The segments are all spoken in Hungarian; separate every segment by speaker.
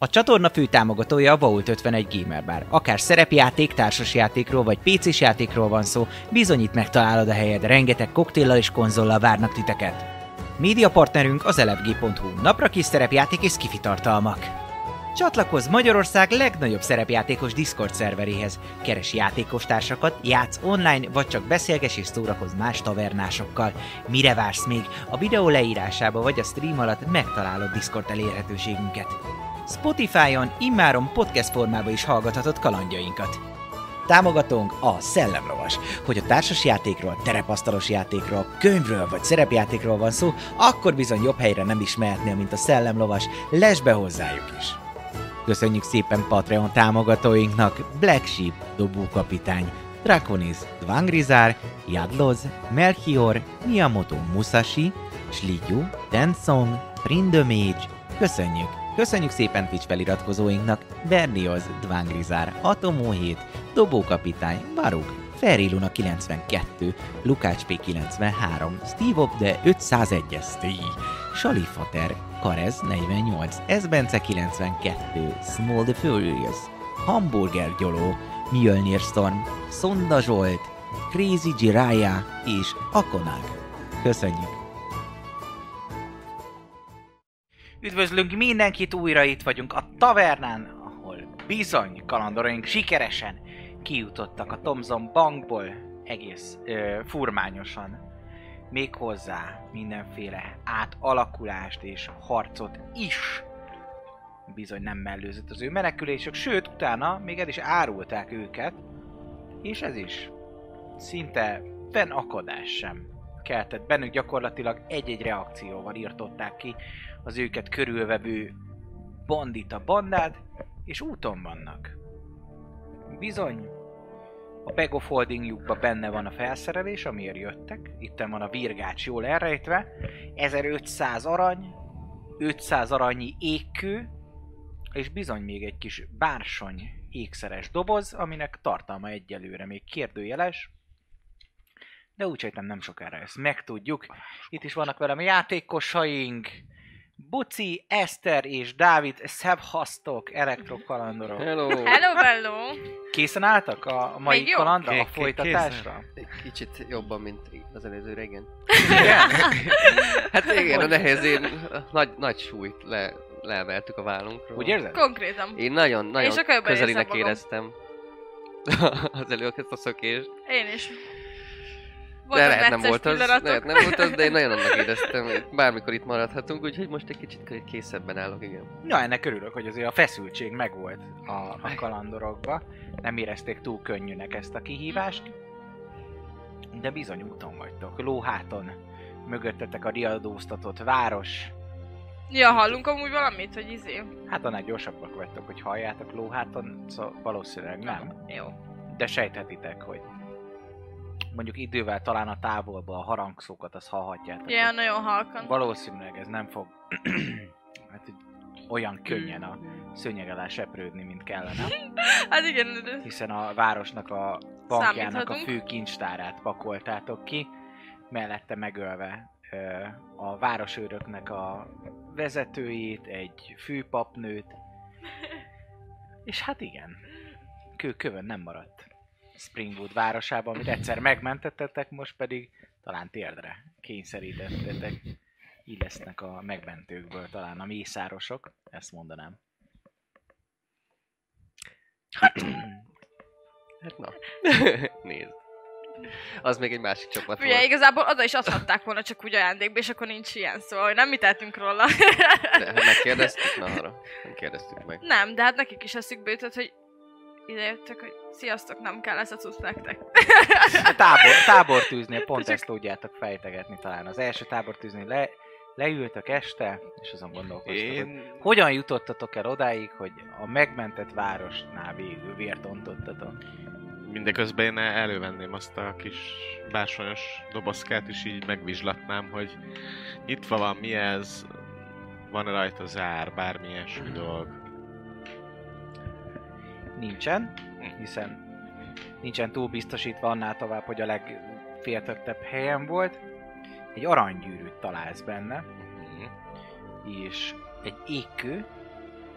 Speaker 1: A csatorna fő támogatója a Vault 51 Gamer Bar. Akár szerepjáték, társasjátékról vagy pc játékról van szó, bizonyít megtalálod a helyed, rengeteg koktéllal és konzollal várnak titeket. Média partnerünk az elefg.hu, napra kis szerepjáték és skifi tartalmak. Csatlakozz Magyarország legnagyobb szerepjátékos Discord szerveréhez. Keres játékostársakat, játsz online, vagy csak beszélges és szórakozz más tavernásokkal. Mire vársz még? A videó leírásába vagy a stream alatt megtalálod Discord elérhetőségünket. Spotify-on immáron podcast formában is hallgathatod kalandjainkat. Támogatónk a Szellemlovas. Hogy a társas játékról, terepasztalos játékról, könyvről vagy szerepjátékról van szó, akkor bizony jobb helyre nem is mehetnél, mint a Szellemlovas. Lesz be hozzájuk is! Köszönjük szépen Patreon támogatóinknak Black Sheep, Dobó Kapitány, Draconis, Dvangrizár, Jadloz, Melchior, Miyamoto Musashi, Slidyu, Denson, Prindomage, köszönjük! Köszönjük szépen Twitch feliratkozóinknak Bernioz, Dvángrizár, Atomó 7, Dobókapitány, Baruk, Feriluna 92, Lukács P93, Steve Op de 501 STI, Salifater, Karez 48, Ezbence 92, Small the Furious, Hamburger Gyoló, Mjölnir Storm, Szonda Zsolt, Crazy Jiraya és Akonák. Köszönjük! Üdvözlünk mindenkit, újra itt vagyunk a tavernán, ahol bizony kalandoraink sikeresen kijutottak a Thomson Bankból egész ö, furmányosan. Méghozzá mindenféle átalakulást és harcot is bizony nem mellőzött az ő menekülésük, sőt, utána még el is árulták őket, és ez is szinte fennakadás sem keltett bennük, gyakorlatilag egy-egy reakcióval írtották ki az őket körülvevő bandita bandát, és úton vannak. Bizony, a Bag of Holdingjukba benne van a felszerelés, amiért jöttek. Itten van a virgács jól elrejtve. 1500 arany, 500 aranyi égkő, és bizony még egy kis bársony ékszeres doboz, aminek tartalma egyelőre még kérdőjeles, de úgy sejtem nem sokára ezt megtudjuk. Itt is vannak velem játékosaink, Buci, Eszter és Dávid, szevhasztok, elektrokalandorok.
Speaker 2: Hello!
Speaker 3: Hello, bello!
Speaker 1: Készen álltak a a mai
Speaker 3: Még jó?
Speaker 1: kalandra, a
Speaker 4: Ké- ké-
Speaker 1: folytatásra?
Speaker 4: Egy Kicsit jobban, mint az előzőre, igen.
Speaker 1: Igen?
Speaker 4: Hát igen, a nehézén nagy, nagy súlyt le, leemeltük a vállunkról.
Speaker 1: Úgy érzed?
Speaker 3: Konkrétan.
Speaker 4: Én nagyon, nagyon
Speaker 3: Én sokkal jobban
Speaker 4: közelinek
Speaker 3: érzem magam.
Speaker 4: éreztem az előket a szökést.
Speaker 3: Én is.
Speaker 4: De lehet nem
Speaker 3: necces
Speaker 4: volt az,
Speaker 3: pillanatok.
Speaker 4: lehet nem volt az, de én nagyon annak éreztem, hogy bármikor itt maradhatunk, úgyhogy most egy kicsit készebben állok, igen.
Speaker 1: Na, ennek örülök, hogy azért a feszültség megvolt a, a kalandorokba. Nem érezték túl könnyűnek ezt a kihívást. De bizony úton vagytok, lóháton. Mögöttetek a riadóztatott város.
Speaker 3: Ja, hallunk amúgy valamit, hogy izé.
Speaker 1: Hát annál gyorsabbak vagytok, hogy halljátok lóháton, szóval valószínűleg nem.
Speaker 3: Jó.
Speaker 1: de sejthetitek, hogy mondjuk idővel talán a távolba a harangszókat azt hallhatjátok.
Speaker 3: Ja, nagyon halkan.
Speaker 1: Valószínűleg ez nem fog hát, hogy olyan könnyen a szőnyeg alá seprődni, mint kellene,
Speaker 3: Hát igen, de...
Speaker 1: hiszen a városnak a bankjának a
Speaker 3: Számíthatunk.
Speaker 1: fő kincstárát pakoltátok ki, mellette megölve ö, a városőröknek a vezetőjét, egy főpapnőt, és hát igen, kő kövön nem maradt. Springwood városában, amit egyszer megmentettetek, most pedig talán térdre kényszerítettetek. Így lesznek a megmentőkből talán a mészárosok, ezt mondanám.
Speaker 4: Hát na, nézd. Az még egy másik csapat
Speaker 3: Ugye
Speaker 4: volt.
Speaker 3: igazából oda is adhatták volna csak úgy ajándékba, és akkor nincs ilyen, szóval hogy nem mi tettünk róla.
Speaker 4: De ha megkérdeztük, na arra. Nem kérdeztük meg.
Speaker 3: nem, de hát nekik is eszükbe jutott, hogy ide jöttök, hogy sziasztok, nem kell ez a cucc nektek.
Speaker 1: A tábor, tábortűznél pont ezt tudjátok fejtegetni talán. Az első tábortűznél le, leültök este, és azon gondolkoztatok, hogy
Speaker 4: Én...
Speaker 1: hogyan jutottatok el odáig, hogy a megmentett városnál végül vért ontottatok.
Speaker 2: Mindeközben én elővenném azt a kis bársonyos dobozkát, és így megvizslatnám, hogy itt van, mi ez, van -e rajta zár, bármi ilyesmi dolog.
Speaker 1: Nincsen, hiszen nincsen túl biztosítva annál tovább, hogy a legféltettebb helyen volt. Egy aranygyűrűt találsz benne,
Speaker 2: Mhm.
Speaker 1: és egy ékkő,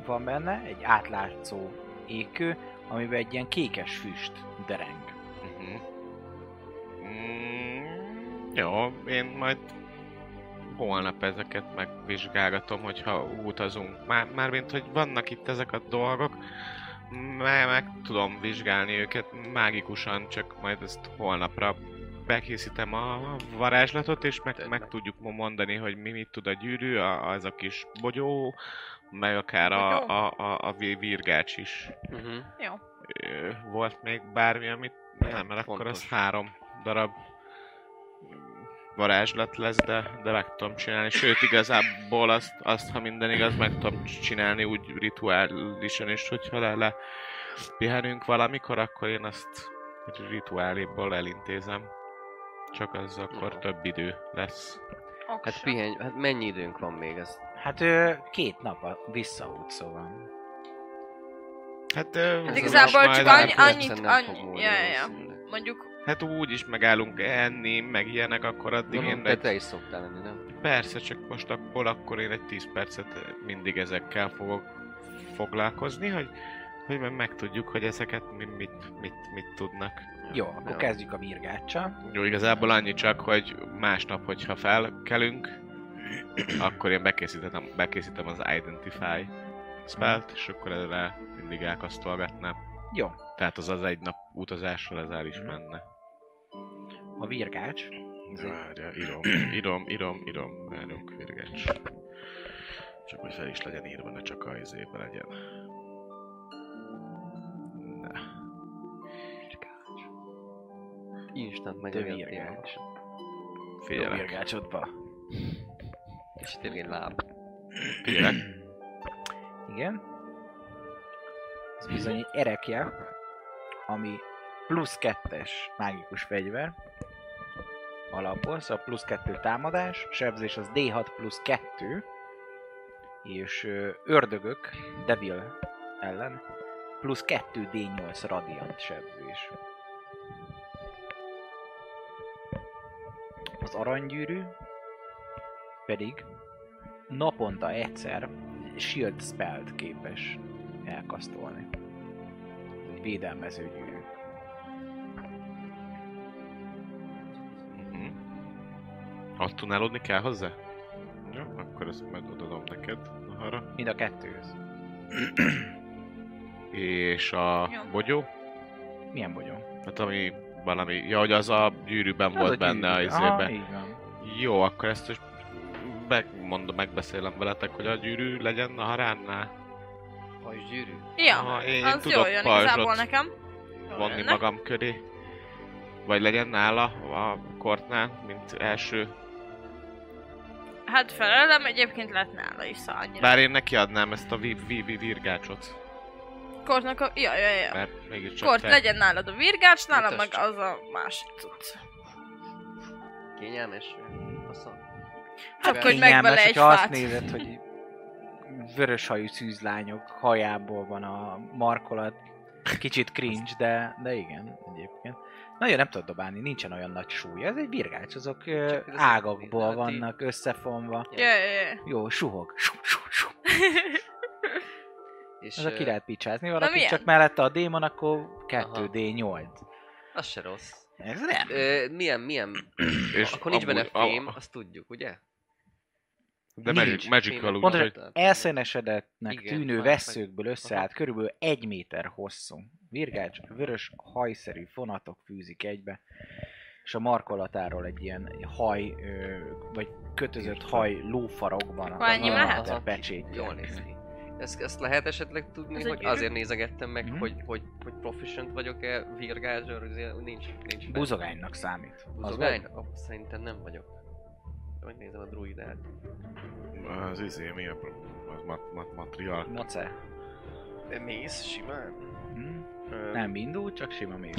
Speaker 1: van benne, egy átlátszó ékő, amiben egy ilyen kékes füst dereng.
Speaker 2: Uh-huh. Mm, jó, én majd holnap ezeket megvizsgálgatom, hogyha utazunk. Már, mármint, hogy vannak itt ezek a dolgok, meg, meg tudom vizsgálni őket mágikusan, csak majd ezt holnapra bekészítem a varázslatot, és meg, meg tudjuk mo- mondani, hogy mi mit tud a gyűrű, a, az a kis bogyó, meg akár a,
Speaker 3: Bogyó?
Speaker 2: a, a, a vi- virgács is.
Speaker 4: Uh-huh.
Speaker 3: Jó.
Speaker 2: Ö, volt még bármi, amit nem, mert akkor
Speaker 4: Fontos.
Speaker 2: az három darab varázslat lesz, de, de meg tudom csinálni. Sőt, igazából azt, azt, ha minden igaz, meg tudom csinálni úgy rituálisan is, hogyha le, le pihenünk valamikor, akkor én azt rituáléból elintézem. Csak az akkor
Speaker 4: Jó.
Speaker 2: több idő lesz.
Speaker 4: Hát
Speaker 3: Oksa.
Speaker 4: pihenj, hát mennyi időnk van még ez?
Speaker 1: Hát ö, két nap a- visszaút, szóval.
Speaker 2: Hát, ö,
Speaker 3: Hát
Speaker 2: az
Speaker 3: igazából
Speaker 2: most
Speaker 3: csak
Speaker 2: majd
Speaker 3: annyi- annyi-
Speaker 2: elkülön-
Speaker 3: annyit- annyi-
Speaker 4: annyi,
Speaker 3: ja, ja, ja. Mondjuk,
Speaker 2: Hát úgy is megállunk enni, meg ilyenek, akkor addig én
Speaker 4: De te is szoktál lenni, nem?
Speaker 2: Persze, csak most abból akkor én egy 10 percet eh, mindig ezekkel fogok foglalkozni, hogy, hogy meg- megtudjuk, hogy ezeket mi, mit, mit, mit tudnak.
Speaker 1: Jó, akkor
Speaker 4: Jó.
Speaker 1: kezdjük a virgáccsal.
Speaker 2: Jó, igazából annyi csak, hogy másnap, hogyha felkelünk, akkor én bekészítem, bekészítem az Identify spelt, és akkor erre mindig elkasztolgatnám.
Speaker 1: Jó,
Speaker 2: Tehát az az egy nap utazással ez el is menne.
Speaker 1: a virgács.
Speaker 2: Izé. Várja, írom, írom, írom, írom. Várjunk, virgecs. Csak hogy fel is legyen írva, ne csak a izébe legyen. Ne.
Speaker 4: Instant meg
Speaker 1: Te
Speaker 4: a
Speaker 1: virgács.
Speaker 4: virgács.
Speaker 1: Jó
Speaker 2: Figyelek,
Speaker 1: virgácsodba.
Speaker 4: És tényleg egy láb.
Speaker 2: figyelek.
Speaker 1: Igen. Ez bizony egy erekje, ami plusz kettes mágikus fegyver. Alapból, szóval plusz kettő támadás, sebzés az D6 plusz kettő, és ö, ördögök, devil ellen, plusz kettő D8 radiant sebzés. Az aranygyűrű pedig naponta egyszer shield spell képes elkasztolni. Ez egy védelmező gyűrű.
Speaker 2: Mhm. Attunálódni kell hozzá? Jó, akkor ezt majd odadom neked arra.
Speaker 1: Mind a kettőhöz.
Speaker 2: És a
Speaker 3: Jó.
Speaker 2: bogyó?
Speaker 1: Milyen bogyó?
Speaker 2: Hát ami valami... Ja, hogy az a gyűrűben volt benne a izébe.
Speaker 1: Ah, így van.
Speaker 2: Jó, akkor ezt is megmondom, megbeszélem veletek, hogy a gyűrű legyen a haránnál.
Speaker 4: A gyűrű.
Speaker 3: ja,
Speaker 2: Ha én
Speaker 3: az
Speaker 2: tudok
Speaker 3: jól jön
Speaker 2: pajzsot
Speaker 3: igazából nekem. Jól
Speaker 2: vonni
Speaker 3: jönne.
Speaker 2: magam köré. Vagy legyen nála a kortnál, mint első.
Speaker 3: Hát felelem, egyébként lett nála is, szóval annyira.
Speaker 2: Bár én neki adnám ezt a vi vi vi virgácsot.
Speaker 3: Kortnak a... Ja, ja, ja.
Speaker 2: Mert mégiscsak
Speaker 3: Kort,
Speaker 2: te-
Speaker 3: legyen nálad a virgács, nálam meg
Speaker 4: Mutasd
Speaker 3: az a másik cucc.
Speaker 4: Kényelmes? Faszom.
Speaker 3: Csak
Speaker 4: Kényelmes,
Speaker 3: hogy megvele egy
Speaker 1: hogyha azt
Speaker 3: fát.
Speaker 1: nézed, hogy vöröshajú szűzlányok hajából van a markolat. Kicsit cringe, de, de igen, egyébként. Nagyon nem tudod dobálni, nincsen olyan nagy súly. Ez egy virgács, azok ö,
Speaker 4: Csak ez a
Speaker 1: ágakból
Speaker 4: szakmai-
Speaker 1: vannak összefonva.
Speaker 3: Ja, ja, ja.
Speaker 1: Jó, suhog. Su, su, su.
Speaker 4: És
Speaker 1: Ez a ki
Speaker 4: ö,
Speaker 1: lehet picsázni, valaki
Speaker 3: milyen?
Speaker 1: csak mellette a démon, akkor
Speaker 4: Aha.
Speaker 1: 2D8.
Speaker 4: Az se rossz.
Speaker 1: Ez nem.
Speaker 4: Ö, milyen, milyen?
Speaker 2: És
Speaker 4: Akkor nincs benne
Speaker 2: amúgy- a-
Speaker 4: fém,
Speaker 2: a-
Speaker 4: azt tudjuk, ugye?
Speaker 2: De magic,
Speaker 1: nincs.
Speaker 2: magical úgy,
Speaker 1: Mondd,
Speaker 2: hogy...
Speaker 1: Elszínesedettnek
Speaker 4: Igen,
Speaker 1: tűnő
Speaker 4: majd-
Speaker 1: veszőkből összeállt
Speaker 4: Aha.
Speaker 1: körülbelül egy méter hosszú. Virgács, vörös hajszerű fonatok fűzik egybe, és a markolatáról egy ilyen haj, ö, vagy kötözött haj lófarok van.
Speaker 3: Akkor ennyi
Speaker 1: a-
Speaker 3: mehet?
Speaker 1: a
Speaker 4: Jól
Speaker 1: pecsét.
Speaker 4: néz ki. Ezt, ezt lehet esetleg tudni,
Speaker 3: Ez egy
Speaker 4: hogy
Speaker 3: gyűrű?
Speaker 4: azért nézegettem meg,
Speaker 1: Mhm.
Speaker 4: hogy, hogy, hogy proficient vagyok-e, virgázsor, azért nincs, nincs benne.
Speaker 1: Buzogánynak számít. Az
Speaker 4: Buzogány?
Speaker 1: vagy?
Speaker 4: Ah, szerintem nem vagyok. Megnézem a druidát.
Speaker 2: Az izé, mi a probléma? Az mat, mat, matriark.
Speaker 1: Noce.
Speaker 4: Mész simán?
Speaker 1: Hm?
Speaker 4: Ö,
Speaker 1: Nem indul, csak sima még.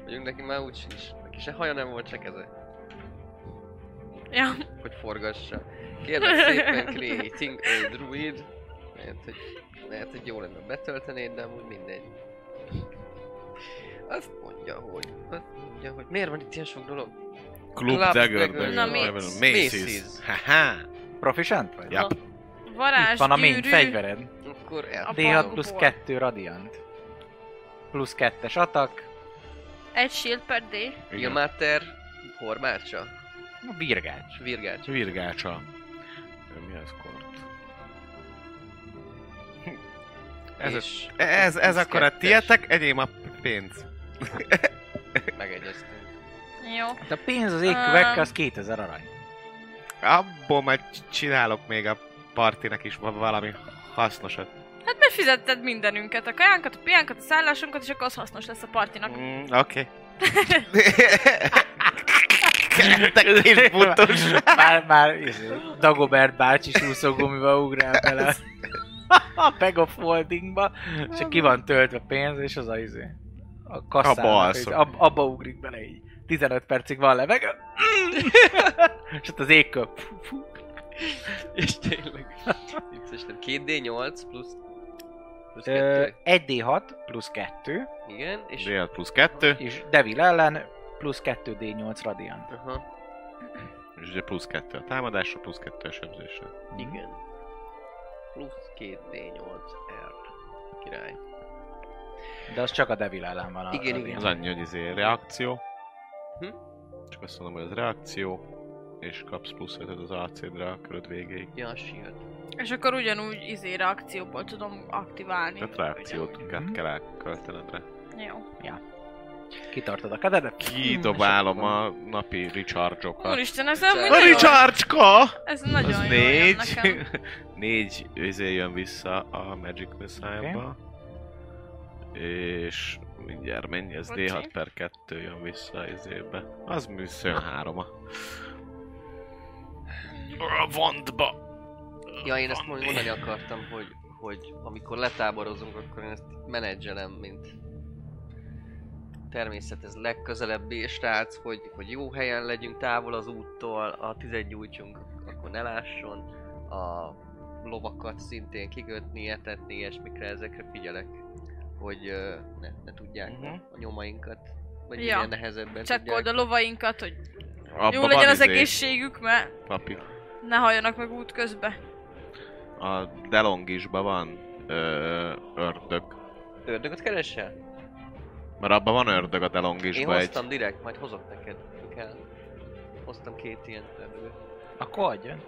Speaker 4: Mondjuk neki már úgy sincs. Neki se haja nem volt, se keze,
Speaker 3: ja.
Speaker 4: hogy forgassa. Kérlek szépen creating a druid. Lehet, hogy, lehet, hogy jó lenne betöltenéd, de amúgy mindegy. Azt mondja, hogy... Azt mondja, hogy miért van itt ilyen sok dolog?
Speaker 2: Club
Speaker 4: Club
Speaker 2: Dagger,
Speaker 4: Dagger,
Speaker 2: Dagger,
Speaker 3: na,
Speaker 2: Dagger,
Speaker 3: Macy's.
Speaker 2: Macy's. Haha.
Speaker 1: Proficient vagy?
Speaker 2: Ja.
Speaker 3: Mhm. varázs,
Speaker 1: Itt van a main
Speaker 3: gyűrű.
Speaker 1: fegyvered.
Speaker 4: Akkor
Speaker 3: A
Speaker 4: el...
Speaker 1: D6
Speaker 3: falból.
Speaker 1: plusz 2 radiant. Plusz 2-es atak.
Speaker 3: Egy shield per D.
Speaker 4: Ilmáter hormácsa,
Speaker 1: A birgács.
Speaker 4: virgács.
Speaker 2: Virgácsa. Mi az kort? Ez,
Speaker 4: Hm.
Speaker 2: a-
Speaker 4: és
Speaker 2: ez, ez
Speaker 4: plusz
Speaker 2: akkor a
Speaker 4: kettes.
Speaker 2: tietek, enyém a pénz.
Speaker 4: Megegyeztünk.
Speaker 3: Jó.
Speaker 5: Hát a pénz az égkövekkel, az 2000 arany.
Speaker 2: Abból majd csinálok még a partinek is va- valami hasznosat.
Speaker 3: Hát megfizetted mindenünket, a kajánkat, a piánkat, a szállásunkat, és akkor az hasznos lesz a partinak.
Speaker 2: Mm, Oké. Kerettek kis butos.
Speaker 1: már, már izé, Dagobert bácsi súszógumival ugrál bele. A Peg of Holdingba, és ki van töltve pénz, és az a izé. A kasszának,
Speaker 2: Abba
Speaker 1: abba,
Speaker 2: alszom.
Speaker 1: ab, abba ugrik bele így. 15 percig van levegő. és ott az égköp.
Speaker 4: És tényleg. Itt Isten, 2D8 plusz... Plusz
Speaker 1: Ö,
Speaker 4: 2.
Speaker 1: 1d6 plusz 2,
Speaker 4: Igen, és...
Speaker 2: Dél plusz kettő,
Speaker 1: és Devil ellen plusz 2d8 radiant.
Speaker 4: Aha,
Speaker 2: és ugye plusz kettő a támadásra, plusz kettő a sebzésre.
Speaker 4: igen. Plusz 2D8 R. Király.
Speaker 1: De az csak a Devil ellen van. a
Speaker 4: Igen, igen.
Speaker 1: radiant.
Speaker 2: Az annyi, hogy izé reakció.
Speaker 4: Hm?
Speaker 2: Csak azt mondom, hogy az reakció, és kapsz plusz 5 az AC-dre a köröd végéig.
Speaker 4: Ja, a shield.
Speaker 3: És akkor ugyanúgy izé reakcióból tudom aktiválni.
Speaker 2: Tehát
Speaker 3: Hm.
Speaker 2: reakciót kell,
Speaker 1: Mhm.
Speaker 2: kell elköltened rá.
Speaker 3: Jó.
Speaker 1: Kitartod a kededet.
Speaker 2: Kidobálom a napi recharge-okat.
Speaker 3: Úristen, ez amúgy
Speaker 2: A
Speaker 3: nagyon,
Speaker 2: recharge-ka!
Speaker 3: ez
Speaker 2: Az
Speaker 3: nagyon jó jön
Speaker 2: négy.
Speaker 3: nekem.
Speaker 2: négy izé jön vissza a Magic Missile-ba. És mindjárt mennyi, ez
Speaker 3: Bocsi.
Speaker 2: D6 per 2 jön vissza izébe. Az műszön hároma. A vondba!
Speaker 4: Ja, én ezt mondjuk mondani akartam, hogy, hogy amikor letáborozunk, akkor én ezt menedzselem, mint természethez legközelebbi srác, hogy, hogy jó helyen legyünk távol az úttól, a tized gyújtsunk, akkor ne lásson, a lovakat szintén kikötni, etetni, ilyesmikre, ezekre figyelek, hogy ö, ne, ne tudják
Speaker 2: Mhm.
Speaker 4: a nyomainkat, vagy
Speaker 3: Ja.
Speaker 4: ja. minél nehezebben
Speaker 3: Csekkold a
Speaker 4: tudják.
Speaker 3: lovainkat, hogy
Speaker 2: Abba
Speaker 3: jó
Speaker 2: van
Speaker 3: legyen az
Speaker 2: izé,
Speaker 3: egészségük, mert
Speaker 2: Napi.
Speaker 3: ne halljanak meg út közbe.
Speaker 2: A Delongisba van ö, ördög.
Speaker 4: Ördögöt keresel?
Speaker 2: Mert abban van ördög a
Speaker 4: Én
Speaker 2: Delongisba egy.
Speaker 4: hoztam direkt, majd hozok neked, kell. Hoztam két ilyen ördögöt.
Speaker 1: Akkor adjon.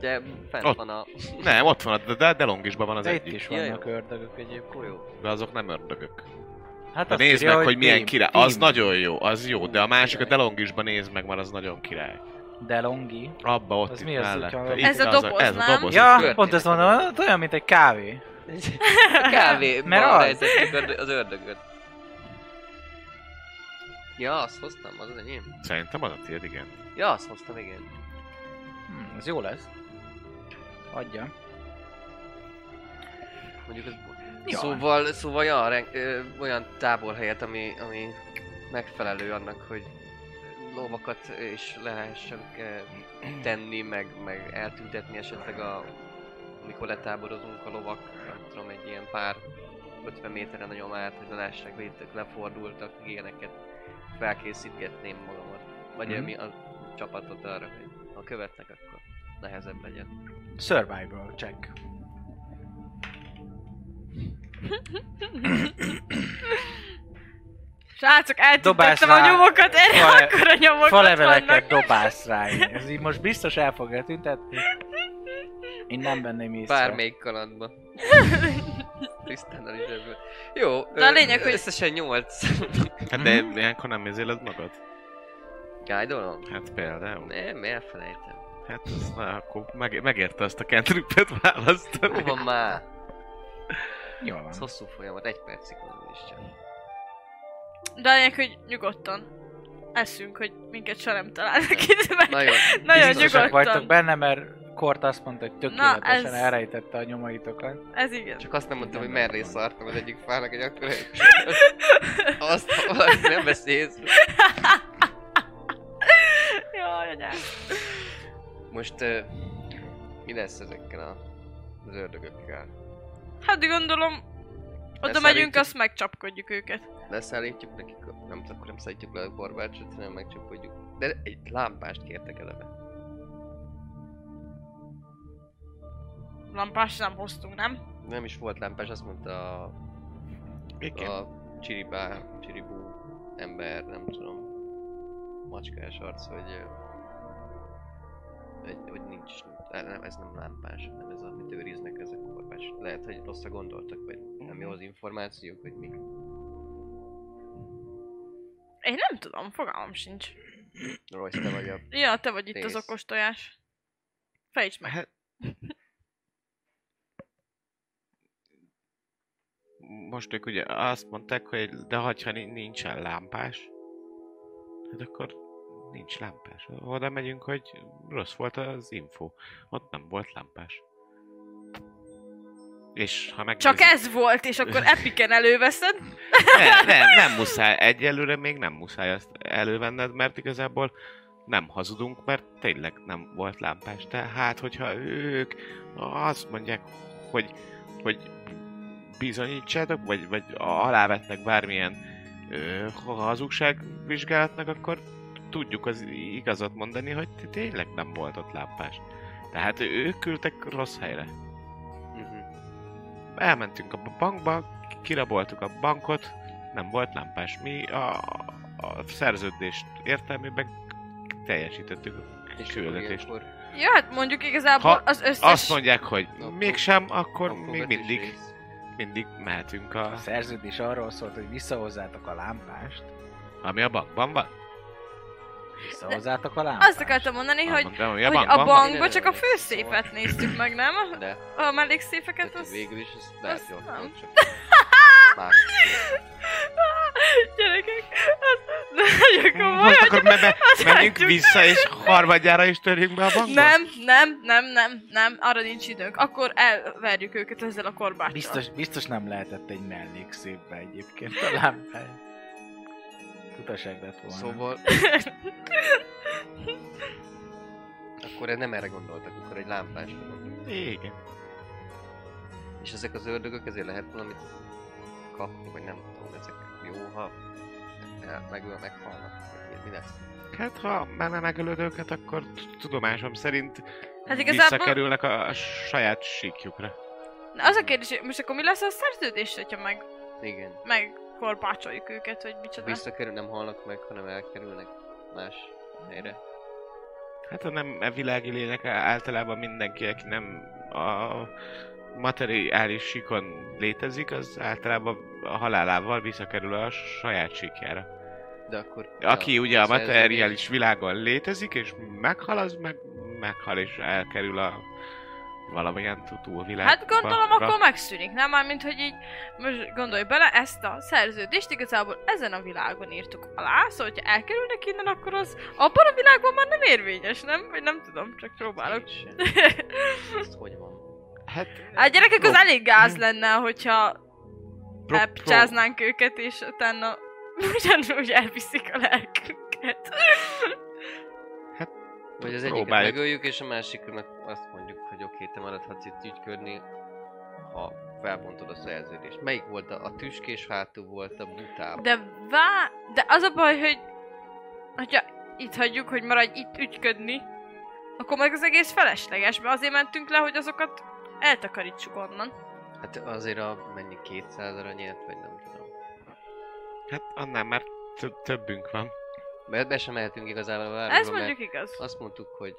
Speaker 4: De fent
Speaker 2: Ott.
Speaker 4: van a
Speaker 2: Nem, ott van, a- de Delongisba van az
Speaker 1: De itt
Speaker 2: egyik.
Speaker 1: is
Speaker 4: Ja,
Speaker 1: vannak ördögök egyébként.
Speaker 4: golyó.
Speaker 2: De azok nem ördögök.
Speaker 1: Hát
Speaker 2: De
Speaker 1: azt
Speaker 2: nézd
Speaker 1: írja,
Speaker 2: meg, hogy milyen
Speaker 1: Team-
Speaker 2: király. Az
Speaker 1: Team
Speaker 2: nagyon jó, az jó, de a másik a
Speaker 4: Király.
Speaker 2: Delongisba nézd meg, mert az nagyon király.
Speaker 1: DeLonghi.
Speaker 2: Abba ott
Speaker 1: Az
Speaker 2: itt
Speaker 1: mi az,
Speaker 2: mellette.
Speaker 1: hogyha-
Speaker 2: Itt
Speaker 3: Ez a
Speaker 2: az
Speaker 3: doboz,
Speaker 2: ez a
Speaker 3: nem?
Speaker 2: doboz.
Speaker 1: Ja,
Speaker 4: történet.
Speaker 1: pont ezt mondom, hát olyan, mint egy kávé.
Speaker 4: A kávé
Speaker 1: Mert
Speaker 4: van
Speaker 1: az.
Speaker 4: rejtettük ördö- az ördögöt. Ja, azt hoztam, az az enyém.
Speaker 2: Szerintem az a tiéd, igen.
Speaker 4: Ja, azt hoztam, igen.
Speaker 1: Hm, az jó lesz. Adja.
Speaker 4: Mondjuk az...
Speaker 1: Ja.
Speaker 4: Szóval, szóval ja, ren- ö, olyan táborhelyet, ami, ami megfelelő annak, hogy lovakat is le lehessen ö, tenni, meg, meg eltüntetni esetleg a... Amikor letáborozunk a lovak, nem tudom, egy ilyen pár 50 méteren a nyomát, hogy ne lássák, hogy itt lefordultak, ilyeneket felkészítgetném magamat. Vagy
Speaker 1: Mhm.
Speaker 4: mm. mi a csapatot arra, hogy ha követnek, akkor nehezebb legyen.
Speaker 1: Survival check.
Speaker 3: Srácok, eltüntettem
Speaker 1: rá.
Speaker 3: a nyomokat, erre
Speaker 1: Fa-
Speaker 3: akkor a nyomok ott
Speaker 1: Faleveleket
Speaker 3: vannak.
Speaker 1: dobálsz rá. Ez így most biztos el fogja tüntetni. Én nem venném észre.
Speaker 4: Bármelyik kalandba. Tisztán a zsebből. Jó,
Speaker 3: De a
Speaker 4: ö,
Speaker 3: lényeg, hogy-
Speaker 4: összesen 8.
Speaker 1: Mhm.
Speaker 2: Hát de ilyenkor nem izéled magad?
Speaker 4: Gájdolom?
Speaker 2: Hát például.
Speaker 4: Nem, elfelejtem.
Speaker 2: Hát ez, na, akkor meg, megérte azt a kentrüppet választani.
Speaker 4: Hova már?
Speaker 1: Jól
Speaker 4: Ez
Speaker 1: van.
Speaker 4: hosszú folyamat, egy percig van is csak.
Speaker 3: De a lényeg, hogy nyugodtan eszünk, hogy minket se nem találnak itt, mert
Speaker 4: Nagyon,
Speaker 3: Nagyon
Speaker 1: Biztosak
Speaker 3: nyugodtan.
Speaker 1: vagytok benne, mert Kort azt mondta, hogy tökéletesen
Speaker 3: ez-
Speaker 1: elrejtette a nyomaitokat.
Speaker 3: ez igen.
Speaker 4: Csak azt nem mondtam, hogy
Speaker 1: Igen,
Speaker 4: merré
Speaker 1: van.
Speaker 4: szartam az egyik fának, hogy akkor azt ha valaki nem veszi észre.
Speaker 3: Jaj, anyám.
Speaker 4: Most ö, mi lesz ezekkel a, az ördögökkel?
Speaker 3: Hát gondolom, oda
Speaker 4: Leszállítjuk.
Speaker 3: megyünk, azt megcsapkodjuk őket.
Speaker 4: Leszállítjuk nekik, a- nem tudom, akkor nem szállítjuk le a korbácsot, hanem megcsapodjuk. De egy lámpást kértek eleve.
Speaker 3: Lampás nem hoztunk, nem?
Speaker 4: Nem is volt lámpás, azt mondta a,
Speaker 2: Igen.
Speaker 4: a csiribá, csiribú ember, nem tudom, macskás arc, hogy, ö, hogy, hogy nincs, eh, nem, ez nem lámpás, nem ez, amit őriznek, ez a korbács. Lehet, hogy rosszra gondoltak, vagy nem
Speaker 3: Mhm.
Speaker 4: jó az információk, hogy mi.
Speaker 3: Én nem tudom, fogalmam sincs.
Speaker 4: Royce, te vagy a...
Speaker 3: Ja, te vagy itt
Speaker 4: Tész.
Speaker 3: az okos tojás. Fejtsd meg.
Speaker 2: Hát... Most ők ugye azt mondták, hogy de hagyha ni- nincsen lámpás, hát akkor nincs lámpás. Oda megyünk, hogy rossz volt az info. Ott nem volt lámpás. És ha meg
Speaker 3: Csak ez volt, és akkor epiken előveszed.
Speaker 2: ne, nem, nem muszáj. Egyelőre még nem muszáj ezt elővenned, mert igazából nem hazudunk, mert tényleg nem volt lámpás. De hát, hogyha ők azt mondják, hogy, hogy bizonyítsátok, vagy, vagy alávetnek bármilyen ö, hazugságvizsgálatnak, akkor tudjuk az igazat mondani, hogy tényleg nem volt ott lámpás. Tehát ők küldtek rossz helyre
Speaker 3: Mhm.
Speaker 4: Uh-huh.
Speaker 2: elmentünk a bankba, kiraboltuk a bankot, nem volt lámpás. Mi a, a szerződést értelmében teljesítettük a
Speaker 4: És akkor
Speaker 2: küldetést.
Speaker 4: ilyenkor
Speaker 3: Ja, hát mondjuk igazából
Speaker 2: Ha
Speaker 3: az összes...
Speaker 2: Azt mondják, hogy
Speaker 4: Akkor-
Speaker 2: mégsem, akkor
Speaker 4: kapunk
Speaker 2: még
Speaker 4: vetés
Speaker 2: mindig,
Speaker 4: rész.
Speaker 2: mindig mehetünk
Speaker 1: A
Speaker 2: a...
Speaker 1: szerződés arról szólt, hogy visszahozzátok a lámpást.
Speaker 2: Ami a bankban van?
Speaker 1: Visszahozzátok a lámpást.
Speaker 3: Azt akartam mondani,
Speaker 2: Azt
Speaker 3: hogy,
Speaker 2: mondtam, ami
Speaker 3: hogy a
Speaker 2: bankban van.
Speaker 3: bankban csak a főszépet néztük meg, nem?
Speaker 4: De,
Speaker 3: A mellékszéfeket
Speaker 4: hát
Speaker 3: Hát az...
Speaker 4: végül is ez lehet
Speaker 3: azt
Speaker 4: jó,
Speaker 3: nem.
Speaker 4: volt, csak más.
Speaker 3: Gyerekek, az nagyon komoly,
Speaker 2: Most
Speaker 3: hogy...
Speaker 2: akkor me- me-
Speaker 3: azt
Speaker 2: menjünk
Speaker 3: hagyjuk.
Speaker 2: vissza, és harmadjára is törjünk be a bankba?
Speaker 3: Nem, nem, nem, nem, nem, arra nincs időnk. Akkor elverjük őket ezzel a korbáccsal.
Speaker 1: Biztos, biztos nem lehetett egy mellék szépbe egyébként a lámpány. Tutaság lett volna.
Speaker 4: Szóval... akkor nem erre gondoltak, akkor egy lámpásra gondoltak.
Speaker 2: Igen.
Speaker 4: És ezek az ördögök ezért lehet valamit kapni, vagy nem tudom, ezek jó, ha el- megöl, meghalnak, vagy mi lesz?
Speaker 2: Hát ha már nem megölöd őket, akkor t- tudomásom szerint
Speaker 3: Hát igazából-
Speaker 2: visszakerülnek a a saját síkjukra.
Speaker 3: Na, az a kérdés, hogy most akkor mi lesz a szerződés, hogyha meg,
Speaker 4: Igen.
Speaker 3: meg korbácsoljuk őket, hogy micsoda?
Speaker 4: Visszakerül, nem halnak meg, hanem elkerülnek más helyre.
Speaker 2: Hát a nem e világi lények á- általában mindenki, aki nem a materiális síkon létezik, az általában a halálával visszakerül a saját síkjára.
Speaker 4: De akkor...
Speaker 2: Aki ugye a
Speaker 4: szerződés-
Speaker 2: materiális világon létezik, és meghal, az meg meghal, és elkerül a valamilyen túlvilágba.
Speaker 3: Hát gondolom, akkor megszűnik, nem? Mármint, hogy így, most gondolj bele, ezt a szerződést igazából ezen a világon írtuk alá, szóval, hogyha elkerülnek innen, akkor az abban a világban már nem érvényes, nem? Vagy nem tudom, csak próbálok.
Speaker 4: Nincs sem. Ez hogy van?
Speaker 2: Hát,
Speaker 3: Hát gyerekek, az
Speaker 2: Pró-
Speaker 3: elég gáz lenne, hogyha
Speaker 2: pró- pró-
Speaker 3: elpcsáznánk őket, és utána ugyanúgy elviszik a lelkünket.
Speaker 4: Vagy az egyiket
Speaker 2: Próbáljuk.
Speaker 4: megöljük, és a másiknak azt mondjuk, hogy oké, te maradhatsz itt ügyködni, ha felbontod a szerződést. Melyik volt a, a tüskés hátú volt a butább?
Speaker 3: De vá... De az a baj, hogy... Hogyha itt hagyjuk, hogy maradj itt ügyködni, akkor meg az egész felesleges, mert azért mentünk le, hogy azokat eltakarítsuk onnan.
Speaker 4: Hát azért a mennyi 200 aranyért, vagy nem tudom.
Speaker 2: Hát annál már több- többünk van.
Speaker 4: Mert be sem mehetünk igazából a városba,
Speaker 3: Ez mondjuk igaz.
Speaker 4: azt mondtuk, hogy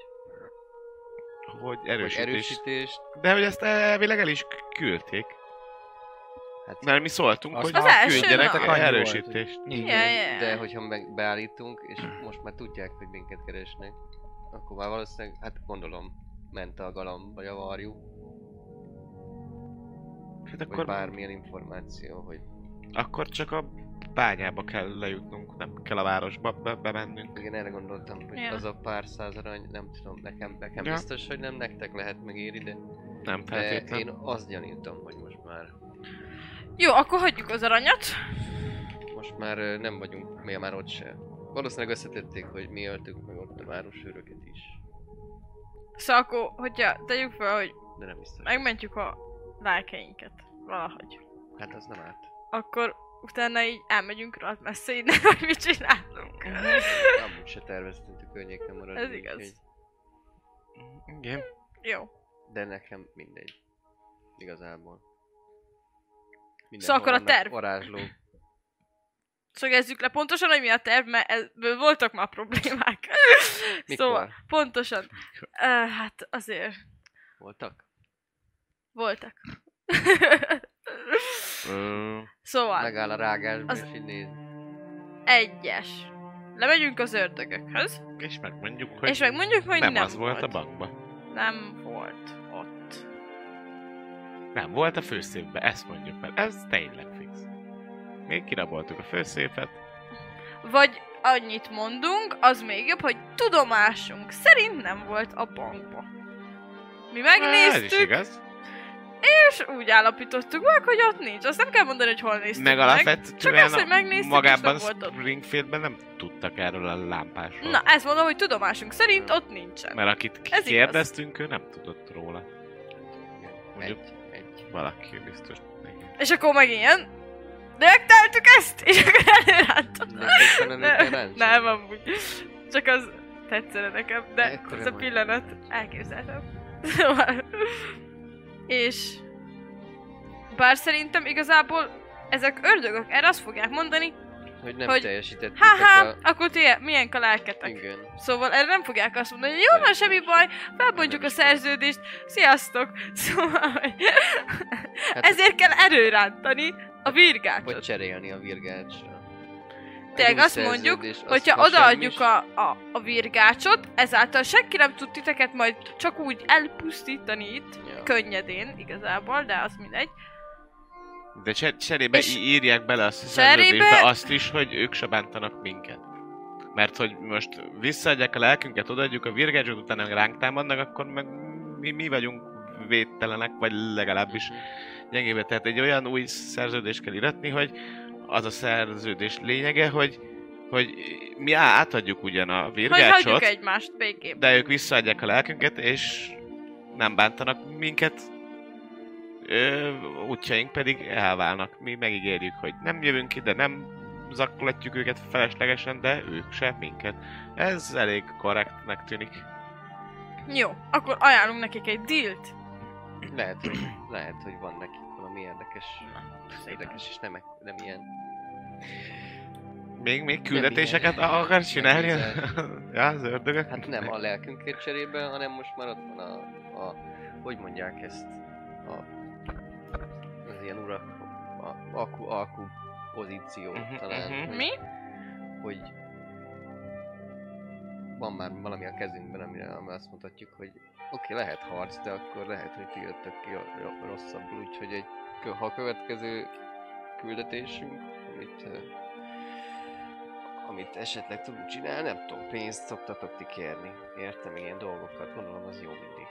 Speaker 2: Hogy
Speaker 4: erősítést.
Speaker 2: erősítés.
Speaker 4: Hogy erősítést
Speaker 2: De hogy ezt elvileg el is küldték.
Speaker 4: hát,
Speaker 2: Mert mi szóltunk,
Speaker 1: Azt
Speaker 2: hogy
Speaker 3: Az első
Speaker 2: küldjenek
Speaker 3: nap.
Speaker 2: egy erősítést.
Speaker 3: Ja, ja.
Speaker 4: de hogyha meg beállítunk, és most már tudják, hogy minket keresnek, akkor már valószínűleg, hát gondolom, ment a galamb, vagy a varjú,
Speaker 2: Hát
Speaker 4: vagy
Speaker 2: akkor,
Speaker 4: bármilyen információ, hogy
Speaker 2: akkor csak a bányába kell lejutnunk, nem kell a városba be- bemennünk.
Speaker 4: igen, erre gondoltam, hogy
Speaker 3: Ja.
Speaker 4: az a pár száz arany, nem tudom, nekem, nekem
Speaker 2: Ja.
Speaker 4: biztos, hogy nem nektek lehet megéri, de,
Speaker 2: Nem
Speaker 4: de én
Speaker 2: feltétlenül.
Speaker 4: azt gyanítom, hogy most már
Speaker 3: Jó, akkor hagyjuk az aranyat.
Speaker 4: Most már ö, nem vagyunk, mi már ott se. Valószínűleg összetették, hogy mi öltük meg ott a városőröket is.
Speaker 3: Szóval akkor, hogyha tegyük fel, hogy
Speaker 4: De nem biztos.
Speaker 3: megmentjük a lelkeinket valahogy,
Speaker 4: Hát az nem árt.
Speaker 3: akkor utána így elmegyünk rohadt messze innen, hogy mit csinálunk.
Speaker 4: Amúgy se terveztünk a környéken maradni.
Speaker 3: Ez igaz.
Speaker 4: úgyhogy-
Speaker 2: Igen.
Speaker 3: Jó.
Speaker 4: De nekem mindegy. Igazából. Mindenhol
Speaker 3: Szóval akkor a
Speaker 4: vannak
Speaker 3: terv.
Speaker 4: Varázsló.
Speaker 3: Szögezzük le pontosan, hogy mi a terv, mert ebből voltak már problémák.
Speaker 4: Mikor
Speaker 3: Szóval, pontosan. Uh, hát azért
Speaker 4: voltak?
Speaker 3: voltak.
Speaker 2: Ö,
Speaker 3: szóval,
Speaker 4: Megáll a rágás,
Speaker 3: Az-
Speaker 4: és így néz.
Speaker 3: egyes. Lemegyünk az ördögökhöz,
Speaker 2: és megmondjuk, hogy
Speaker 3: és megmondjuk, hogy
Speaker 2: nem,
Speaker 3: nem,
Speaker 2: az volt a bankban.
Speaker 3: Nem volt ott.
Speaker 2: Nem volt a főszéfben, ezt mondjuk, mert ez tényleg fix. Még kiraboltuk a főszéfet,
Speaker 3: Vagy annyit mondunk, az még jobb, hogy tudomásunk szerint nem volt a bankba. Mi
Speaker 2: ez is
Speaker 3: megnéztük,
Speaker 2: igaz.
Speaker 3: és úgy állapítottuk meg, hogy ott nincs. Azt nem kell mondani, hogy hol néztük
Speaker 2: Meg
Speaker 3: meg.
Speaker 2: alapvetően
Speaker 3: Csak azt, hogy
Speaker 2: a-
Speaker 3: megnéztük,
Speaker 2: magában
Speaker 3: és nem volt ott.
Speaker 2: Springfieldben nem tudtak erről a lámpásról.
Speaker 3: Na, ezt mondom, hogy tudomásunk szerint ott nincsen.
Speaker 2: Mert akit
Speaker 3: igaz.
Speaker 2: kérdeztünk, ő nem tudott róla. Mondjuk
Speaker 4: Egy, egy.
Speaker 2: valaki biztos. Igen.
Speaker 3: És akkor meg ilyen, rögteltük ezt, és akkor előrántott.
Speaker 4: Nem tudtam, ennek
Speaker 3: Nem,
Speaker 4: nincs.
Speaker 3: nem, amúgy. Csak az tetszene nekem, de
Speaker 4: Ekkora
Speaker 3: ez a
Speaker 4: vagy.
Speaker 3: pillanat elképzelhetem. Szóval- és bár szerintem igazából ezek ördögök erre azt fogják mondani,
Speaker 4: Hogy nem
Speaker 3: hogy-
Speaker 4: teljesítettétek
Speaker 3: haha,
Speaker 4: a...
Speaker 3: akkor ti milyen a lelketek.
Speaker 4: Igen.
Speaker 3: Szóval erre nem fogják azt mondani, hogy jó, van, semmi baj, felbontjuk a szerződést, sziasztok! Szóval, hogy
Speaker 4: Hát-
Speaker 3: ezért kell erőrántani a virgácsot.
Speaker 4: Vagy cserélni a virgácsra.
Speaker 3: Tényleg azt mondjuk, Hogyha odaadjuk a, a, a virgácsot, ezáltal senki nem tud titeket majd csak úgy elpusztítani itt,
Speaker 4: Ja.
Speaker 3: könnyedén igazából, de az mindegy.
Speaker 2: De cse- cserébe
Speaker 3: És-
Speaker 2: í- írják bele azt a
Speaker 3: Cserébe-
Speaker 2: szerződésbe azt is, hogy ők se bántanak minket. Mert hogy most visszaadják a lelkünket, odaadjuk a virgácsot, utána meg ránk támadnak, akkor meg mi, mi vagyunk védtelenek, vagy legalábbis gyengébe. Tehát egy olyan új szerződést kell iratni, hogy az a szerződés lényege, hogy, hogy mi á- átadjuk ugyan a
Speaker 3: Hogy
Speaker 2: virgácsot,
Speaker 3: hagyjuk egymást békében.
Speaker 2: de ők visszaadják a lelkünket, és nem bántanak minket, ö, útjaink pedig elválnak. Mi megígérjük, hogy nem jövünk ide, nem zaklatjuk őket feleslegesen, de ők sem minket. Ez elég korrektnek tűnik.
Speaker 3: Jó, akkor ajánlunk nekik egy dealt.
Speaker 4: Lehet, hogy, lehet, hogy van nekik valami érdekes, érdekes és nem, e- nem ilyen.
Speaker 2: Még, még küldetéseket
Speaker 4: ilyen.
Speaker 2: akar csinálni?
Speaker 4: Nem
Speaker 2: ja, az ördögök?
Speaker 4: Hát nem a lelkünkért cserébe, hanem most már ott van a, a hogy mondják ezt, a, az ilyen urak, a, alku, alku pozíció
Speaker 2: Mhm,
Speaker 4: talán.
Speaker 2: mhm.
Speaker 4: hogy-
Speaker 3: Mi?
Speaker 4: Hogy van már valami a kezünkben, amire amire azt mondhatjuk, hogy oké, lehet harc, de akkor lehet, hogy ti jöttök ki a- a- rosszabbul, úgyhogy egy, kö- ha a következő küldetésünk, amit, ö, amit esetleg tudunk csinálni, nem tudom, pénzt szoktatok ti kérni. Értem, ilyen dolgokat, gondolom az jó mindig.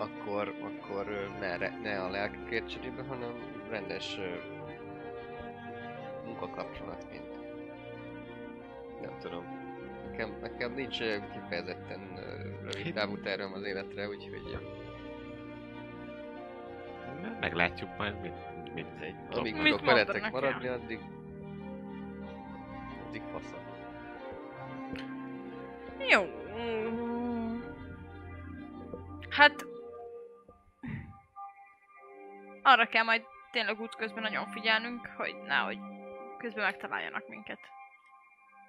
Speaker 4: Akkor, akkor ö, ne, re- ne a lelkükért cserébe, hanem rendes ö, munkakapcsolat, mint nem tudom. Nekem, nekem nincs ö, kifejezetten ö, rövid
Speaker 2: Hit-
Speaker 4: távú tervem az életre, úgyhogy ö,
Speaker 2: Meglátjuk majd, mit, mit egy
Speaker 4: amíg
Speaker 3: Mit
Speaker 4: tudok veletek
Speaker 3: mondanak
Speaker 4: maradni, addig... Addig faszom.
Speaker 3: Jó. Hát... Arra kell majd tényleg útközben nagyon figyelnünk, hogy nehogy közben megtaláljanak minket.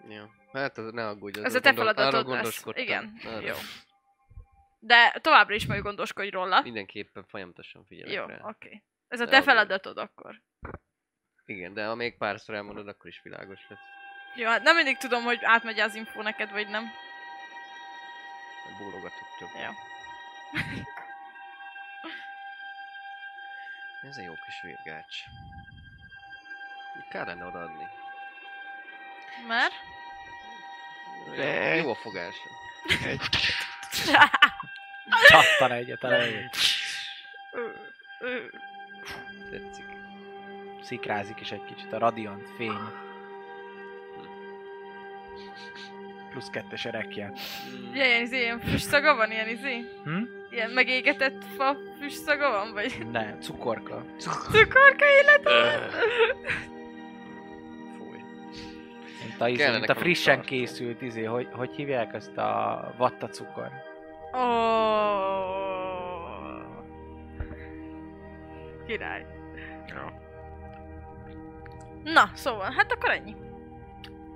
Speaker 4: Ja. Hát az, ne aggódj, az
Speaker 3: Ez a te
Speaker 4: arra
Speaker 3: feladatod lesz.
Speaker 4: gondoskodtam.
Speaker 3: Igen,
Speaker 4: Arra.
Speaker 3: jó. De továbbra is majd gondoskodj róla.
Speaker 4: Mindenképpen folyamatosan figyelek
Speaker 3: Jó,
Speaker 4: rá.
Speaker 3: oké. Okay. Ez a
Speaker 4: De
Speaker 3: te
Speaker 4: az-
Speaker 3: feladatod akkor.
Speaker 4: Igen, de ha még párszor elmondod, akkor is világos lesz.
Speaker 3: Jó, hát nem mindig tudom, hogy átmegy az info neked, vagy nem.
Speaker 4: Bólogatok több.
Speaker 3: Jó.
Speaker 4: Ez egy jó kis virgács. Kár lenne odaadni.
Speaker 3: Mert?
Speaker 2: De-
Speaker 4: Jó a fogása.
Speaker 1: Csattan egyet a levegőt.
Speaker 3: Ö, ö,
Speaker 4: Tetszik.
Speaker 1: szikrázik is egy kicsit a radiant fény. Plusz kettes erekje.
Speaker 3: Ilyen izé, ilyen füstszaga van, ilyen izé?
Speaker 1: Hm?
Speaker 3: Ilyen megégetett fa füstszaga van, vagy
Speaker 1: Nem, cukorka.
Speaker 3: cukorka
Speaker 2: Ö,
Speaker 3: életem?
Speaker 4: Fúj.
Speaker 1: Mint a, izé,
Speaker 4: Kellene
Speaker 1: mint a
Speaker 4: nekem
Speaker 1: frissen
Speaker 4: tartani.
Speaker 1: készült izé, hogy, hogy hívják ezt a vatta cukor.
Speaker 3: Ó. Király.
Speaker 2: Ja.
Speaker 3: Na, szóval, hát akkor ennyi.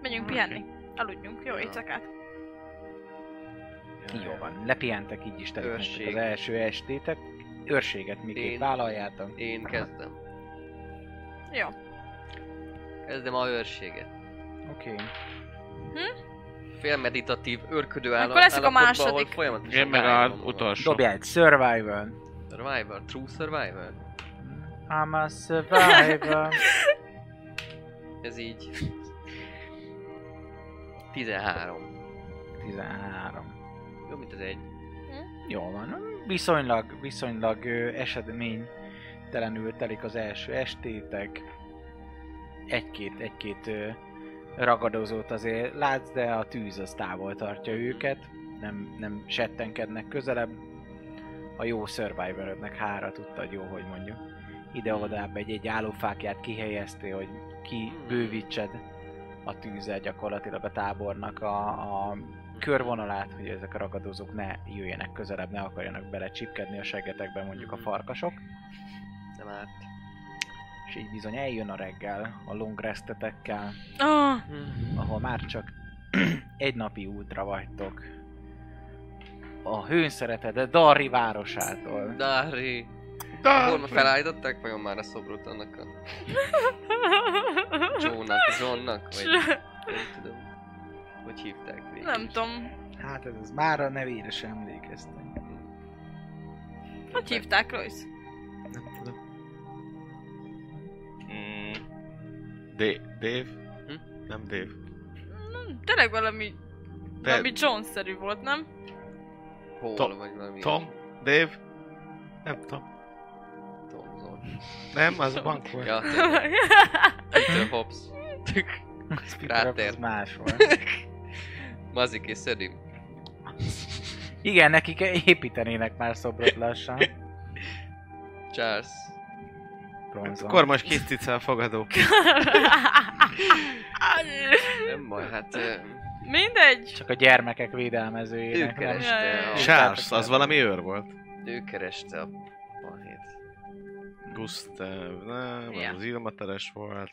Speaker 3: Megyünk
Speaker 2: Oké.
Speaker 3: pihenni. Aludjunk. Jó
Speaker 4: Ja.
Speaker 3: éjszakát.
Speaker 1: Jó van, lepihentek így is telik
Speaker 4: Őrség.
Speaker 1: az első estétek. Őrséget miképp
Speaker 4: Én-
Speaker 1: vállaljátok.
Speaker 4: Én kezdem.
Speaker 3: Jó.
Speaker 4: Kezdem a őrséget.
Speaker 1: Oké. Okay.
Speaker 4: Félmeditatív, őrködő
Speaker 3: Akkor
Speaker 4: állap,
Speaker 3: lesz a
Speaker 4: állapotban,
Speaker 3: második.
Speaker 4: ahol folyamatosan
Speaker 2: Én meg az
Speaker 4: rájön magam.
Speaker 2: utolsó.
Speaker 1: Dobjál egy survival.
Speaker 4: Survivor, true survivor.
Speaker 1: I'm a survivor.
Speaker 4: Ez így... 13.
Speaker 1: 13.
Speaker 4: Jó, mint az egy.
Speaker 1: Jó van. Viszonylag, viszonylag ö, esemény telenül telik az első estétek. Egy-két, egy-két ö, ragadozót azért látsz, de a tűz az távol tartja őket. Nem, nem settenkednek közelebb. A jó survivorödnek hára tudtad jó, hogy mondjuk. Ide-odább egy-egy állófákját kihelyeztél, hogy kibővítsed a tűzzel gyakorlatilag a tábornak a, a körvonalát, hogy ezek a ragadozók ne jöjjenek közelebb, ne akarjanak belecsipkedni a seggetekbe mondjuk a
Speaker 4: Mhm.
Speaker 1: farkasok.
Speaker 4: Nem árt.
Speaker 1: És így bizony eljön a reggel a long restetekkel,
Speaker 3: Oh,
Speaker 1: ahol már csak egy napi útra vagytok. A hőn szereted, Darri városától.
Speaker 4: Dari. Hol ma
Speaker 2: Da!
Speaker 4: felállították vajon már a szobrot annak a Johnnak, Johnnak, vagy nem tudom. Hogy hívták végül
Speaker 3: Nem
Speaker 4: is.
Speaker 3: tudom.
Speaker 1: Hát ez, ez már a nevére sem emlékeztem.
Speaker 3: Hogy hívták, Royce?
Speaker 4: Nem tudom.
Speaker 2: Mm. D- Dave?
Speaker 4: Hm?
Speaker 2: Nem Dave.
Speaker 3: Nem, Tényleg valami...
Speaker 2: De-
Speaker 3: Valami Jones-szerű volt, nem?
Speaker 4: Paul,
Speaker 2: Tom-
Speaker 4: vagy valami.
Speaker 2: Tom? Dave? Nem tudom.
Speaker 4: Tomzon.
Speaker 2: Nem, az a bank volt.
Speaker 4: Ja, tényleg. Peter Hobbs. Rátér.
Speaker 1: Ez más volt.
Speaker 4: Mazik és Szödim.
Speaker 1: Igen, nekik építenének már szobrot lassan.
Speaker 4: Charles.
Speaker 1: Bronzon.
Speaker 2: Akkor most kis cica a fogadó.
Speaker 4: Nem baj, hát... ö,
Speaker 3: Mindegy.
Speaker 1: Csak a gyermekek védelmezőjének.
Speaker 4: Ő
Speaker 1: nem?
Speaker 4: kereste a...
Speaker 2: Charles, az valami őr volt.
Speaker 4: Ő kereste a balhét.
Speaker 2: Gustav, nem,
Speaker 3: Ja.
Speaker 2: az Ilmateres volt.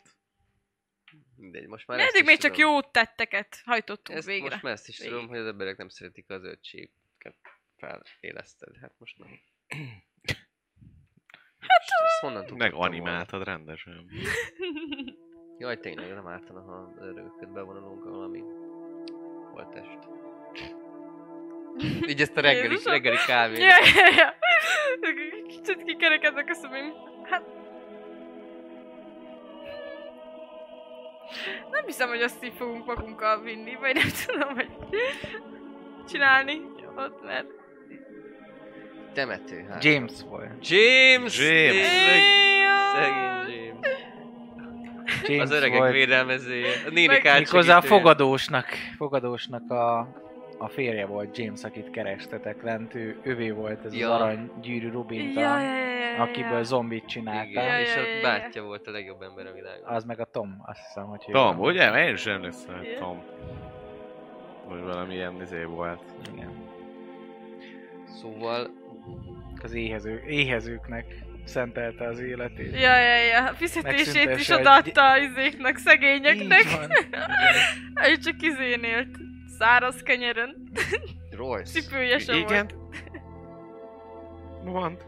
Speaker 4: Mindegy, most már ezt
Speaker 3: Eddig
Speaker 4: is
Speaker 3: még csak
Speaker 4: tudom.
Speaker 3: jó tetteket hajtottunk
Speaker 4: Ezt
Speaker 3: végre.
Speaker 4: most már ezt is
Speaker 3: Végre.
Speaker 4: tudom, hogy az emberek nem szeretik az öcséket feléleszted. Hát most nem. Hát... Ezt honnan tudtam
Speaker 2: Meg
Speaker 4: volna?
Speaker 2: animáltad rendesen.
Speaker 4: Jaj, tényleg nem ártana, ha az erőket bevonulunk a valami holtest. Így ezt a reggeli,
Speaker 3: Jézusom.
Speaker 4: reggeli kávé.
Speaker 3: Ja, ja, ja. Kicsit kikerekednek a szemem. Hát... Nem hiszem, hogy azt így fogunk magunkkal vinni, vagy nem tudom, hogy csinálni ott, mert...
Speaker 4: Temető hát.
Speaker 1: James volt.
Speaker 4: James!
Speaker 2: James.
Speaker 4: tényleg. Szegény James.
Speaker 1: James
Speaker 4: Az öregek
Speaker 1: volt.
Speaker 4: védelmezője. A
Speaker 3: Meg-
Speaker 4: néni kárt
Speaker 1: Méghozzá a
Speaker 4: segítője.
Speaker 1: fogadósnak, fogadósnak a, a férje volt James, akit kerestetek lent, ő, ővé volt ez
Speaker 4: Ja.
Speaker 1: az aranygyűrű Rubinta,
Speaker 3: Ja, ja, ja, ja, ja.
Speaker 1: akiből zombit csinálta.
Speaker 4: Igen,
Speaker 3: Ja,
Speaker 4: és
Speaker 3: ja,
Speaker 4: a
Speaker 3: ja, ja.
Speaker 4: bátyja volt a legjobb ember a világon.
Speaker 1: Az meg a Tom, azt hiszem, hogy ő
Speaker 2: Tom,
Speaker 1: van.
Speaker 2: ugye? Én is emlékszem, hogy
Speaker 3: Igen.
Speaker 2: Tom. Vagy valami ilyen izé volt.
Speaker 1: Igen.
Speaker 4: Szóval
Speaker 1: Az éhező, éhezőknek szentelte az életét.
Speaker 3: Ja, ja, ja. A fizetését is
Speaker 1: Megszüntesse, hogy-
Speaker 3: odaadta az izéknek,
Speaker 1: Így
Speaker 3: szegényeknek.
Speaker 1: van.
Speaker 3: Ő csak izén élt. Száraz kenyeren.
Speaker 4: Royce.
Speaker 3: Cipője sem
Speaker 2: Igen.
Speaker 3: volt.
Speaker 2: Mond.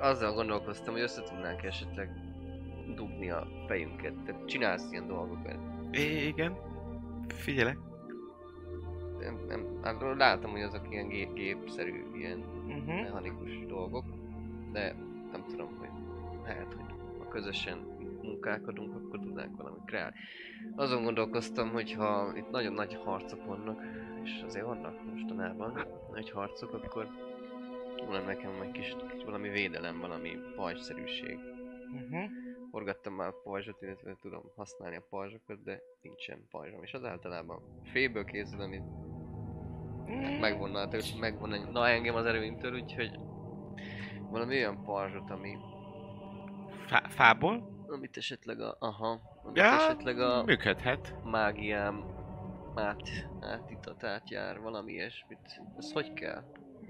Speaker 4: Azzal gondolkoztam, hogy össze tudnánk esetleg dugni a fejünket. Tehát csinálsz ilyen dolgokat.
Speaker 2: I- Igen. Figyelek.
Speaker 4: Nem, nem, hát látom, hogy azok ilyen gép, gépszerű, ilyen
Speaker 2: Uh-huh.
Speaker 4: mechanikus dolgok, de nem tudom, hogy lehet, hogy ha közösen munkálkodunk, akkor tudnánk valamit kreálni. Azon gondolkoztam, hogy ha itt nagyon nagy harcok vannak, és azért vannak mostanában nagy harcok, akkor van nekem egy kis, kis valami védelem, valami pajzsszerűség.
Speaker 2: Uh-huh.
Speaker 4: forgattam már a pajzsot, illetve tudom használni a pajzsokat, de nincsen pajzsom. És az általában félből készül, ami megvonna, a tő- megvonna na engem az erőimtől, úgyhogy valami olyan pajzsot, ami,
Speaker 2: Fá- fából?
Speaker 4: amit esetleg a, aha, amit
Speaker 2: Ja,
Speaker 4: esetleg a
Speaker 2: Működhet.
Speaker 4: mágiám át, átítat, átjár, valami ilyesmit. Ez hogy kell?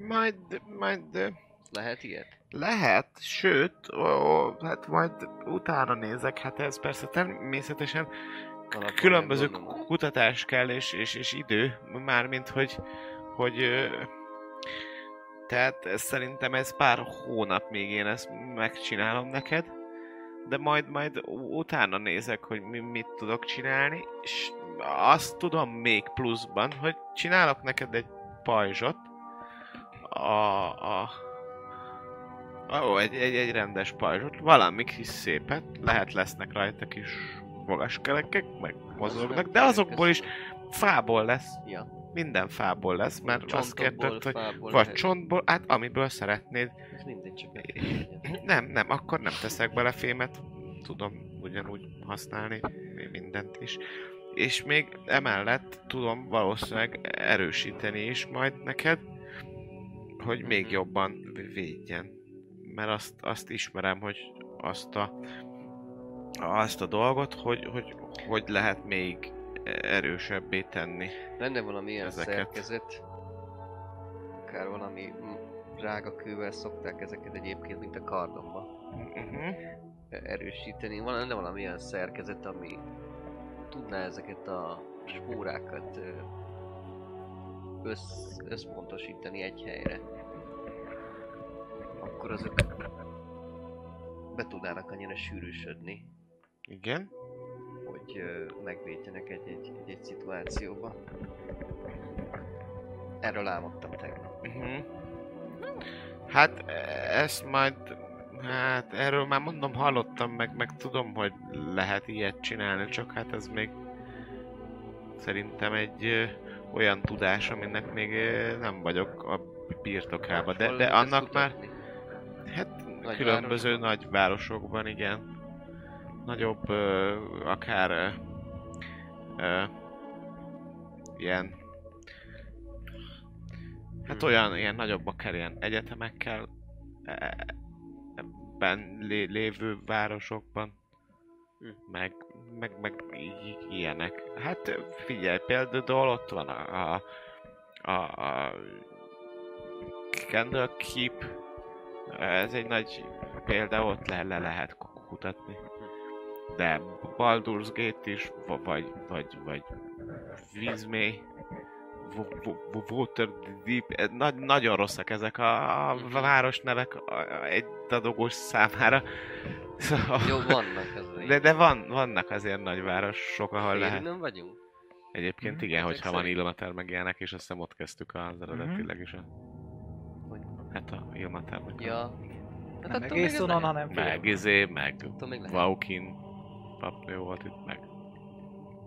Speaker 2: Majd, majd
Speaker 4: Lehet ilyet?
Speaker 2: Lehet, sőt, ó, ó, hát majd utána nézek, hát ez persze természetesen
Speaker 4: Alapon
Speaker 2: különböző
Speaker 4: gondolom.
Speaker 2: kutatás kell és, és, és idő, mármint hogy, hogy ö, tehát ez, szerintem ez pár hónap még én ezt megcsinálom neked, de majd, majd u- utána nézek, hogy mi, mit tudok csinálni, és azt tudom még pluszban, hogy csinálok neked egy pajzsot, a, a, Ó, egy, egy, egy rendes pajzsot, valami kis szépet, lehet lesznek rajta kis magaskerekek, meg mozognak, de azokból is fából lesz,
Speaker 4: Ja.
Speaker 2: minden fából lesz, mert azt
Speaker 4: Csontokból,
Speaker 2: kérted, hogy
Speaker 4: fából,
Speaker 2: vagy
Speaker 4: lehet.
Speaker 2: csontból, hát amiből szeretnéd.
Speaker 4: Ez mindegy, csak meg kell legyen.
Speaker 2: Nem, nem, akkor nem teszek bele fémet, tudom ugyanúgy használni mindent is. És még emellett tudom valószínűleg erősíteni is majd neked, hogy még
Speaker 4: Mhm.
Speaker 2: jobban védjen. Mert azt, azt ismerem, hogy azt a, azt a dolgot, hogy, hogy, hogy lehet még erősebbé tenni.
Speaker 4: Lenne valami ilyen
Speaker 2: Ezeket.
Speaker 4: szerkezet, akár valami mm, rágakővel szokták ezeket egyébként, mint a kardomba e,
Speaker 2: Uh-huh.
Speaker 4: erősíteni. Van, lenne valami ilyen szerkezet, ami tudná ezeket a spórákat ö, össz, összpontosítani egy helyre. Akkor azok be tudnának annyira sűrűsödni,
Speaker 2: Igen.
Speaker 4: hogy ö, megvédjenek egy-egy, egy-egy szituációba. Erről álmodtam tegnap.
Speaker 2: Mhm. Hát e- ezt majd, hát erről már mondom, hallottam, meg, meg tudom, hogy lehet ilyet csinálni, csak hát ez még szerintem egy ö, olyan tudás, aminek még ö, nem vagyok a birtokába, de,
Speaker 4: Hol
Speaker 2: de
Speaker 4: lehet
Speaker 2: annak
Speaker 4: ezt
Speaker 2: már,
Speaker 4: kutatni?
Speaker 2: hát
Speaker 4: Nagy
Speaker 2: különböző
Speaker 4: városokban?
Speaker 2: nagy városokban, igen. Nagyobb, ö, akár ö, ö, ilyen, hát olyan, ilyen nagyobb, akár ilyen egyetemekkel e- ben lé- lévő városokban,
Speaker 4: Hm.
Speaker 2: meg, meg, meg i- i- ilyenek. Hát figyelj, például ott van a, a, a, a Candle Keep, ez egy nagy példa, ott le, le lehet ku- kutatni. De Baldur's Gate is, va- vagy, vagy, vagy Vizmé, Wo- Wo- Wo- Waterdeep, eh, na- nagyon rosszak ezek a, a városnevek a- a- egy dadogós számára. Szóval,
Speaker 4: Jó, vannak az a
Speaker 2: de, de van, vannak azért nagyvárosok, ahol lehet.
Speaker 4: nem vagyunk?
Speaker 2: Egyébként
Speaker 1: Mhm,
Speaker 2: igen,
Speaker 4: ezek
Speaker 2: hogyha van
Speaker 4: szerint.
Speaker 2: Ilmater meg ilyenek, és azt hiszem ott kezdtük az eredetileg is a...
Speaker 4: Hogy?
Speaker 2: Hát a Ilmater meg a-
Speaker 4: Ja. Hát
Speaker 1: Nem
Speaker 4: attól még
Speaker 1: egész
Speaker 4: ez
Speaker 1: onnan,
Speaker 4: lehet.
Speaker 1: hanem
Speaker 2: Meg izé, meg
Speaker 4: Attól még lehet.
Speaker 2: Vaukin papnő volt itt, meg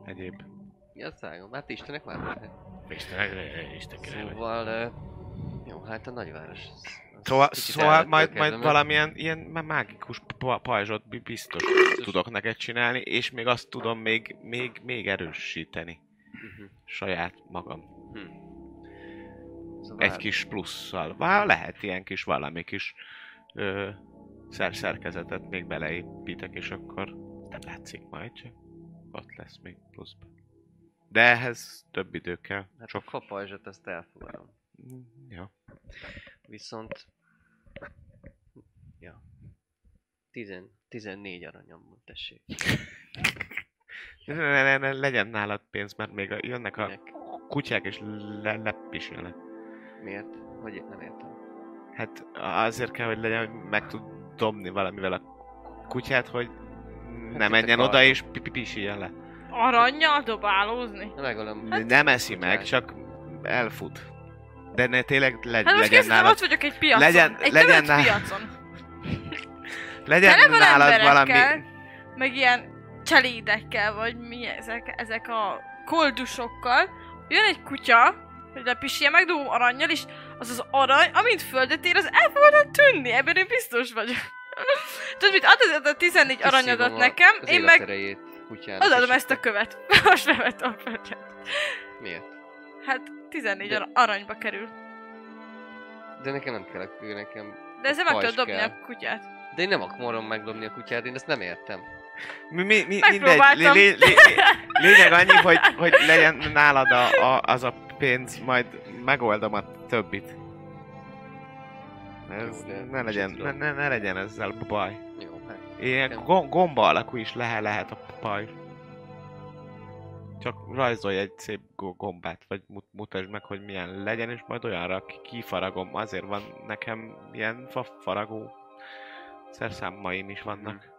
Speaker 2: egyéb.
Speaker 4: Ja, szágom. Hát Istenek már lehet.
Speaker 2: Isten, Isten
Speaker 4: Szóval... ö, Jó, hát a nagyváros. az- az
Speaker 2: Szóval,
Speaker 4: kicsit
Speaker 2: szóval
Speaker 4: elvettől
Speaker 2: majd,
Speaker 4: kezdve,
Speaker 2: majd
Speaker 4: mert
Speaker 2: valamilyen ilyen má- mágikus pa- pajzsot bi- biztos tudok neked csinálni, és még azt tudom még, még, még erősíteni
Speaker 4: Mhm.
Speaker 2: saját magam.
Speaker 4: Szóval
Speaker 2: Egy kis plusszal. Vá, lehet ilyen kis valami kis ö, szer- szerkezetet még beleépítek, és akkor nem látszik majd, csak ott lesz még pluszban. De ehhez több idő kell.
Speaker 4: Hát a
Speaker 2: Sok...
Speaker 4: kapajzsot azt elfogadom.
Speaker 2: Ja.
Speaker 4: Viszont... Ja. Tizen... 14 aranyom van, tessék.
Speaker 2: Ne, ne, ne, ne, legyen nálad pénz, mert még a, jönnek a
Speaker 4: Minek?
Speaker 2: kutyák, és le, lepisilnek.
Speaker 4: Miért? Hogy nem értem.
Speaker 2: Hát azért kell, hogy legyen, hogy meg tud dobni valamivel a kutyát, hogy ne
Speaker 4: Hát itt
Speaker 2: menjen
Speaker 4: a
Speaker 2: oda
Speaker 4: karma.
Speaker 2: és pi- pi- pisiljen le.
Speaker 3: Aranyjal dobálózni?
Speaker 4: Na megalom.
Speaker 3: Hát,
Speaker 2: Nem eszi meg,
Speaker 4: kutyáj.
Speaker 2: csak elfut. De ne, tényleg le,
Speaker 3: Hát most
Speaker 2: legyen
Speaker 3: készítem,
Speaker 2: nálad,
Speaker 3: ott vagyok egy piacon.
Speaker 2: Legyen-
Speaker 3: egy
Speaker 2: legyen
Speaker 3: legyen
Speaker 2: nál-
Speaker 3: piacon.
Speaker 2: legyen
Speaker 3: Tele van
Speaker 2: nálad valami...
Speaker 3: emberekkel, meg ilyen cselédekkel, vagy mi ezek, ezek a koldusokkal. Jön egy kutya, hogy lepisilje meg dugom aranyjal, és az az arany, amint földet ér, az el fogod tűnni, ebben én biztos vagyok. Tudod mit, adod a 14 aranyadat
Speaker 4: Kiszívom a-
Speaker 3: nekem,
Speaker 4: az
Speaker 3: én meg
Speaker 4: életerejét kutyának,
Speaker 3: adom
Speaker 4: és
Speaker 3: ezt a
Speaker 4: akkor-
Speaker 3: követ. Most bevettem a földet.
Speaker 4: Miért?
Speaker 3: Hát 14
Speaker 4: De-
Speaker 3: ara- aranyba kerül.
Speaker 4: De nekem nem kell a kő, nekem...
Speaker 3: De ezzel
Speaker 4: A
Speaker 3: meg
Speaker 4: pajzs
Speaker 3: tudod dobni
Speaker 4: kell.
Speaker 3: a kutyát.
Speaker 4: De én nem akarom megdobni a kutyát, én ezt nem értem.
Speaker 2: Mi, mi, mi, mindegy, lé,
Speaker 3: Megpróbáltam.
Speaker 2: lé, lé, lényeg annyi, hogy, hogy legyen nálad a, a, az a pénz, majd megoldom a többit. Ez
Speaker 4: Jó, de
Speaker 2: ne, legyen, ne,
Speaker 4: tudom.
Speaker 2: ne, ne legyen ezzel baj.
Speaker 4: Jó. hát,
Speaker 2: Ilyen
Speaker 4: Igen.
Speaker 2: go- gomba alakú is lehet, lehet a papaj. Csak rajzolj egy szép go- gombát, vagy mut- mutasd meg, hogy milyen legyen, és majd olyanra ki- kifaragom. Azért van nekem ilyen fa- faragó szerszámaim is vannak.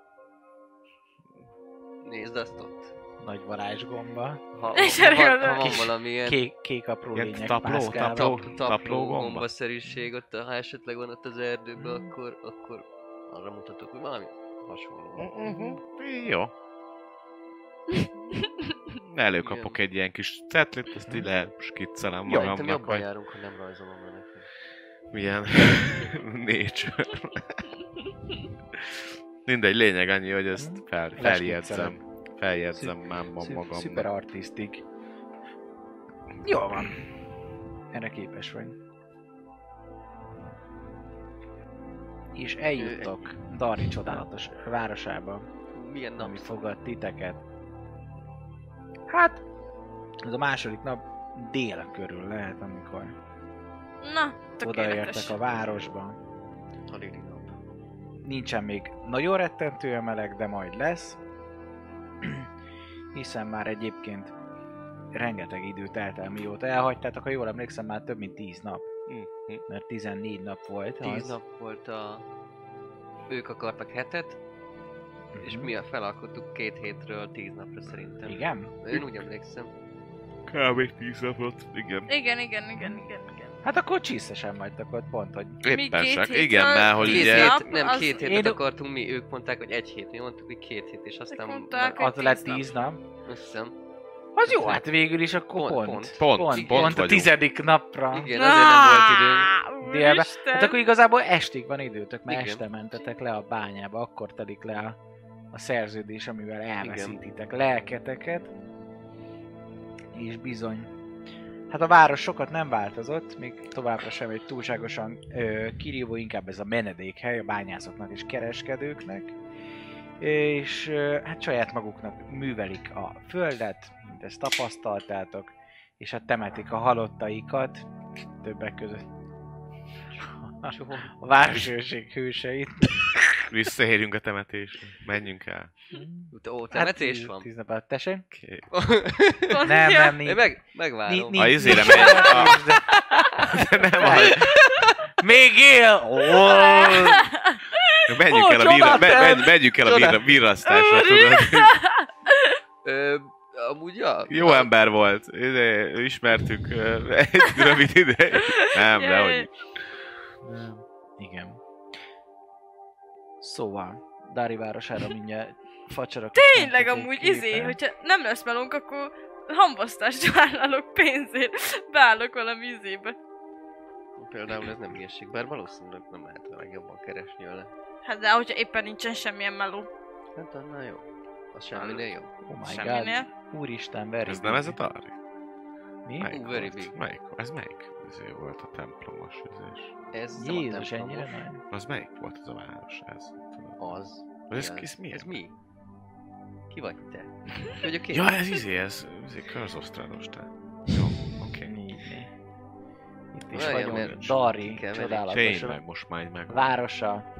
Speaker 4: Nézd azt ott.
Speaker 1: Nagy varázsgomba.
Speaker 4: Ha,
Speaker 3: És
Speaker 4: ha, ha,
Speaker 3: erről-
Speaker 4: ha van
Speaker 1: Kis-
Speaker 4: valamilyen
Speaker 1: Kék, kék apró
Speaker 2: Ilyen
Speaker 1: lények
Speaker 2: tapló,
Speaker 1: mászkálnak.
Speaker 2: tapló.
Speaker 4: tap-
Speaker 2: Taplógomba?
Speaker 4: taplógomba-szerűség ott, ha esetleg van ott az erdőben, akkor, akkor arra mutatok, hogy valami hasonló. Mhm.
Speaker 2: Jó. Előkapok egy ilyen kis cetlit, azt így leskiccelem
Speaker 4: Mhm. Jó, Szerintem
Speaker 2: magamnak,
Speaker 4: jobban
Speaker 2: hogy
Speaker 4: járunk, ha nem rajzolom le neki.
Speaker 2: milyen nature. Mindegy, lényeg annyi, hogy ezt fel, feljegyzem. Feljegyzem már ma
Speaker 1: Szü-
Speaker 2: magamnak.
Speaker 1: Szuper artistik. Jól van. Erre képes vagy. És eljuttok Dari csodálatos városába,
Speaker 4: Milyen nap?
Speaker 1: ami fogad titeket. Hát, ez a második nap dél körül lehet, amikor
Speaker 3: Na, tökéletes.
Speaker 1: odaértek a városba.
Speaker 4: Alig nap.
Speaker 1: nincsen még nagyon rettentően meleg, de majd lesz. Hiszen már egyébként rengeteg idő telt el, mióta elhagytátok, ha jól emlékszem, már több mint 10 nap,
Speaker 2: Mhm.
Speaker 1: mert 14 nap volt.
Speaker 4: Tíz
Speaker 1: az.
Speaker 4: nap volt a... Ők akartak hetet,
Speaker 1: Mhm.
Speaker 4: és mi a felalkottuk két hétről tíz napra szerintem.
Speaker 1: Igen?
Speaker 4: Én úgy emlékszem.
Speaker 2: Kb. 10 napot, igen.
Speaker 3: Igen, igen, igen, igen, igen.
Speaker 1: Hát akkor csiszesen vagytok ott, pont, hogy
Speaker 3: Mi
Speaker 2: Éppen
Speaker 3: két
Speaker 2: csak,
Speaker 3: hétről
Speaker 2: igen, mert hogy
Speaker 4: Két
Speaker 3: tíz
Speaker 2: ugye...
Speaker 3: nap,
Speaker 4: hét, nem,
Speaker 3: az-
Speaker 4: két
Speaker 1: én
Speaker 4: hétet
Speaker 1: do-
Speaker 4: akartunk mi, ők mondták, hogy egy hét, mi mondtuk, hogy két hét, és aztán...
Speaker 3: mondták,
Speaker 4: már
Speaker 1: az lett
Speaker 3: 10
Speaker 1: 10 nap.
Speaker 4: Azt hiszem.
Speaker 1: Az jó, hát végül is akkor
Speaker 4: Pont,
Speaker 1: pont.
Speaker 4: pont.
Speaker 2: Pont,
Speaker 1: pont,
Speaker 2: pont,
Speaker 1: pont a
Speaker 2: vagyunk.
Speaker 1: tizedik napra.
Speaker 4: Igen, azért nem volt időnk.
Speaker 3: Á,
Speaker 1: Délbe.
Speaker 3: úristen.
Speaker 1: Hát akkor igazából estig van időtök, mert
Speaker 4: Igen.
Speaker 1: este mentetek le a bányába, akkor telik le a, a szerződés, amivel elveszítitek lelketeket. És bizony. Hát a város sokat nem változott, még továbbra sem egy túlságosan ö, kirívó, inkább ez a menedékhely a bányászoknak és kereskedőknek. És ö, hát saját maguknak művelik a földet, mint ezt tapasztaltátok, és hát temetik a halottaikat, többek között a városőrség hőseit.
Speaker 2: Hát Visszaérjünk a temetésre. Menjünk el.
Speaker 4: Ó, temetés
Speaker 1: Hát,
Speaker 4: van.
Speaker 1: Tíz nap alatt, tessék?
Speaker 2: Oké.
Speaker 3: Pont,
Speaker 1: Nem,
Speaker 3: ja.
Speaker 1: nem,
Speaker 4: Én
Speaker 1: nincs.
Speaker 4: meg, megvárom.
Speaker 1: Ni-
Speaker 2: A
Speaker 1: ni-
Speaker 2: izére megy.
Speaker 1: Ah.
Speaker 2: A- De nem, a-
Speaker 1: Még él! Ó,
Speaker 2: Menjünk
Speaker 1: Ó,
Speaker 2: el a virra,
Speaker 1: csodát,
Speaker 2: me,
Speaker 1: nem?
Speaker 2: men, menjünk el a virra,
Speaker 1: Csodát.
Speaker 2: virrasztásra, tudod?
Speaker 4: Ö, amúgy ja.
Speaker 2: Jó ember volt, Ide- ismertük ö, egy rövid ideig. Nem, de hogy
Speaker 1: Igen. Szóval, Dári városára mindjárt facsarok.
Speaker 3: Tényleg amúgy izé, hogyha nem lesz melónk, akkor hambasztást vállalok pénzért. Beállok valami izébe.
Speaker 4: Például ez nem hülyeség, bár valószínűleg nem lehet a legjobban keresni vele.
Speaker 3: Hát de hogyha éppen nincsen semmilyen meló.
Speaker 4: Hát annál jó. Az semminél jó.
Speaker 1: Oh my god.
Speaker 3: Semminél.
Speaker 1: Úristen, veri.
Speaker 2: ez nem ez a Dari?
Speaker 1: Mi?
Speaker 2: Melyik
Speaker 4: very
Speaker 2: volt?
Speaker 4: big.
Speaker 2: Melyik? Ez melyik? Ez volt a templomos üzés.
Speaker 4: Ez nem a
Speaker 1: Jézus,
Speaker 4: templomos.
Speaker 1: ennyire nagy.
Speaker 2: Az melyik volt az a város? Ez. tudod?
Speaker 4: Az.
Speaker 2: Vagy Ez,
Speaker 4: Ja,
Speaker 2: ez mi?
Speaker 4: Ez mi? Ki vagy te? Ki vagyok én?
Speaker 2: Ja, ez izé, ez, ez egy körzosztrádos te. Jó, oké.
Speaker 1: Négy. Itt is
Speaker 4: Olyan,
Speaker 1: vagyunk,
Speaker 4: mert-
Speaker 1: Dari
Speaker 4: Kell menni.
Speaker 1: csodálatos
Speaker 2: Tényleg most már így meg.
Speaker 1: városa,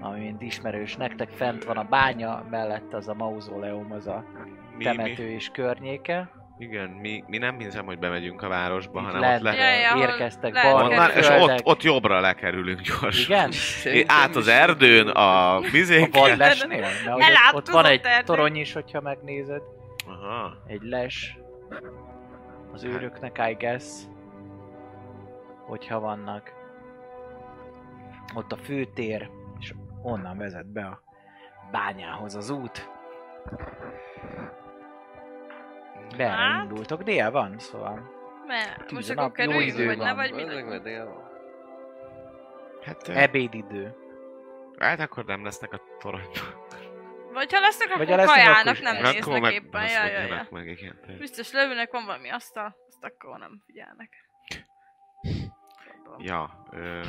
Speaker 1: ami mind ismerős nektek, fent van a bánya, mellett az a mauzóleum, az a
Speaker 2: Mi, mi,
Speaker 1: temető és környéke.
Speaker 2: igen, mi, mi nem hiszem, hogy bemegyünk a városba,
Speaker 1: Itt
Speaker 2: hanem ott le...
Speaker 3: Ja, ja, ahol
Speaker 1: érkeztek
Speaker 3: lehet
Speaker 1: balra,
Speaker 2: Onnan,
Speaker 3: kerülni.
Speaker 2: és
Speaker 1: földek.
Speaker 2: ott, ott jobbra lekerülünk gyorsan.
Speaker 1: Igen?
Speaker 2: É,
Speaker 4: Szerintem
Speaker 2: át az
Speaker 4: is.
Speaker 2: erdőn, a
Speaker 1: A
Speaker 2: vizéken.
Speaker 1: vad lesnél? Mert hogy ott, ott
Speaker 3: Elátkozott
Speaker 1: van egy
Speaker 3: erdő.
Speaker 1: torony is, hogyha megnézed.
Speaker 2: Aha.
Speaker 1: Egy les. Az
Speaker 2: Hát.
Speaker 1: őröknek, I guess. Hogyha vannak. Ott a főtér, és onnan vezet be a bányához az út. De
Speaker 3: Hát.
Speaker 1: erre indultok, dél van, szóval.
Speaker 3: Mert
Speaker 1: Tűz
Speaker 3: most
Speaker 1: a
Speaker 3: akkor
Speaker 1: nap, jó
Speaker 3: kerüljünk,
Speaker 1: idő
Speaker 3: vagy ne,
Speaker 1: van.
Speaker 3: vagy mi
Speaker 4: Bazeg
Speaker 3: legyen.
Speaker 4: meg, de jó.
Speaker 2: Hát, eh,
Speaker 1: Ebédidő.
Speaker 2: hát akkor nem lesznek a toronyban.
Speaker 3: Vagy ha lesznek,
Speaker 1: Vagy
Speaker 3: akkor
Speaker 1: ha lesznek,
Speaker 3: kajálnak,
Speaker 1: akkor
Speaker 3: nem
Speaker 1: sem.
Speaker 3: néznek éppen.
Speaker 2: Hát azt
Speaker 3: Ja, ja,
Speaker 2: mondjanak
Speaker 3: ja.
Speaker 2: meg, igen.
Speaker 3: Biztos leülnek, van valami asztal, azt akkor nem figyelnek. Gondolom.
Speaker 2: Ja, ö,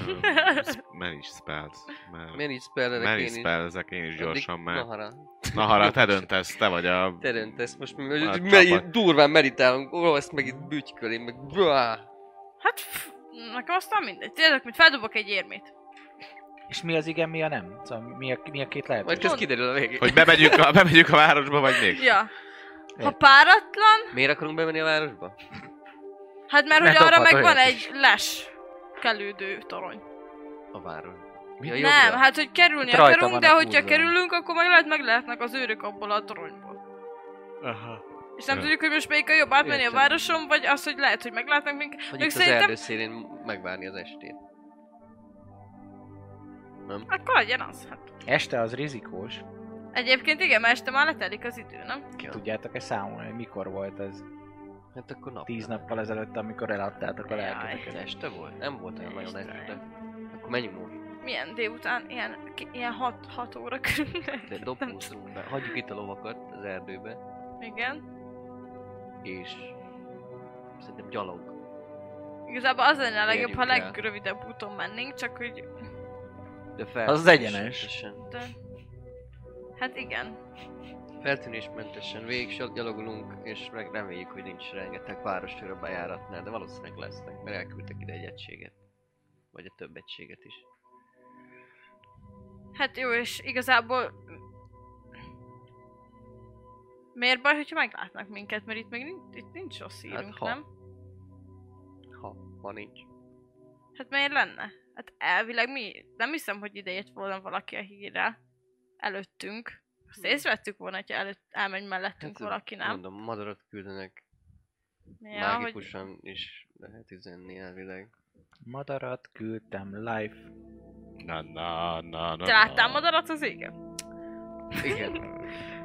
Speaker 2: manage spells. Mert
Speaker 4: Manage spellerek
Speaker 2: manage
Speaker 4: én is.
Speaker 2: spells én is gyorsan,
Speaker 4: Addig
Speaker 2: mert...
Speaker 4: Nahara.
Speaker 2: Nahara, te döntesz, te vagy a...
Speaker 4: Te döntesz, most mi
Speaker 2: A
Speaker 4: me-
Speaker 2: csapat.
Speaker 4: durván meditálunk, ó, ezt meg itt bütyköl, én meg... Bra!
Speaker 3: Hát, pff, Nekem aztán mindegy. Tudjátok, mint feldobok egy érmét.
Speaker 1: És mi az igen, mi a nem? Szóval mi a, mi a két lehet?
Speaker 4: Majd ez kiderül a végén.
Speaker 2: Hogy bemegyünk a, bemegyünk a városba, vagy még?
Speaker 3: Ja. Ha
Speaker 1: Értem.
Speaker 3: páratlan,
Speaker 4: Miért akarunk bemenni a városba?
Speaker 3: hát mert
Speaker 1: Ne
Speaker 3: hogy arra
Speaker 1: dobhat
Speaker 3: meg van
Speaker 1: olyat
Speaker 3: egy les kelődő torony.
Speaker 4: A város. Mi a
Speaker 3: Ja,
Speaker 4: jobbra?
Speaker 3: nem, hát hogy kerülni
Speaker 1: Ott rajta
Speaker 3: akarunk, de
Speaker 1: vannak
Speaker 3: hogyha
Speaker 1: húzva.
Speaker 3: kerülünk, akkor meg lehet meg lehetnek az őrök abból a toronyból.
Speaker 2: Aha.
Speaker 3: És nem
Speaker 2: Ja.
Speaker 3: tudjuk, hogy most melyik a jobb átmenni a
Speaker 4: Értem.
Speaker 3: városon, vagy az, hogy lehet, hogy meglátnak minket.
Speaker 4: Hogy
Speaker 3: Ők
Speaker 4: itt az
Speaker 3: szerintem-
Speaker 4: erdő szélén megvárni az estét.
Speaker 3: Akkor legyen az. Hát.
Speaker 1: Este az rizikós.
Speaker 3: Egyébként igen, mert este már letelik az idő, nem?
Speaker 4: Ja.
Speaker 1: Tudjátok-e számolni, hogy mikor volt ez?
Speaker 4: Hát akkor nap.
Speaker 1: Tíz nappal ezelőtt, amikor eladtátok a
Speaker 3: Jaj.
Speaker 1: lelketeket.
Speaker 4: Este volt? Nem volt olyan nagyon
Speaker 3: Este.
Speaker 4: este. Akkor menjünk most.
Speaker 3: Milyen délután? Ilyen, ki- ilyen 6 óra körül.
Speaker 4: De dobózunk be. Hagyjuk itt a lovakat az erdőbe.
Speaker 3: Igen.
Speaker 4: És... Szerintem gyalog.
Speaker 3: Igazából az lenne a legjobb, ha
Speaker 4: Érjük el.
Speaker 3: legrövidebb úton mennénk, csak hogy...
Speaker 4: De fel...
Speaker 1: Az az egyenes.
Speaker 3: De... Hát igen.
Speaker 4: Feltűnésmentesen végig se gyalogolunk, és meg reméljük, hogy nincs rengeteg városőr a bejáratnál, de valószínűleg lesznek, mert elküldtek ide egy egységet. Vagy a több egységet is.
Speaker 3: Hát jó, és igazából... Miért baj, hogyha meglátnak minket? Mert itt még nincs, itt nincs rossz hírünk,
Speaker 4: ha.
Speaker 3: nem?
Speaker 4: Ha, ha nincs.
Speaker 3: Hát miért lenne? Hát elvileg mi... Nem hiszem, hogy ide jött volna valaki a hírrel. Előttünk. Azt észrevettük volna, hogyha előtt, elmegy mellettünk
Speaker 4: Hát,
Speaker 3: valaki, nem?
Speaker 4: Mondom, madarat küldenek
Speaker 3: Ja, hogy
Speaker 4: mágikusan is lehet üzenni elvileg.
Speaker 1: Madarat küldtem live.
Speaker 2: Na, na, na, na,
Speaker 3: te láttál
Speaker 2: na.
Speaker 3: madarat az égen?
Speaker 4: Igen.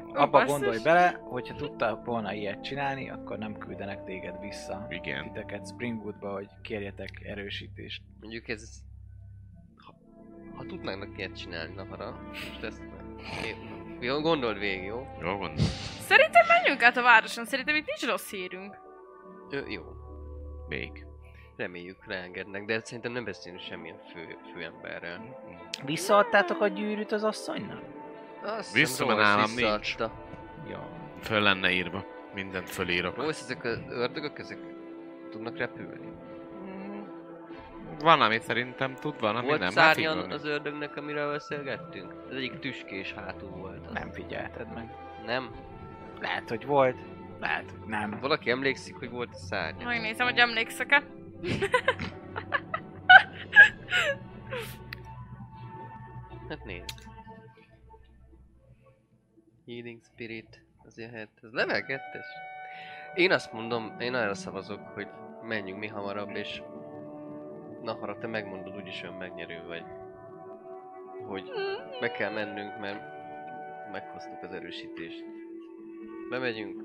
Speaker 3: Ó,
Speaker 1: Abba
Speaker 3: basszus.
Speaker 1: gondolj bele, hogyha tudta volna ilyet csinálni, akkor nem küldenek téged vissza.
Speaker 2: Igen.
Speaker 1: Titeket Springwoodba, hogy kérjetek erősítést.
Speaker 4: Mondjuk ez... Ha, ha tudnának ilyet csinálni, na hara, most ezt meg. Én- Jó, gondold végig, jó?
Speaker 2: Jó gondolom.
Speaker 3: Szerintem menjünk át a városon, szerintem itt nincs rossz hírünk.
Speaker 4: Ö, jó.
Speaker 2: Még.
Speaker 4: Reméljük reengednek, de szerintem nem beszélünk semmilyen fő, főemberrel.
Speaker 1: Visszaadtátok a gyűrűt az asszonynak?
Speaker 4: Azt hiszem,
Speaker 2: Vissza van
Speaker 4: Rolls
Speaker 2: nálam,
Speaker 4: visszaadta.
Speaker 1: Ja.
Speaker 2: Föl lenne írva. Mindent fölírok.
Speaker 4: Rolls, ezek az ördögök, ezek tudnak repülni.
Speaker 2: Van, amit szerintem tud, van, ami
Speaker 4: volt
Speaker 2: nem. Hát így
Speaker 4: szárnyan
Speaker 2: van.
Speaker 4: az ördögnek, amiről beszélgettünk? Az egyik tüskés hátul volt. Az.
Speaker 1: Nem figyelted meg.
Speaker 4: Nem?
Speaker 1: Lehet, hogy volt. Lehet, hogy nem.
Speaker 4: Valaki emlékszik, hogy volt szárnya?
Speaker 3: Hm, Megnézem, hogy emlékszek-e.
Speaker 4: Hát nézd. Healing Spirit, az jöhet. Ez level 2 Én azt mondom, én arra szavazok, hogy menjünk mi hamarabb, és Nahara, te megmondod, úgyis ön megnyerő vagy. Hogy be kell mennünk, mert meghoztuk az erősítést. Bemegyünk,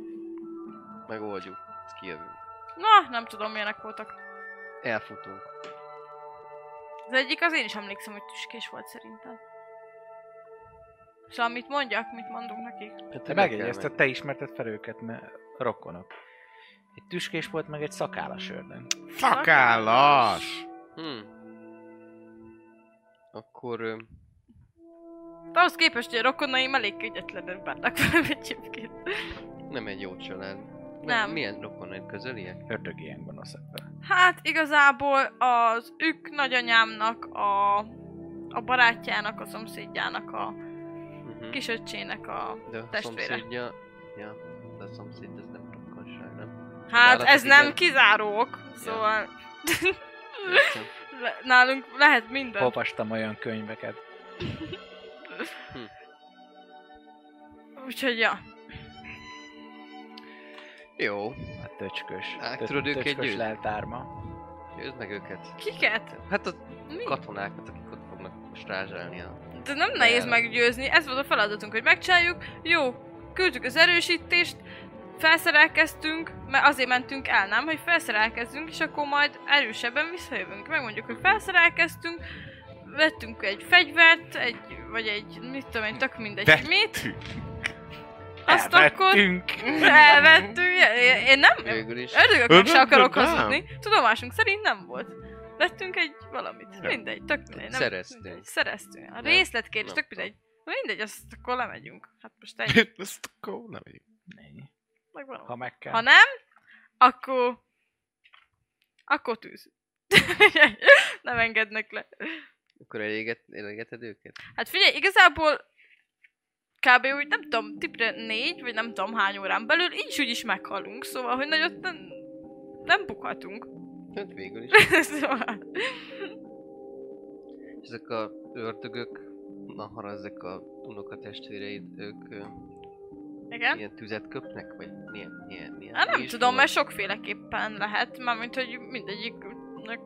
Speaker 4: megoldjuk, kijövünk.
Speaker 3: Na, nem tudom, milyenek voltak.
Speaker 4: Elfutunk.
Speaker 3: Az egyik az én is emlékszem, hogy tüskés volt szerintem. Szóval mit mondjak, mit mondunk nekik?
Speaker 4: Hát,
Speaker 1: Te megjegyezted, te ismerted fel őket, mert rokonok. Egy tüskés volt, meg egy szakállas ördög.
Speaker 2: Szakállas!
Speaker 4: Hmm. Akkor... ö,
Speaker 3: De ahhoz képest, hogy a rokonaim elég kegyetlenek bánnak velem egyébként.
Speaker 4: Nem egy jó család. Nem.
Speaker 3: Nem.
Speaker 4: Milyen rokonok közöliek?
Speaker 1: Ördög ilyen gonoszak vele.
Speaker 3: Hát igazából az ők nagyanyámnak, a, a barátjának, a szomszédjának, a
Speaker 4: Uh-huh.
Speaker 3: kisöccsének a...
Speaker 4: De a
Speaker 3: testvére.
Speaker 4: szomszédja... Ja, de a szomszéd ez nem rokonság, nem?
Speaker 3: Hát
Speaker 4: Nálatok
Speaker 3: ez nem
Speaker 4: igen.
Speaker 3: kizárók, szóval...
Speaker 4: Értem.
Speaker 3: Le- nálunk lehet minden.
Speaker 1: Olvastam olyan könyveket.
Speaker 3: Úgyhogy ja.
Speaker 4: Jó,
Speaker 1: Hát töcskös.
Speaker 4: Á,
Speaker 1: Tö-
Speaker 4: tudod, ők egy
Speaker 1: töcskös
Speaker 4: gyűrű.
Speaker 1: leltárma.
Speaker 4: győzd meg őket.
Speaker 3: Kiket?
Speaker 4: Hát a
Speaker 3: Mi?
Speaker 4: katonákat, akik ott fognak strázsálni a...
Speaker 3: De nem nehéz
Speaker 4: Nem.
Speaker 3: meggyőzni, ez volt a feladatunk, hogy megcsináljuk. Jó, küldtük az erősítést, felszerelkeztünk, mert azért mentünk el, nem, hogy felszerelkezzünk, és akkor majd erősebben visszajövünk. Megmondjuk, hogy felszerelkeztünk, vettünk egy fegyvert, egy, vagy egy, mit tudom én, tök mindegy, hogy mit. Azt akkor
Speaker 1: Elvettünk.
Speaker 3: elvettünk. Én- Én nem,
Speaker 4: Végül is.
Speaker 3: ördögöknek se
Speaker 2: Ördögök
Speaker 3: akarok
Speaker 2: nem.
Speaker 3: hazudni. Tudomásunk szerint nem volt. Vettünk egy valamit.
Speaker 2: Nem.
Speaker 3: Mindegy, tök mindegy. Nem,
Speaker 4: Szereztünk.
Speaker 3: mindegy. Szereztünk. A
Speaker 4: Nem.
Speaker 3: részletkérdés,
Speaker 4: Nem
Speaker 3: tök mindegy. Mindegy, azt akkor lemegyünk. Hát most egy
Speaker 2: Ezt akkor nem így.
Speaker 1: Ennyi.
Speaker 3: megvan.
Speaker 1: Ha meg kell.
Speaker 3: Ha nem, akkor... Akkor tűz. nem engednek le.
Speaker 4: Akkor eléget, elégeted őket?
Speaker 3: Hát figyelj, igazából kb. úgy nem tudom, tipre négy, vagy nem tudom hány órán belül, így is úgy is meghalunk, szóval, hogy nagyot nem, nem bukhatunk.
Speaker 4: Hát végül is.
Speaker 3: szóval,
Speaker 4: És ezek a ördögök, nahara, ezek a unokatestvéreid, ők ö,
Speaker 3: igen.
Speaker 4: ilyen tüzet köpnek? Vagy milyen, milyen, milyen?
Speaker 3: Hát nem
Speaker 4: is
Speaker 3: tudom,
Speaker 4: van?
Speaker 3: mert sokféleképpen lehet, mármint, hogy mindegyiknek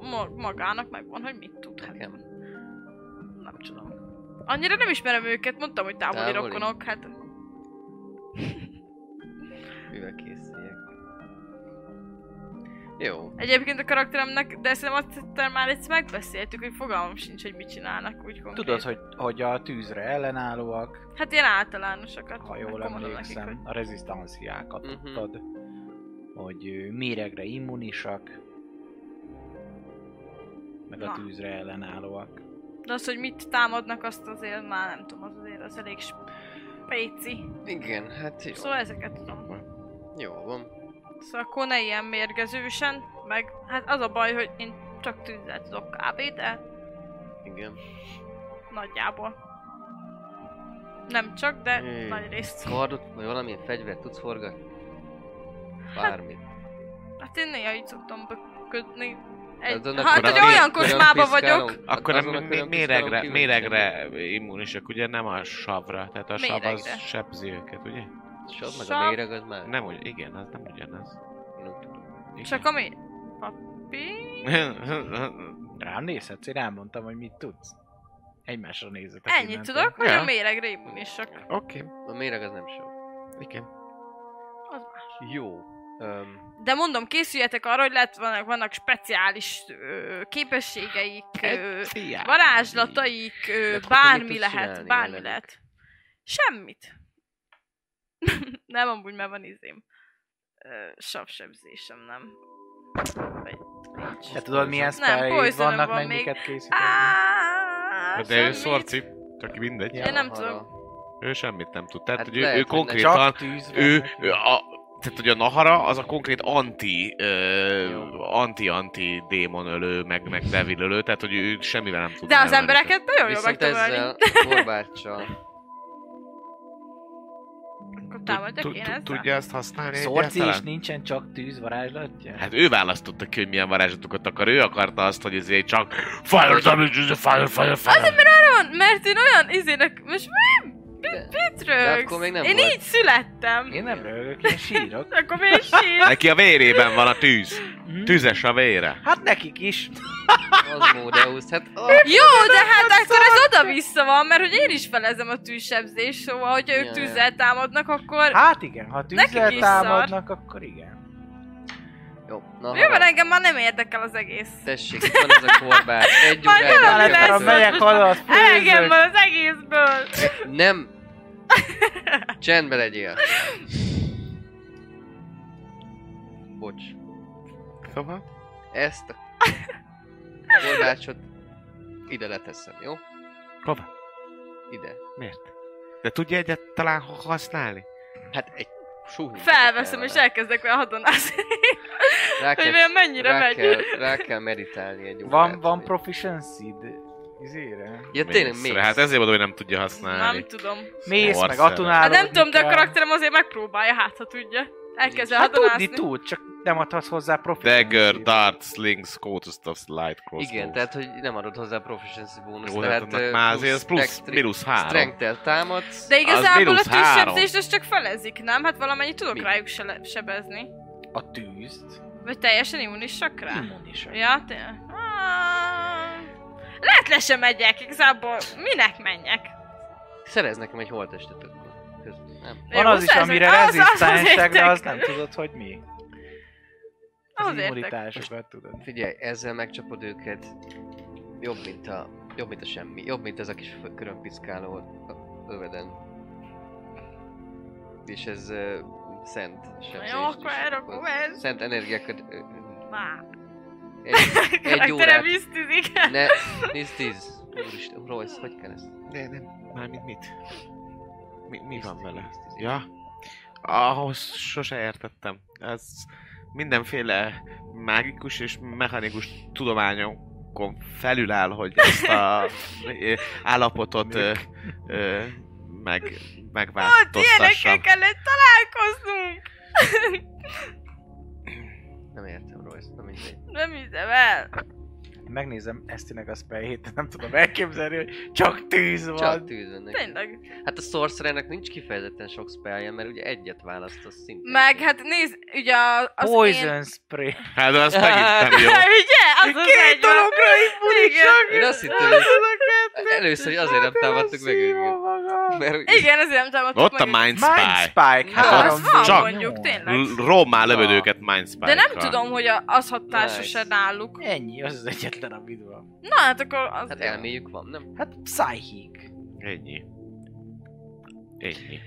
Speaker 3: ma- magának megvan, hogy mit tud. Hát
Speaker 4: Nekem.
Speaker 3: nem tudom. Annyira nem ismerem őket, mondtam, hogy távoli,
Speaker 4: Távoli?
Speaker 3: rokonok, hát
Speaker 4: Mivel készüljek? Jó.
Speaker 3: egyébként a karakteremnek, de szerintem azt hittem már egyszer megbeszéltük, hogy fogalmam sincs, hogy mit csinálnak úgy konkrét.
Speaker 1: Tudod, hogy, hogy a tűzre ellenállóak,
Speaker 3: Hát ilyen általánosakat.
Speaker 1: ha
Speaker 3: meg
Speaker 1: jól
Speaker 3: komodom
Speaker 1: emlékszem,
Speaker 3: Hát Nekik,
Speaker 1: a rezisztanciákat
Speaker 4: Mhm.
Speaker 1: adtad, hogy ö, méregre immunisak, meg
Speaker 3: Na.
Speaker 1: a tűzre ellenállóak.
Speaker 3: hogy... De az, hogy mit támadnak, azt azért már nem tudom, az azért az elég spéci.
Speaker 4: Igen, hát jó.
Speaker 3: Szóval ezeket tudom.
Speaker 4: Jó van.
Speaker 3: Szóval akkor ne ilyen mérgezősen, meg hát az a baj, hogy én csak tűzzel tudok kb, de
Speaker 4: Igen.
Speaker 3: nagyjából. Nem csak, de
Speaker 4: Hmm.
Speaker 3: nagy részt.
Speaker 4: Kardot, vagy valamilyen fegyvert tudsz forgatni? Bármit.
Speaker 3: Hát én néha így szoktam böködni. Egy...
Speaker 4: Azon a
Speaker 3: Hát,
Speaker 2: akkor
Speaker 3: hogy
Speaker 2: a-
Speaker 3: olyan kocsmába
Speaker 4: piszkálom-
Speaker 3: vagyok.
Speaker 2: Akkor
Speaker 4: hát azon
Speaker 2: a
Speaker 4: olyan
Speaker 2: mi-
Speaker 4: piszkálom
Speaker 2: mi- méregre,
Speaker 4: kívül
Speaker 2: méregre immunisak, ugye nem a savra, tehát a sav
Speaker 3: Méregre.
Speaker 2: az sebzi őket, ugye?
Speaker 4: Sav meg
Speaker 3: Sav.
Speaker 4: a méreg az már.
Speaker 2: Nem, hogy igen, az nem ugyanaz.
Speaker 4: Én úgy tudom.
Speaker 2: Igen.
Speaker 3: Csak ami... Papi...
Speaker 1: Rám nézhetsz, én elmondtam, hogy mit tudsz. Egymásra nézzetek.
Speaker 3: Ennyit
Speaker 1: innentől.
Speaker 3: tudok, hogy
Speaker 2: Ja.
Speaker 3: a méregre immunisak.
Speaker 2: Oké,
Speaker 4: A méreg az nem sav.
Speaker 2: igen.
Speaker 3: Az más.
Speaker 4: Jó. Öm,
Speaker 3: De mondom, készüljetek arra, hogy lehet, vannak, vannak speciális ö, képességeik, ö, varázslataik, ö,
Speaker 4: Lehet, hogy
Speaker 3: bármi
Speaker 4: mit tudsz
Speaker 3: lehet,
Speaker 4: csinálni
Speaker 3: bármi
Speaker 4: velük?
Speaker 3: lehet. Semmit. nem, amúgy már van izém. Ö, Savsebzésem, nem. Vagy nincs.
Speaker 4: Hát
Speaker 1: Te tudod milyen
Speaker 3: Nem,
Speaker 1: spelljék
Speaker 3: poisonom
Speaker 1: vannak,
Speaker 3: van
Speaker 1: mennyiket készítesz?
Speaker 3: Á,
Speaker 2: De ő
Speaker 3: semmit.
Speaker 2: szorci, csak mindegy.
Speaker 1: Ja.
Speaker 3: Én nem
Speaker 4: nahara.
Speaker 3: tudom.
Speaker 2: Ő semmit nem tud. Tehát,
Speaker 4: Hát
Speaker 2: hogy ő,
Speaker 4: lehet,
Speaker 2: ő
Speaker 4: hogy ne-
Speaker 2: konkrétan
Speaker 1: tűzre.
Speaker 2: ő,
Speaker 1: meg-
Speaker 2: ő a, tehát hogy a Nahara az a konkrét anti, ö,
Speaker 4: Jó.
Speaker 2: anti-anti démon ölő, meg, meg devil ölő, tehát hogy ő semmivel nem tud.
Speaker 3: De az
Speaker 2: elvenni.
Speaker 3: embereket nagyon jól meg
Speaker 4: Viszont
Speaker 3: tudom ölni.
Speaker 4: ezzel borbáccsal.
Speaker 3: Akkor
Speaker 2: Tud-
Speaker 3: támadjak
Speaker 2: tud-
Speaker 3: én
Speaker 2: tud-
Speaker 3: ezzel?
Speaker 2: Tudja ezt használni
Speaker 1: Szorci is
Speaker 2: egyáltalán?
Speaker 1: nincsen csak tűz varázslatja?
Speaker 2: Hát ő választotta ki, hogy milyen varázslatokat akar. Ő akarta azt, hogy ezért csak fire damage, fire, fire, fire.
Speaker 3: Van, mert én olyan izének... Most mi?
Speaker 4: De-
Speaker 3: Mit, mit
Speaker 4: de
Speaker 3: rögsz?
Speaker 4: akkor még nem
Speaker 3: Én
Speaker 4: volt.
Speaker 3: így születtem.
Speaker 1: Én nem rögök, én sírok.
Speaker 3: Akkor még sír.
Speaker 2: Neki a vérében van a tűz.
Speaker 3: Hmm?
Speaker 2: Tüzes a vére.
Speaker 1: Hát nekik is.
Speaker 4: Az Módeus, hát a
Speaker 3: Jó, de hát akkor ez oda-vissza van, mert hogy én is felezem a tűzsebzés, szóval, hogyha
Speaker 4: Ja,
Speaker 3: ők
Speaker 4: ja.
Speaker 3: tűzzel támadnak, akkor...
Speaker 1: Hát igen, ha
Speaker 3: Nekik
Speaker 1: tűzzel
Speaker 3: is
Speaker 1: támadnak, akkor igen.
Speaker 4: Jó, na
Speaker 3: Jó, mert
Speaker 4: hát,
Speaker 3: engem már nem érdekel az egész.
Speaker 4: tessék, itt van ez a korbács. Egy
Speaker 3: Majd
Speaker 4: ugrány,
Speaker 3: nem
Speaker 4: egy
Speaker 1: Beletárom,
Speaker 3: lesz.
Speaker 4: ötlet.
Speaker 1: megyek haza, azt
Speaker 3: Elegem
Speaker 1: főzök.
Speaker 3: van az egészből!
Speaker 4: Nem! Csendbe legyél! Bocs.
Speaker 2: Szóval?
Speaker 4: Ezt a korbácsot ide leteszem, jó?
Speaker 2: Hova?
Speaker 4: Ide.
Speaker 2: Miért? De tudja egyáltalán ha- használni?
Speaker 4: Hát egy súhny.
Speaker 3: Felveszem és elkezdek vele hadonázni,
Speaker 4: Rá
Speaker 3: hogy
Speaker 4: kell,
Speaker 3: vajon mennyire
Speaker 4: rá, kell,
Speaker 3: megy.
Speaker 4: rá kell meditálni egy
Speaker 1: Van,
Speaker 4: órát,
Speaker 1: van
Speaker 4: hogy-
Speaker 1: proficiency izére.
Speaker 4: Ja tényleg
Speaker 2: Mészre.
Speaker 4: mész.
Speaker 2: Hát ezért mondom, hogy nem tudja
Speaker 3: Nem
Speaker 2: használni.
Speaker 3: tudom.
Speaker 1: Mész,
Speaker 2: Szarszerű.
Speaker 1: meg
Speaker 3: Hát
Speaker 1: atonálod.
Speaker 3: nem tudom, de a karakterem azért megpróbálja, hát ha tudja. Elkezd el
Speaker 1: Hát tudni
Speaker 3: hadonászni.
Speaker 1: tud, csak nem adhatsz hozzá proficiency
Speaker 2: Dagger, dart, sling, scout, stuff, light, cross.
Speaker 4: Igen, tehát hogy nem adod hozzá proficiency bónusz,
Speaker 2: Jó,
Speaker 4: tehát
Speaker 2: tehát annak már azért az plusz, mínusz három.
Speaker 4: Strength-tel támadsz.
Speaker 3: De igazából a
Speaker 2: mínusz három.
Speaker 3: tűzsebzést azt csak felezik, nem? Hát valamennyit tudok
Speaker 4: Mi?
Speaker 3: rájuk se- sebezni.
Speaker 1: A tűzt.
Speaker 3: Vagy teljesen immunisak
Speaker 4: Hm.
Speaker 3: rá?
Speaker 1: Immunis.
Speaker 3: Ja, tényleg. Ah, Lehet le sem megyek, igazából minek menjek?
Speaker 4: Szerez nekem egy holtestet akkor. Közben. Nem.
Speaker 1: Van
Speaker 3: Jó,
Speaker 1: az is,
Speaker 3: szerzek.
Speaker 1: amire
Speaker 3: Az- az- az
Speaker 1: rezisztensek, de
Speaker 3: értek.
Speaker 1: az nem tudod, hogy mi. Az
Speaker 3: Az értek.
Speaker 1: immunitásokat tudod.
Speaker 4: Figyelj, ezzel megcsapod őket. Jobb, mint a... Jobb, mint a semmi. Jobb, mint ez a kis fö- körömpiszkáló ott a öveden. És ez uh, szent sebzést
Speaker 3: Jó, akkor
Speaker 4: is
Speaker 3: elrakom
Speaker 4: okoz.
Speaker 3: ezt.
Speaker 4: Szent energiákat... ö, ö,
Speaker 3: Már.
Speaker 4: Egy, egy
Speaker 3: Karakterem
Speaker 4: órát.
Speaker 3: visztizik.
Speaker 4: Ne, tíz, tíz. Úristen, Royce, hogy kell ezt?
Speaker 2: Ne, nem. Mármint mit? Mi, mi
Speaker 4: Tíz,
Speaker 2: van
Speaker 4: tíz,
Speaker 2: vele?
Speaker 4: tíz, tíz.
Speaker 2: Ja? Ahhoz sose értettem. Ez mindenféle mágikus és mechanikus tudományokon felüláll, hogy ezt a ö, állapotot ö, ö, meg,
Speaker 1: Hát,
Speaker 3: Ott ilyenekkel
Speaker 2: megváltoztassa.
Speaker 3: kellett találkoznunk!
Speaker 4: Nem értem, Royce, nem mindegy.
Speaker 3: Nem Hát hiszem el.
Speaker 1: Megnézem Esztinek a spellhét, nem tudom elképzelni, hogy csak tűz van.
Speaker 4: Csak tűz van neki.
Speaker 3: Tényleg.
Speaker 4: Hát a sorcerernek nincs kifejezetten sok spellje, mert ugye egyet választasz szintén.
Speaker 3: Meg hát nézd, ugye a- az
Speaker 1: Poison spray.
Speaker 2: Hát de az megint nem jó.
Speaker 3: Én... ugye? Az az
Speaker 1: Két
Speaker 3: egy van.
Speaker 1: dologra imbulik
Speaker 3: Igen.
Speaker 1: csak!
Speaker 4: Én azt hittem, hogy először, hogy azért nem támadtuk meg őket. Mert ugye-
Speaker 3: Igen, ezért nem támadtuk
Speaker 2: Ott a
Speaker 3: meg őket.
Speaker 2: Mind
Speaker 1: Mind
Speaker 2: Spy.
Speaker 1: Spike,
Speaker 4: Na,
Speaker 1: három.
Speaker 3: az van
Speaker 2: Csak-
Speaker 3: mondjuk, tényleg.
Speaker 2: L- Rommá lövöd
Speaker 4: Na.
Speaker 2: őket Mind spy
Speaker 3: De nem tudom, hogy a- az hatásos-e
Speaker 4: Nice.
Speaker 3: náluk.
Speaker 1: Ennyi, az az egyetlen, amit van.
Speaker 3: Na hát akkor az...
Speaker 4: Hát elméjük van, nem?
Speaker 1: Hát Psychic.
Speaker 2: Ennyi. Ennyi.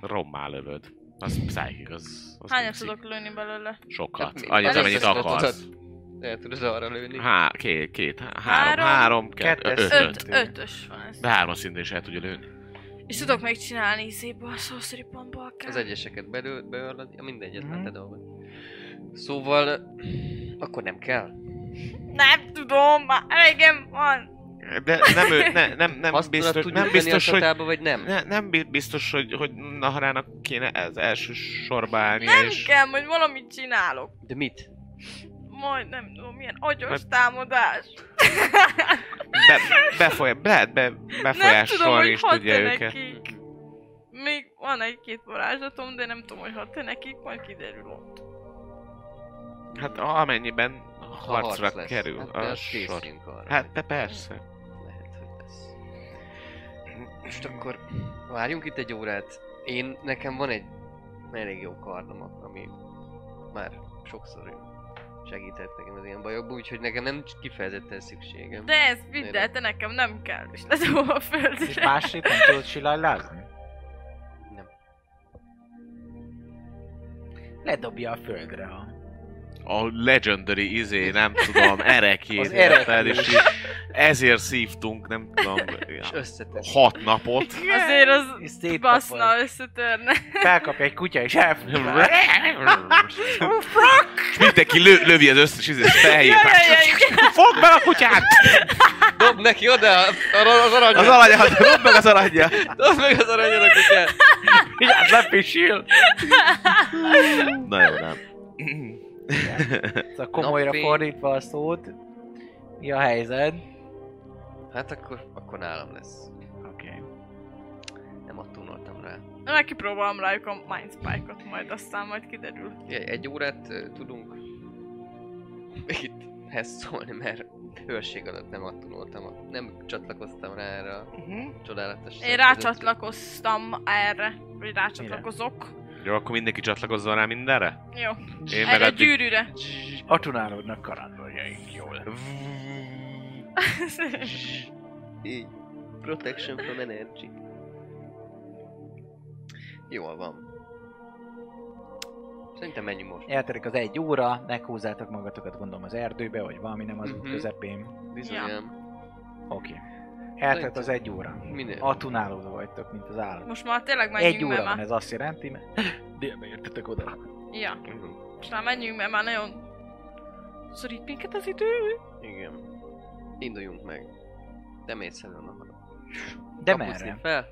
Speaker 2: Rommá lövöd. Az pszichik, az... az
Speaker 3: Hányat
Speaker 2: nyugszik.
Speaker 3: tudok lőni belőle?
Speaker 2: Sokat.
Speaker 4: Hát mi-
Speaker 2: Annyit,
Speaker 3: Először
Speaker 2: amennyit
Speaker 3: tudod,
Speaker 2: akarsz.
Speaker 4: tudod. El tudod arra lőni.
Speaker 2: Há, két, két, há-
Speaker 3: Három,
Speaker 2: három, három, kettő,
Speaker 1: kettes,
Speaker 2: öt, öt.
Speaker 3: Öt,
Speaker 1: Ötöt.
Speaker 3: ötös van ez.
Speaker 2: De hármas szinten is el tudja lőni.
Speaker 3: És tudok még csinálni izéből a sorcery pontból akár.
Speaker 4: Az egyeseket belő, beörlöd, ja, mindegyet,
Speaker 1: Mhm.
Speaker 4: mm-hmm. te dolgod. Szóval, akkor nem kell.
Speaker 3: Nem tudom, már elegem van.
Speaker 2: De nem, ő, ne, nem, nem
Speaker 4: Azt
Speaker 2: biztos,
Speaker 4: tudod,
Speaker 2: nem biztos, hogy...
Speaker 4: Tába, vagy nem?
Speaker 2: Ne, nem bi- biztos, hogy, hogy Naharának kéne ez első sorba állni,
Speaker 3: Nem
Speaker 2: és...
Speaker 3: kell, majd valamit csinálok.
Speaker 4: De mit?
Speaker 3: Majd nem tudom, milyen agyos
Speaker 2: Mert-
Speaker 3: támadás.
Speaker 2: Be, befoly, lehet be,
Speaker 3: nem tudom,
Speaker 2: befolyásolni
Speaker 3: hogy
Speaker 2: is
Speaker 3: hat
Speaker 2: tudja
Speaker 3: -e
Speaker 2: őket.
Speaker 3: nekik. Még van egy-két varázslatom, de nem tudom, hogy hat-e nekik, majd kiderül ott.
Speaker 2: Hát amennyiben
Speaker 4: Ha
Speaker 2: harcra
Speaker 4: harc lesz.
Speaker 2: kerül
Speaker 4: Hát,
Speaker 2: a
Speaker 4: a
Speaker 2: sor.
Speaker 4: készüljünk arra.
Speaker 2: Hát de persze.
Speaker 4: Lehet, hogy lesz. Most akkor várjunk itt egy órát. Én, nekem van egy elég jó kardom, ami már sokszor segített nekem az ilyen bajokban, úgyhogy nekem nem kifejezetten szükségem.
Speaker 3: De ez vidd el, te nekem nem kell, és ledobom a
Speaker 1: És
Speaker 3: földre.
Speaker 1: másét nem tudod silajlázni?
Speaker 4: Nem.
Speaker 1: Ledobja a földre a...
Speaker 2: A legendary izé, nem tudom, erekjét
Speaker 1: Az
Speaker 2: érted,
Speaker 1: erekjét.
Speaker 2: és így ezért szívtunk, nem tudom,
Speaker 4: És összetett.
Speaker 2: hat napot.
Speaker 3: Azért az
Speaker 1: És széttapad.
Speaker 3: baszna összetörne.
Speaker 1: Felkapja egy kutya és elfogja.
Speaker 2: És mindenki lő, lövi az összes izés fejét.
Speaker 3: Jaj, jaj, jaj, igen.
Speaker 2: Fogd meg a kutyát!
Speaker 4: Dob neki oda a- a- az aranyat!
Speaker 2: Az aranyat, fogd meg az aranyja!
Speaker 4: Dobd meg az aranyat a kutyát!
Speaker 1: Vigyázz, lepisil!
Speaker 2: Na jó, nem.
Speaker 1: Ez a Szóval komolyra
Speaker 4: Napfény.
Speaker 1: fordítva a szót. Mi a helyzet?
Speaker 4: Hát akkor, akkor nálam lesz.
Speaker 1: Oké. Okay.
Speaker 4: Nem attól noltam rá.
Speaker 3: Na, Már kipróbálom rájuk a Mind Spike-ot, majd aztán majd kiderül.
Speaker 4: Jaj, egy órát ö, tudunk még itt hesszolni, mert hőrség alatt nem attunoltam, a- nem csatlakoztam rá erre a csodálatos
Speaker 3: Én
Speaker 4: szerkezetre.
Speaker 3: rácsatlakoztam erre, vagy rácsatlakozok.
Speaker 2: Jó, akkor mindenki csatlakozzon rá mindenre?
Speaker 3: Jó.
Speaker 2: Én meg
Speaker 3: Erre a
Speaker 2: addig...
Speaker 3: gyűrűre.
Speaker 1: Atunálódnak kalandoljaink jól.
Speaker 4: Így. Protection from energy. Jól van. Szerintem menjünk most.
Speaker 1: Eltelik az egy óra, meghúzzátok magatokat gondolom az erdőbe, vagy valami nem az út
Speaker 4: Mhm.
Speaker 1: közepén.
Speaker 4: Bizonyám.
Speaker 1: Oké. Eltelt az egy óra.
Speaker 4: Minél?
Speaker 1: Atunálódva vagytok, mint az állat.
Speaker 3: Most már tényleg menjünk,
Speaker 1: Egy óra
Speaker 3: mert
Speaker 1: van,
Speaker 3: már...
Speaker 1: ez azt jelenti, mert délbe értetek oda.
Speaker 3: Ja,
Speaker 4: Mhm.
Speaker 3: most már menjünk, mert már nagyon szorít minket az idő.
Speaker 4: Igen. Induljunk meg. De mész elő a halom.
Speaker 1: De
Speaker 4: Kapucni
Speaker 1: merre?
Speaker 4: fel?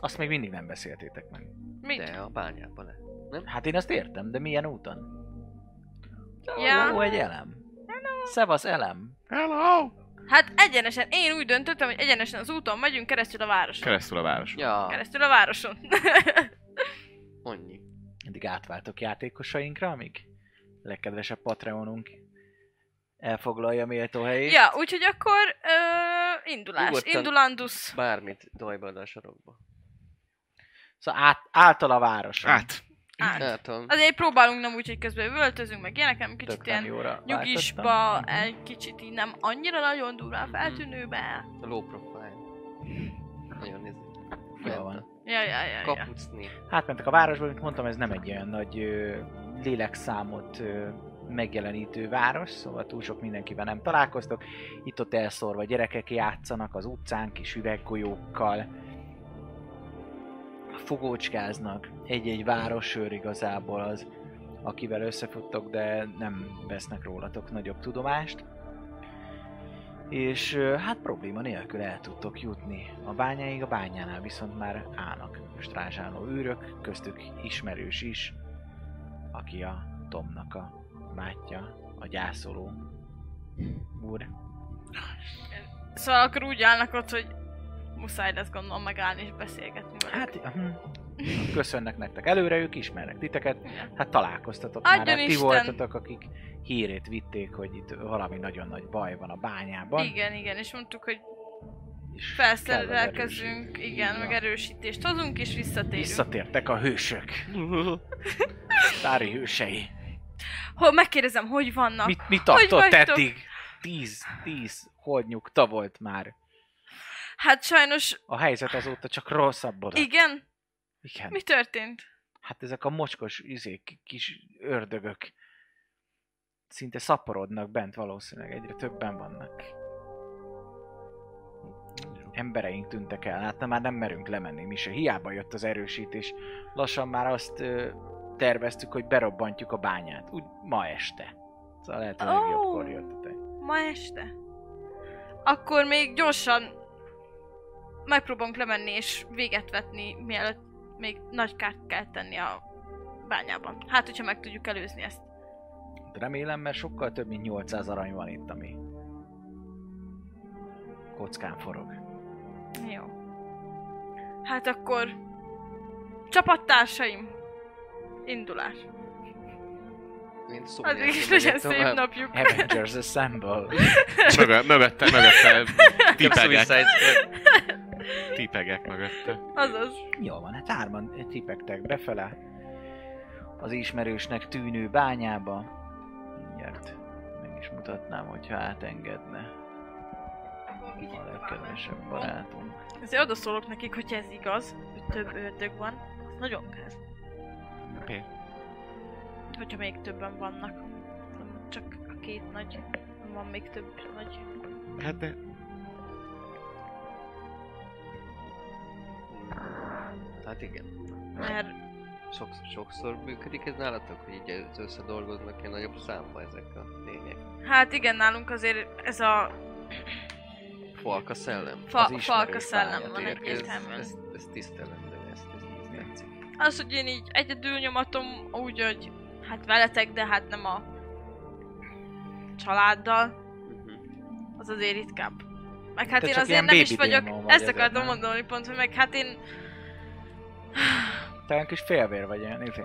Speaker 1: Azt még mindig nem beszéltétek meg.
Speaker 3: Mit?
Speaker 4: De a bányába le.
Speaker 1: Hát én azt értem, de milyen úton?
Speaker 3: Ja.
Speaker 1: Ó, egy elem. Szevasz, elem.
Speaker 2: Hello!
Speaker 3: Hát egyenesen, én úgy döntöttem, hogy egyenesen az úton megyünk keresztül a városon.
Speaker 2: Keresztül a város.
Speaker 4: Ja,
Speaker 3: Keresztül a városon.
Speaker 4: annyi.
Speaker 1: Eddig átváltok játékosainkra, amíg legkedvesebb Patreonunk elfoglalja méltó helyét.
Speaker 3: ja, úgyhogy akkor ö, indulás.
Speaker 4: Nyugodtan.
Speaker 3: Indulandus.
Speaker 4: Bármit dajba a sarokba.
Speaker 1: Szóval át, által a város.
Speaker 2: Hát,
Speaker 3: Át.
Speaker 4: Látom.
Speaker 3: Azért próbálunk nem úgy, hogy közben üvöltözünk, meg ilyenek, nem kicsit ilyen
Speaker 1: jóra
Speaker 3: nyugisba, egy kicsit így nem annyira nagyon durván feltűnőbe.
Speaker 4: A low profile. Nagyon nézni.
Speaker 1: Jól van.
Speaker 3: Ja, ja, ja, ja.
Speaker 4: Kapucni.
Speaker 1: Mhm. Átmentek a városba, mint mondtam, ez nem egy olyan nagy ö, lélekszámot ö, megjelenítő város, szóval túl sok mindenkivel nem találkoztok. Itt-ott elszórva gyerekek játszanak az utcán kis üveggolyókkal, fogócskáznak. Egy-egy városőr igazából az akivel összefuttok, de nem vesznek rólatok nagyobb tudomást. És ö, hát probléma nélkül el tudtok jutni a bányáig, a bányánál viszont már állnak strázsáló őrök, köztük ismerős is, aki a Tomnak a bátyja, a gyászoló úr.
Speaker 3: Szóval akkor úgy állnak ott, hogy muszáj lesz gondolom megállni és beszélgetni velük.
Speaker 1: Hát, hm, köszönnek nektek előre, ők ismernek titeket, hát találkoztatok
Speaker 3: Adjon
Speaker 1: már, hát ti
Speaker 3: Isten!
Speaker 1: voltatok, akik hírét vitték, hogy itt valami nagyon nagy baj van a bányában.
Speaker 3: igen, igen, és mondtuk, hogy
Speaker 1: és kell az
Speaker 3: felszerelkezünk,
Speaker 1: erőség.
Speaker 3: igen,
Speaker 1: Így
Speaker 3: meg
Speaker 1: van.
Speaker 3: erősítést hozunk, és visszatérünk.
Speaker 1: Visszatértek a hősök, tári hősei.
Speaker 3: Ho, megkérdezem, hogy vannak?
Speaker 1: Mit, mit tartott
Speaker 3: vagytok?
Speaker 1: eddig? Tíz, tíz holnyugta volt már.
Speaker 3: Hát sajnos,
Speaker 1: A helyzet azóta csak rosszabbodott.
Speaker 3: igen,
Speaker 1: Igen.
Speaker 3: mi történt?
Speaker 1: Hát ezek a mocskos izék, kis ördögök szinte szaporodnak bent valószínűleg, egyre többen vannak. Embereink tűntek el, hát már nem merünk lemenni mi se. Hiába jött az erősítés. Lassan már azt ö, terveztük, hogy berobbantjuk a bányát. Úgy ma este. Szóval lehet, hogy
Speaker 3: Ó.
Speaker 1: legjobbkor jöttetek.
Speaker 3: Ma este? Akkor még gyorsan megpróbálunk lemenni és véget vetni, mielőtt még nagy kárt kell tenni a bányában. Hát, hogyha meg tudjuk előzni ezt.
Speaker 1: Remélem, mert sokkal több mint 800 arany van itt, ami kockán forog.
Speaker 3: Jó. Hát akkor... Csapattársaim! Indulás.
Speaker 4: Mint szó
Speaker 3: Addig
Speaker 4: nélkül
Speaker 3: is
Speaker 4: megyek
Speaker 3: legyen szép
Speaker 4: tovább.
Speaker 3: napjuk.
Speaker 1: Avengers Assemble!
Speaker 2: Mögö, mögötte, mögötte,
Speaker 4: Csak
Speaker 2: tipegek,
Speaker 4: Suicide Squad.
Speaker 2: tipegek mögötte.
Speaker 3: Azaz.
Speaker 1: Jól van, hát hárman tipegtek befele az ismerősnek tűnő bányába. Mindjárt meg is mutatnám, hogyha átengedne a legkedvesebb barátunk.
Speaker 3: Ezért oda szólok nekik, hogyha ez igaz, hogy több ördög van, az nagyon káz.
Speaker 2: Mi?
Speaker 3: Hogyha még többen vannak. Nem Csak a két nagy. nem Van még több nagy.
Speaker 2: Hát de...
Speaker 4: Hát igen.
Speaker 3: Mert
Speaker 4: Sokszor, sokszor működik ez nálatok, hogy így összedolgoznak ilyen nagyobb számba ezek a lények.
Speaker 3: hát igen, nálunk azért ez a
Speaker 4: Falka szellem.
Speaker 3: fa,
Speaker 1: ismerős
Speaker 3: falka szellem
Speaker 1: pályát
Speaker 3: van
Speaker 4: Tényleg ez,
Speaker 3: egyértelműen.
Speaker 4: ez, ez tisztelem, de ezt, ezt így tetszik.
Speaker 3: Az, hogy én így egyedül nyomatom, úgy, hogy hát veletek, de hát nem a családdal,
Speaker 4: Mhm.
Speaker 3: az azért ritkább. Meg hát
Speaker 1: Te
Speaker 3: én
Speaker 1: csak
Speaker 3: azért
Speaker 1: ilyen
Speaker 3: nem is
Speaker 1: baby
Speaker 3: vagyok,
Speaker 1: démon vagy
Speaker 3: ezt
Speaker 1: ezért,
Speaker 3: akartam
Speaker 1: nem?
Speaker 3: mondani pont, hogy meg hát én
Speaker 1: Talán kis félvér vagy olyan, izé.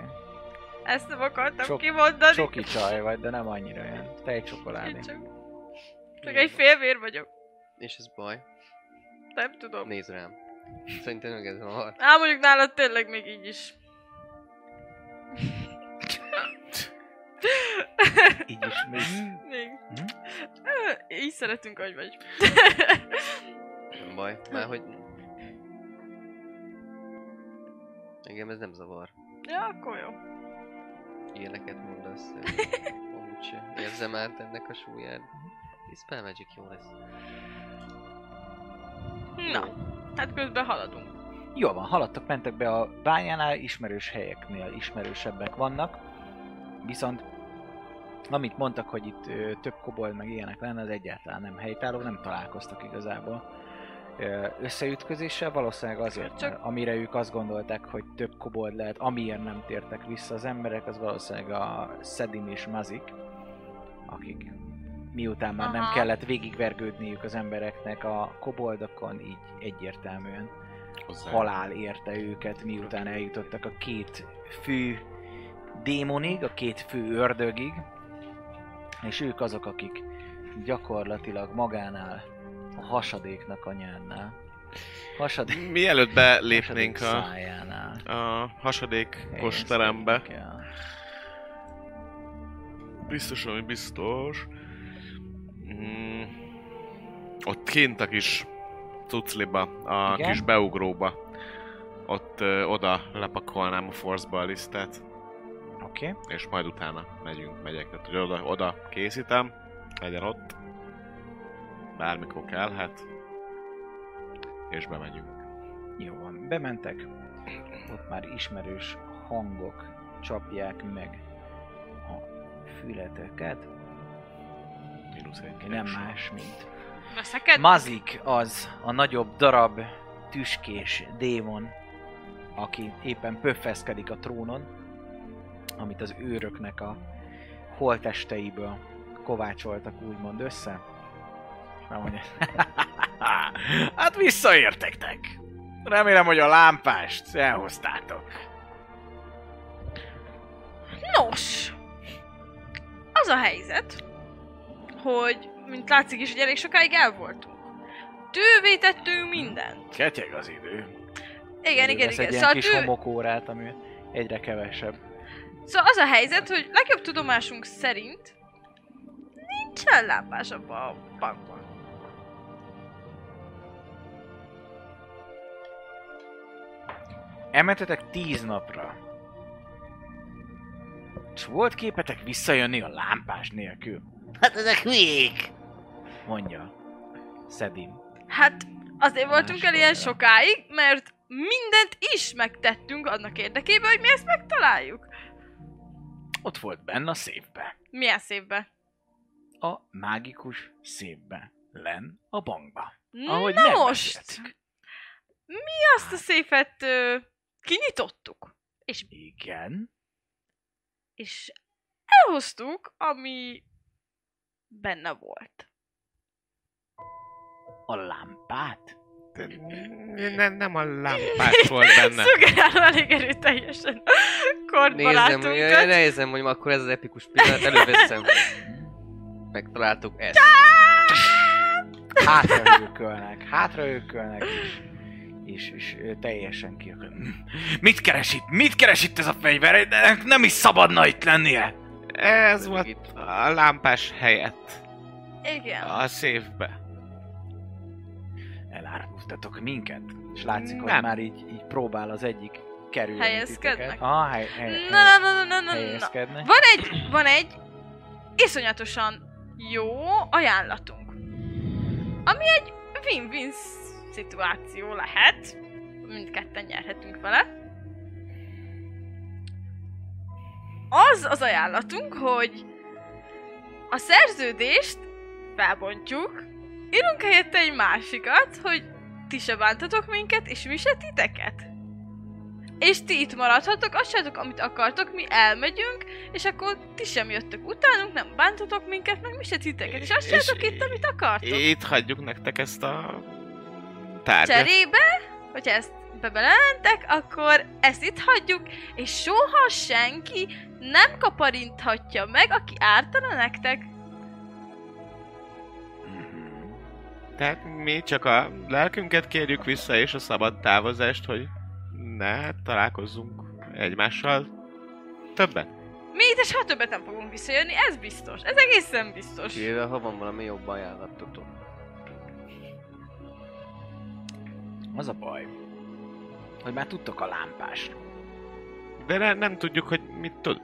Speaker 3: ezt nem akartam
Speaker 1: Sok-
Speaker 3: kimondani.
Speaker 1: Csoki csaj vagy, de nem annyira olyan. Tejcsokoládé.
Speaker 3: Én csak, csak egy félvér vagyok,
Speaker 4: És ez baj.
Speaker 3: nem tudom.
Speaker 4: Nézd rám. Szerintem meg ez van.
Speaker 3: Á, mondjuk nálad tényleg még így is.
Speaker 1: Így is mi.
Speaker 3: Még.
Speaker 1: Hm?
Speaker 3: Ö, Így szeretünk, hogy vagy.
Speaker 4: Nem baj. Már hogy... Engem ez nem zavar.
Speaker 3: ja, akkor jó.
Speaker 4: Ilyeneket mondasz. eh, Úgyse. Érzem át ennek a súlyát. Ez Spell Magic jó lesz.
Speaker 3: Na, hát közben haladunk.
Speaker 1: Jól van, haladtak, mentek be a bányánál, ismerős helyeknél ismerősebbek vannak. Viszont amit mondtak, hogy itt ö, több kobold meg ilyenek lenne, az egyáltalán nem helytálló, nem találkoztak igazából ö, összeütközéssel, valószínűleg azért,
Speaker 3: Csak-
Speaker 1: mert amire ők azt gondolták, hogy több kobold lehet, amiért nem tértek vissza az emberek, az valószínűleg a Szedim és Mazik, akik miután már nem
Speaker 3: Aha.
Speaker 1: kellett végigvergődniük az embereknek a koboldokon, így egyértelműen
Speaker 2: Hozzá.
Speaker 1: halál érte őket, miután eljutottak a két fő démonig, a két fő ördögig, és ők azok, akik gyakorlatilag magánál, a hasadéknak anyánál, hasadék,
Speaker 2: Mielőtt belépnénk
Speaker 1: hasadék
Speaker 2: a,
Speaker 1: szájánál.
Speaker 2: a hasadékos
Speaker 1: helyezkedik
Speaker 2: terembe,
Speaker 1: el.
Speaker 2: Biztos, ami biztos. Mm, ott kint a kis cucliba, a
Speaker 1: Igen?
Speaker 2: kis beugróba. Ott ö, oda lepakolnám a force a listát,
Speaker 1: Oké, okay.
Speaker 2: és majd utána megyünk, megyek. Tehát, hogy oda, oda készítem, legyen ott. Bármikor kell, hát. És bemegyünk.
Speaker 1: jó van. Bementek, ott már ismerős hangok csapják meg fületeket,
Speaker 2: Mínusz egy.
Speaker 1: ami nem
Speaker 2: kilenc.
Speaker 1: más, mint
Speaker 3: Na szeked?
Speaker 1: Mazik az a nagyobb darab tüskés démon, aki éppen pöffeszkedik a trónon, amit az őröknek a holtesteiből kovácsoltak úgymond össze. És már mondja, hát visszaértektek! Remélem, hogy a lámpást elhoztátok.
Speaker 3: Nos, az a helyzet, hogy, mint látszik is, hogy elég sokáig el voltunk. Tővé tettünk mindent.
Speaker 1: Ketyeg az idő.
Speaker 3: Igen, igen,
Speaker 1: Ez
Speaker 3: igen.
Speaker 1: egy ilyen
Speaker 3: Szóval,
Speaker 1: kis
Speaker 3: tő...
Speaker 1: homokórát, ami egyre kevesebb.
Speaker 3: szóval az a helyzet, hogy legjobb tudomásunk szerint nincsen lámpás abban a bankban.
Speaker 1: Elmentetek tíz napra. És volt képetek visszajönni a lámpás nélkül?
Speaker 6: Hát ezek hülyék!
Speaker 1: Mondja. Szedim.
Speaker 3: Hát azért voltunk el ilyen
Speaker 1: Másfajta.
Speaker 3: sokáig, mert mindent is megtettünk annak érdekében, hogy mi ezt megtaláljuk.
Speaker 1: Ott volt benne a szépbe.
Speaker 3: Milyen szépbe.
Speaker 1: A mágikus szépbe. Len a bankba. Ahogy
Speaker 3: Na most!
Speaker 1: megbeszéltük.
Speaker 3: Mi azt a széfet ö, kinyitottuk?
Speaker 1: Igen.
Speaker 3: és elhoztuk, ami benne volt.
Speaker 1: A lámpát.
Speaker 2: Ne- ne- nem a lámpás volt benne.
Speaker 3: Szugárál elég erőteljesen
Speaker 4: Nézem,
Speaker 3: kortbarátunkat.
Speaker 4: nézem, hogy akkor ez az epikus pillanat, előveszem. Megtaláltuk ezt.
Speaker 1: Hátra őkölnek. Hátra őkölnek is. És, és ő teljesen kiakad. Mit keres itt? Mit keres itt ez a fegyver? Ennek Nem is szabadna itt lennie!
Speaker 2: Ez volt a lámpás helyett.
Speaker 3: Igen.
Speaker 2: A széfbe.
Speaker 1: elárultatok minket. És látszik, hogy
Speaker 2: Nem.
Speaker 1: már így, így próbál az egyik kerülni
Speaker 3: Helyezkednek?
Speaker 1: titeket. Aha, hely, hely,
Speaker 3: Na, na, na, na, na, na, na.
Speaker 1: helyezkednek.
Speaker 3: Van egy, van egy iszonyatosan jó ajánlatunk. Ami egy win-win szituáció lehet. Mindketten nyerhetünk vele. Az az ajánlatunk, hogy a szerződést felbontjuk, írunk helyette egy másikat, hogy ti se bántatok minket, és mi se titeket. És ti itt maradhatok, azt csináltok, amit akartok, mi elmegyünk, és akkor ti sem jöttök utánunk, nem bántotok minket, meg mi se titeket, és azt
Speaker 2: És-
Speaker 3: csináltok itt, amit akartok.
Speaker 2: Itt hagyjuk nektek ezt a tárgyat.
Speaker 3: Cserébe, hogyha ezt bebelentek, akkor ezt itt hagyjuk, és soha senki nem kaparinthatja meg, aki ártana nektek.
Speaker 1: Mhm.
Speaker 2: Tehát mi csak a lelkünket kérjük vissza, és a szabad távozást, hogy ne találkozzunk egymással többet.
Speaker 3: Mi itt és soha többet nem fogunk visszajönni, ez biztos. Ez egészen biztos.
Speaker 4: Kivéve, ha van valami jobb ajánlatotok.
Speaker 1: Az a baj, hogy már tudtok a lámpásról.
Speaker 2: De ne, nem tudjuk, hogy mit tud.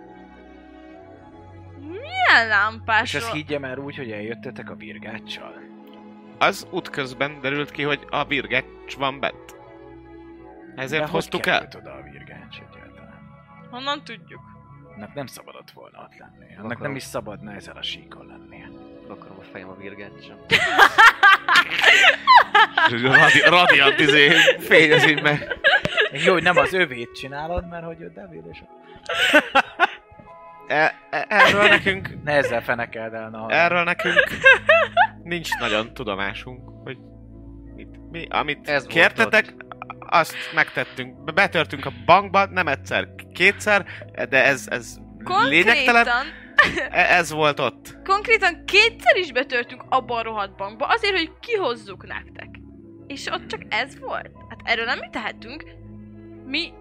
Speaker 3: Milyen
Speaker 1: És ezt
Speaker 3: lámpásról?
Speaker 1: higgyem el úgy, hogy eljöttetek a virgáccsal.
Speaker 2: Az útközben derült ki, hogy a virgecs van bent. Ezért
Speaker 1: De hogy
Speaker 2: hoztuk el.
Speaker 1: került oda a virgács egyáltalán?
Speaker 3: Honnan tudjuk?
Speaker 1: Annak nem szabadott volna ott lenni. Annak
Speaker 4: Akarom.
Speaker 1: nem is szabadna ezen a síkon lennie.
Speaker 4: Akarom a fejem a virgácsra.
Speaker 2: Radi, radiant izé fényezi meg.
Speaker 1: Még jó, hogy nem az övét csinálod, mert hogy ő devil, és
Speaker 2: E, e, erről nekünk,
Speaker 1: ne ezzel fenekeld el, na.
Speaker 2: erről nekünk nincs nagyon tudomásunk, hogy mit, mi, amit
Speaker 4: Ez
Speaker 2: Ez
Speaker 4: volt
Speaker 2: kértetek, azt megtettünk. Be- Betörtünk a bankba, nem egyszer, kétszer, de ez, ez lényegtelen.
Speaker 3: Konkrétan,
Speaker 2: E- Ez volt ott.
Speaker 3: konkrétan kétszer is betörtünk abba a rohadt bankba, azért, hogy kihozzuk nektek. És ott csak ez volt. Hát erről nem mi tehetünk. Mi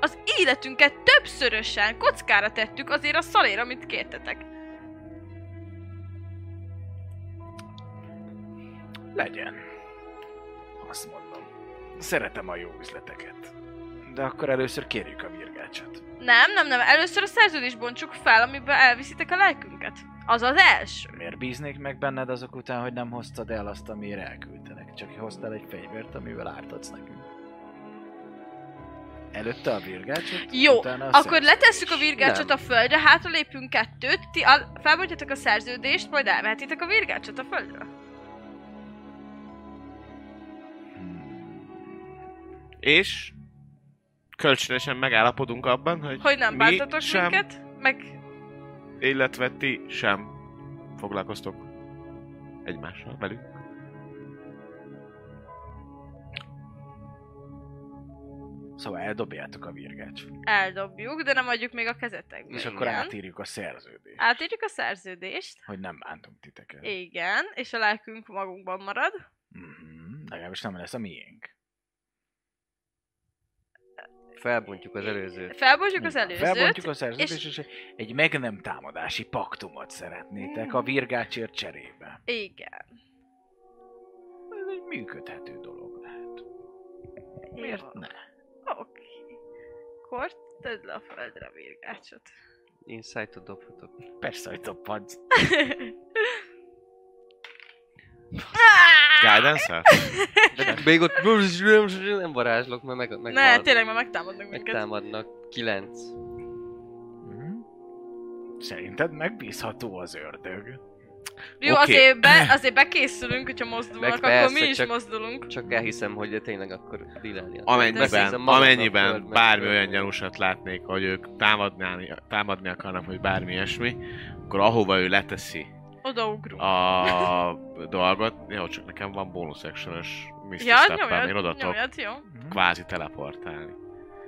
Speaker 3: az életünket többszörösen kockára tettük azért a szalér, amit kértetek.
Speaker 1: Legyen. Azt mondom. Szeretem a jó üzleteket. De akkor először kérjük a virgácsot.
Speaker 3: Nem, nem, nem. Először a szerződést bontsuk fel, amiben elviszitek a lelkünket. Az az első.
Speaker 1: Miért bíznék meg benned azok után, hogy nem hoztad el azt, amire elküldtelek? Csak hoztál egy fegyvert, amivel ártatsz nekünk. Előtte a virgácsot?
Speaker 3: Jó,
Speaker 1: utána a
Speaker 3: Akkor
Speaker 1: szex.
Speaker 3: letesszük a virgácsot
Speaker 4: Nem.
Speaker 3: a földre, hátralépünk kettőt, ti al- felmondjátok a szerződést, majd elvehetitek a virgácsot a földre.
Speaker 1: Hmm.
Speaker 2: És kölcsönösen megállapodunk abban, hogy,
Speaker 3: Hogy nem
Speaker 2: mi
Speaker 3: bántatok
Speaker 2: sem,
Speaker 3: minket, meg
Speaker 2: illetve ti sem foglalkoztok egymással velük.
Speaker 1: Szóval eldobjátok a virgácsot.
Speaker 3: eldobjuk, de nem adjuk még a kezetekbe.
Speaker 1: És
Speaker 4: Igen.
Speaker 1: akkor átírjuk a szerződést.
Speaker 3: Átírjuk a szerződést,
Speaker 1: Hogy nem bántunk titeket.
Speaker 3: igen, és a lelkünk magunkban marad.
Speaker 1: Mhm, Legalábbis nem lesz a miénk.
Speaker 4: Felbontjuk az előzőt.
Speaker 3: Felbontjuk az
Speaker 1: Így van.
Speaker 3: előzőt,
Speaker 1: Felbontjuk a szerződést, és... és egy meg nem támadási paktumot szeretnétek
Speaker 3: Mm.
Speaker 1: a virgácsért cserébe.
Speaker 3: igen.
Speaker 1: Ez egy működhető dolog lehet. Miért
Speaker 3: Jó.
Speaker 1: ne?
Speaker 3: Oké. Akkor tedd le a földre a virgácsot.
Speaker 4: Insight-ot dobhatok.
Speaker 1: Persze, hogy toppadsz.
Speaker 2: Guidance-el?
Speaker 4: De még ott nem varázslok, mert meg, meg
Speaker 3: ne, tényleg már megtámadnak minket.
Speaker 4: megtámadnak. Kilenc.
Speaker 1: Mhm. Szerinted megbízható az ördög?
Speaker 3: Jó,
Speaker 2: Oké.
Speaker 3: azért, be, azért bekészülünk, hogyha mozdulnak,
Speaker 4: Meg
Speaker 3: akkor
Speaker 4: persze,
Speaker 3: mi is
Speaker 4: csak-
Speaker 3: mozdulunk.
Speaker 4: Csak elhiszem, hogy tényleg akkor dilálni.
Speaker 3: Beszélsz
Speaker 2: Amennyiben,
Speaker 4: a magadnak,
Speaker 2: amennyiben
Speaker 4: tudod, meg-
Speaker 2: bármi olyan gyanúsat látnék, hogy ők támadni, támadni akarnak, vagy bármi ilyesmi, akkor ahova ő leteszi
Speaker 3: Odaugrunk.
Speaker 2: Ah, a dolgot, jó, csak nekem van bónusz actionös Mr.
Speaker 3: ja,
Speaker 2: Steppen, én oda
Speaker 3: nyomjad,
Speaker 2: tudok
Speaker 3: nyomjad, jó.
Speaker 1: Mhm.
Speaker 2: kvázi teleportálni.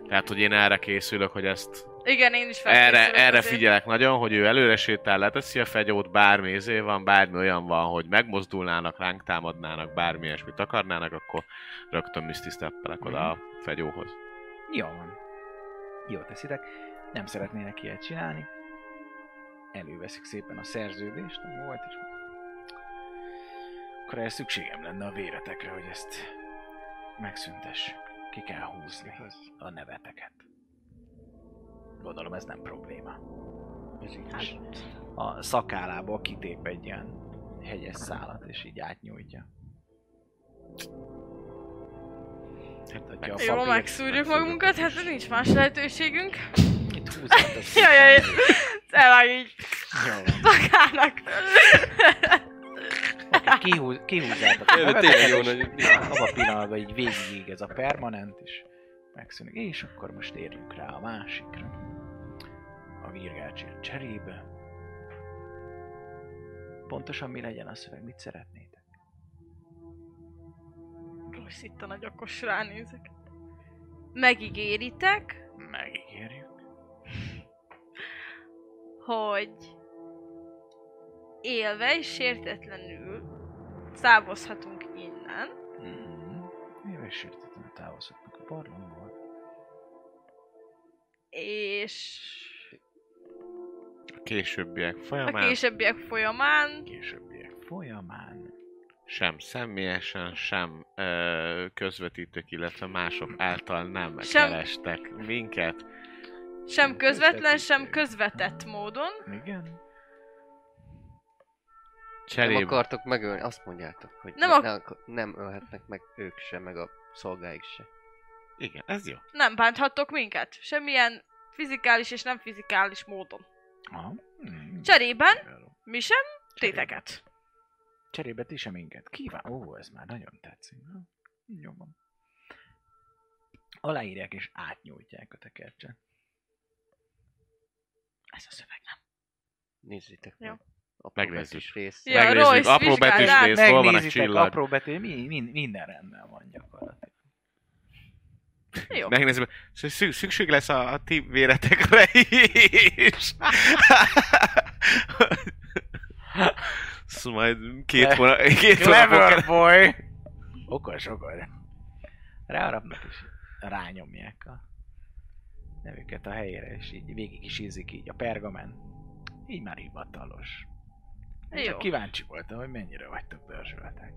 Speaker 2: Tehát, hogy én erre készülök, hogy ezt
Speaker 3: Igen, én is
Speaker 2: erre,
Speaker 3: felkészülök
Speaker 2: erre
Speaker 3: azért.
Speaker 2: figyelek nagyon, hogy ő előre sétál, leteszi a fegyót, bármi izé van, bármi olyan van, hogy megmozdulnának, ránk támadnának, bármi ilyesmit akarnának, akkor rögtön Misty Steppelek
Speaker 3: Mhm.
Speaker 2: oda a fegyóhoz.
Speaker 1: Jó van. Jó teszitek. Nem szeretnének ilyet csinálni. Előveszik szépen a szerződést, nem volt, és akkor erre szükségem lenne a véretekre, hogy ezt megszüntessük. Ki kell húzni a neveteket. Gondolom ez nem probléma. És a szakállából kitép egy ilyen hegyes szálat, és így átnyújtja. Hát, adja a
Speaker 3: Jó,
Speaker 1: papírt.
Speaker 3: megszúrjuk magunkat, hát nincs más lehetőségünk.
Speaker 1: Itt húzott
Speaker 3: Jaj, jaj, elvág így
Speaker 1: Jó van.
Speaker 3: magának.
Speaker 1: Oké, kihúz, kihúzzátok.
Speaker 4: Jaj, de tényleg jó
Speaker 1: És
Speaker 4: nagy-
Speaker 1: Abba a pillanatban így végig ez a permanent, és megszűnik. És akkor most érjünk rá a másikra. A virgácsért cserébe. Pontosan mi legyen a szöveg, mit szeretnétek?
Speaker 3: Rossz itt a nagyokos ránézek. Megígéritek,
Speaker 1: Megígérjük.
Speaker 3: hogy élve és sértetlenül távozhatunk innen.
Speaker 4: Mhm.
Speaker 1: Mm-hmm. Éves sértetlenül távozhatunk a barlangból.
Speaker 3: és
Speaker 2: A későbbiek
Speaker 3: a
Speaker 2: folyamán
Speaker 3: későbbiek folyamán
Speaker 1: Későbbiek folyamán.
Speaker 2: sem személyesen, sem ö, közvetítők, illetve mások által nem
Speaker 3: Sem-
Speaker 2: kerestek minket.
Speaker 3: sem közvetlen, sem közvetett módon
Speaker 1: Igen?
Speaker 4: Nem
Speaker 2: Cserébe
Speaker 4: akartok megölni, azt mondjátok, hogy
Speaker 3: Nem
Speaker 4: ne-
Speaker 3: ak-
Speaker 4: ne akar- nem ölhetnek meg ők sem, meg a szolgáik se.
Speaker 2: Igen, ez jó.
Speaker 3: nem bánthattok minket. Semmilyen fizikális és nem fizikális módon.
Speaker 1: Aha. Mm.
Speaker 3: Cserében mi sem téteket.
Speaker 1: Cserébe ti sem minket. Kíván. Ó, ez már nagyon tetszik. Na, Jó van. Aláírják és átnyújtják a tekercset.
Speaker 3: Ez a szöveg.
Speaker 4: Nézzétek
Speaker 3: Jó.
Speaker 4: meg. A
Speaker 2: Megnézzük.
Speaker 4: betűs rész.
Speaker 3: Ja,
Speaker 2: Megnézzük,
Speaker 3: Royce,
Speaker 2: apró
Speaker 3: vizsgáld
Speaker 2: betűs
Speaker 3: rá.
Speaker 2: rész, hol van a
Speaker 1: Megnézitek,
Speaker 2: csillag.
Speaker 1: apró betű, mi, min, minden rendben van gyakorlatilag.
Speaker 3: Jó.
Speaker 2: Megnézzük, szü- szü- szükség lesz a, a ti véretekre is. Szóval majd két hónap, két hónap
Speaker 1: boy! Okos, okos. Ráarapnak is rányomják a nevüket a helyére, és így végig is ízik így a pergamen. Így már hivatalos. Én
Speaker 3: Jó.
Speaker 1: Csak kíváncsi voltam, hogy mennyire vagytok dörzsöltek.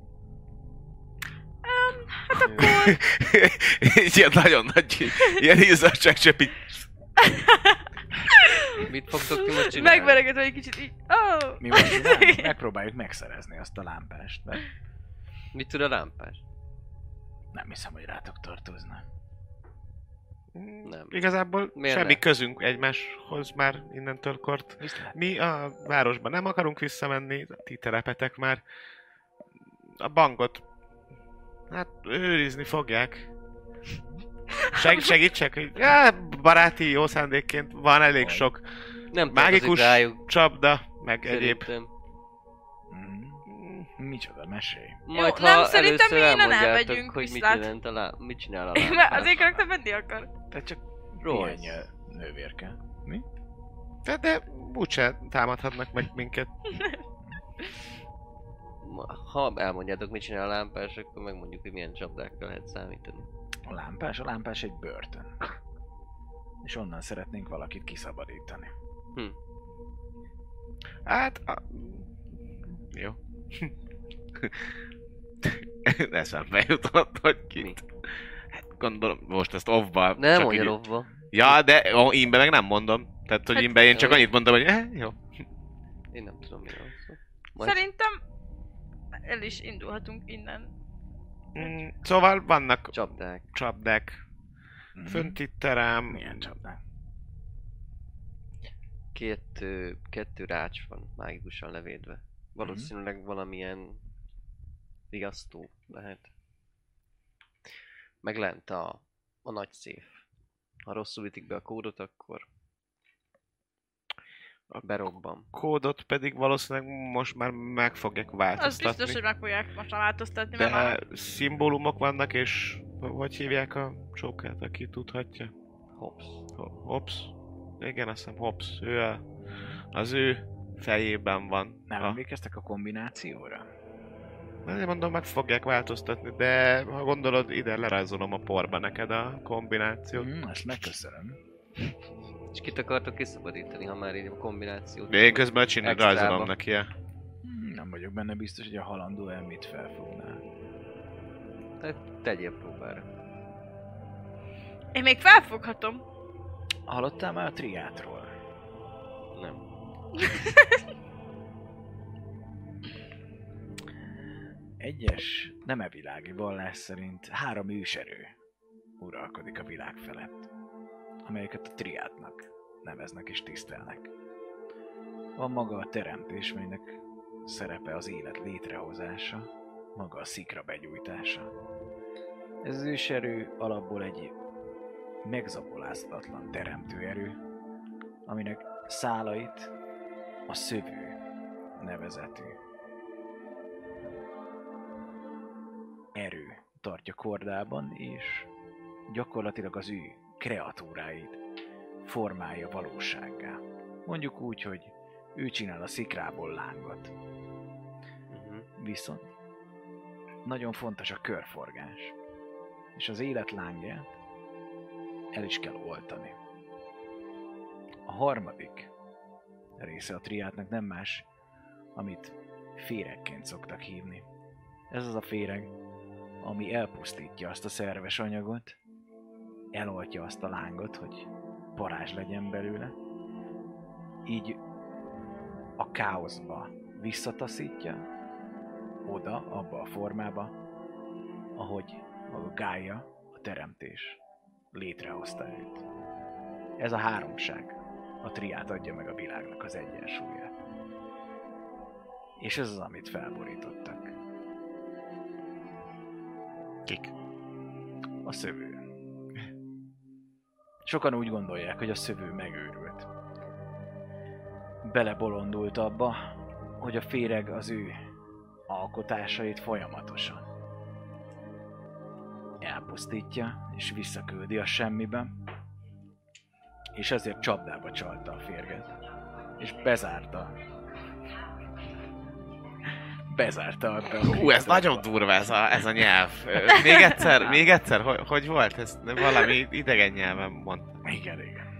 Speaker 2: Egy ilyen nagyon nagy, ilyen izzadságcsepp így.
Speaker 4: Mit fogtok ti most csinálni?
Speaker 3: Megveregetve egy kicsit így. Oh.
Speaker 1: Mi most csinálunk? Megpróbáljuk megszerezni azt a lámpást, mert
Speaker 4: Mit tud a lámpás?
Speaker 1: nem hiszem, hogy rátok tartozna.
Speaker 4: Nem.
Speaker 2: Igazából
Speaker 4: Miért
Speaker 2: semmi
Speaker 4: ne?
Speaker 2: közünk egymáshoz már innentől kort. Mi a városba nem akarunk visszamenni, ti telepetek már. A bankot, hát őrizni fogják. Seg, segítsek, hogy á, baráti jó szándékként van elég sok
Speaker 4: Nem
Speaker 2: mágikus
Speaker 4: tartozik rájuk.
Speaker 2: csapda, meg egyéb.
Speaker 4: Szerintem.
Speaker 1: Mm. Micsoda mesé.
Speaker 4: Majd
Speaker 3: Jó, nem,
Speaker 4: ha
Speaker 3: szerintem
Speaker 4: először
Speaker 3: mi innen
Speaker 4: elmondjátok,
Speaker 3: elmegyünk,
Speaker 4: hogy
Speaker 3: viszlát.
Speaker 4: mit jelent a lá... mit csinál a
Speaker 3: Mert az én
Speaker 4: lámpás.
Speaker 3: karakter menni akar.
Speaker 1: Tehát csak
Speaker 4: Rossz.
Speaker 1: pihenj el, nővérke.
Speaker 2: De, de úgyse támadhatnak meg minket.
Speaker 4: Ma- Ha elmondjátok, mit csinál a lámpás, akkor megmondjuk, hogy milyen csapdákra lehet számítani.
Speaker 1: A lámpás, a lámpás egy börtön. És onnan szeretnénk valakit kiszabadítani.
Speaker 2: Hát... A... Jó. Eszembe jutott, hogy
Speaker 4: Mi?
Speaker 2: kit. Hát gondolom, most ezt off-ba...
Speaker 4: Nem
Speaker 2: csak
Speaker 4: mondja
Speaker 2: így-
Speaker 4: Robba.
Speaker 2: Ja, de ó, ímbe meg nem mondom. Tehát, hogy
Speaker 3: Hát-
Speaker 2: ímbe én csak
Speaker 4: Jó.
Speaker 2: annyit mondom, hogy eh, jó.
Speaker 4: Én nem tudom, mi van szó. Majd-
Speaker 3: Szerintem el is indulhatunk innen.
Speaker 2: Mm, szóval vannak
Speaker 4: Csapdák.
Speaker 2: csapdák.
Speaker 1: Mhm.
Speaker 2: Fönt itt terem.
Speaker 1: Milyen csapdák?
Speaker 4: Két, ö, kettő rács van mágikusan levédve. Valószínűleg valamilyen riasztó lehet. Meg lent a, a nagy szép. Ha rosszul ütik be a kódot, akkor berobban.
Speaker 2: Kódot pedig valószínűleg most már meg fogják
Speaker 4: Hát
Speaker 3: Az
Speaker 2: változtatni.
Speaker 3: biztos, hogy meg fogják most már változtatni, mert
Speaker 2: De
Speaker 3: már
Speaker 2: szimbólumok vannak, és hogy hívják a csókát, aki tudhatja?
Speaker 4: Hops.
Speaker 2: Ho- Hobbs? Igen, azt hiszem Hobbs. Ő a, az ő fejében van.
Speaker 1: Nem
Speaker 2: a,
Speaker 1: emlékeztek a kombinációra?
Speaker 2: azért mondom, meg fogják változtatni, de ha gondolod, ide lerajzolom a porba neked a kombinációt.
Speaker 1: Mm, ezt megköszönöm.
Speaker 4: És kit akartok kiszabadítani, ha már így a kombinációt...
Speaker 2: De én közben csinálom,
Speaker 4: Extrába.
Speaker 2: rajzolom neki. ja.
Speaker 1: Mm, Nem vagyok benne biztos, hogy a halandó elmét felfogná.
Speaker 4: Hát tegyél próbára.
Speaker 3: én még felfoghatom.
Speaker 1: Hallottál már a triátról?
Speaker 4: Nem.
Speaker 1: Egyes, nem e világi vallás szerint három őserő uralkodik a világ felett, amelyeket a triátnak neveznek és tisztelnek. Van maga a teremtés, melynek szerepe az élet létrehozása, maga a szikra begyújtása. Ez az őserő alapból egy megzapoláztatlan teremtő erő, aminek szálait a szövő nevezetű erő tartja kordában, és gyakorlatilag az ő kreatúráit formálja valósággá. Mondjuk úgy, hogy ő csinál a szikrából lángot.
Speaker 4: Mhm.
Speaker 1: Viszont nagyon fontos a körforgás, és az élet lángját el is kell oltani. A harmadik része a triátnak nem más, amit féregként szoktak hívni. Ez az a féreg, ami elpusztítja azt a szerves anyagot, eloltja azt a lángot, hogy parázs legyen belőle, így a káoszba visszataszítja, oda, abba a formába, ahogy maga Gája, a teremtés létrehozta őt. Ez a háromság a triát adja meg a világnak az egyensúlyát. És ez az, amit felborítottak.
Speaker 2: Kik?
Speaker 1: A szövő. Sokan úgy gondolják, hogy a szövő megőrült. Belebolondult abba, hogy a féreg az ő alkotásait folyamatosan elpusztítja és visszaküldi a semmibe, és ezért csapdába csalta a férget, és bezárta. Bezárta abba. a
Speaker 2: Hú, ez
Speaker 1: férget.
Speaker 2: nagyon durva ez a, ez a nyelv. Ö, Még egyszer, még egyszer, hogy, hogy volt? Ez valami idegen nyelven mondta.
Speaker 1: Igen, igen.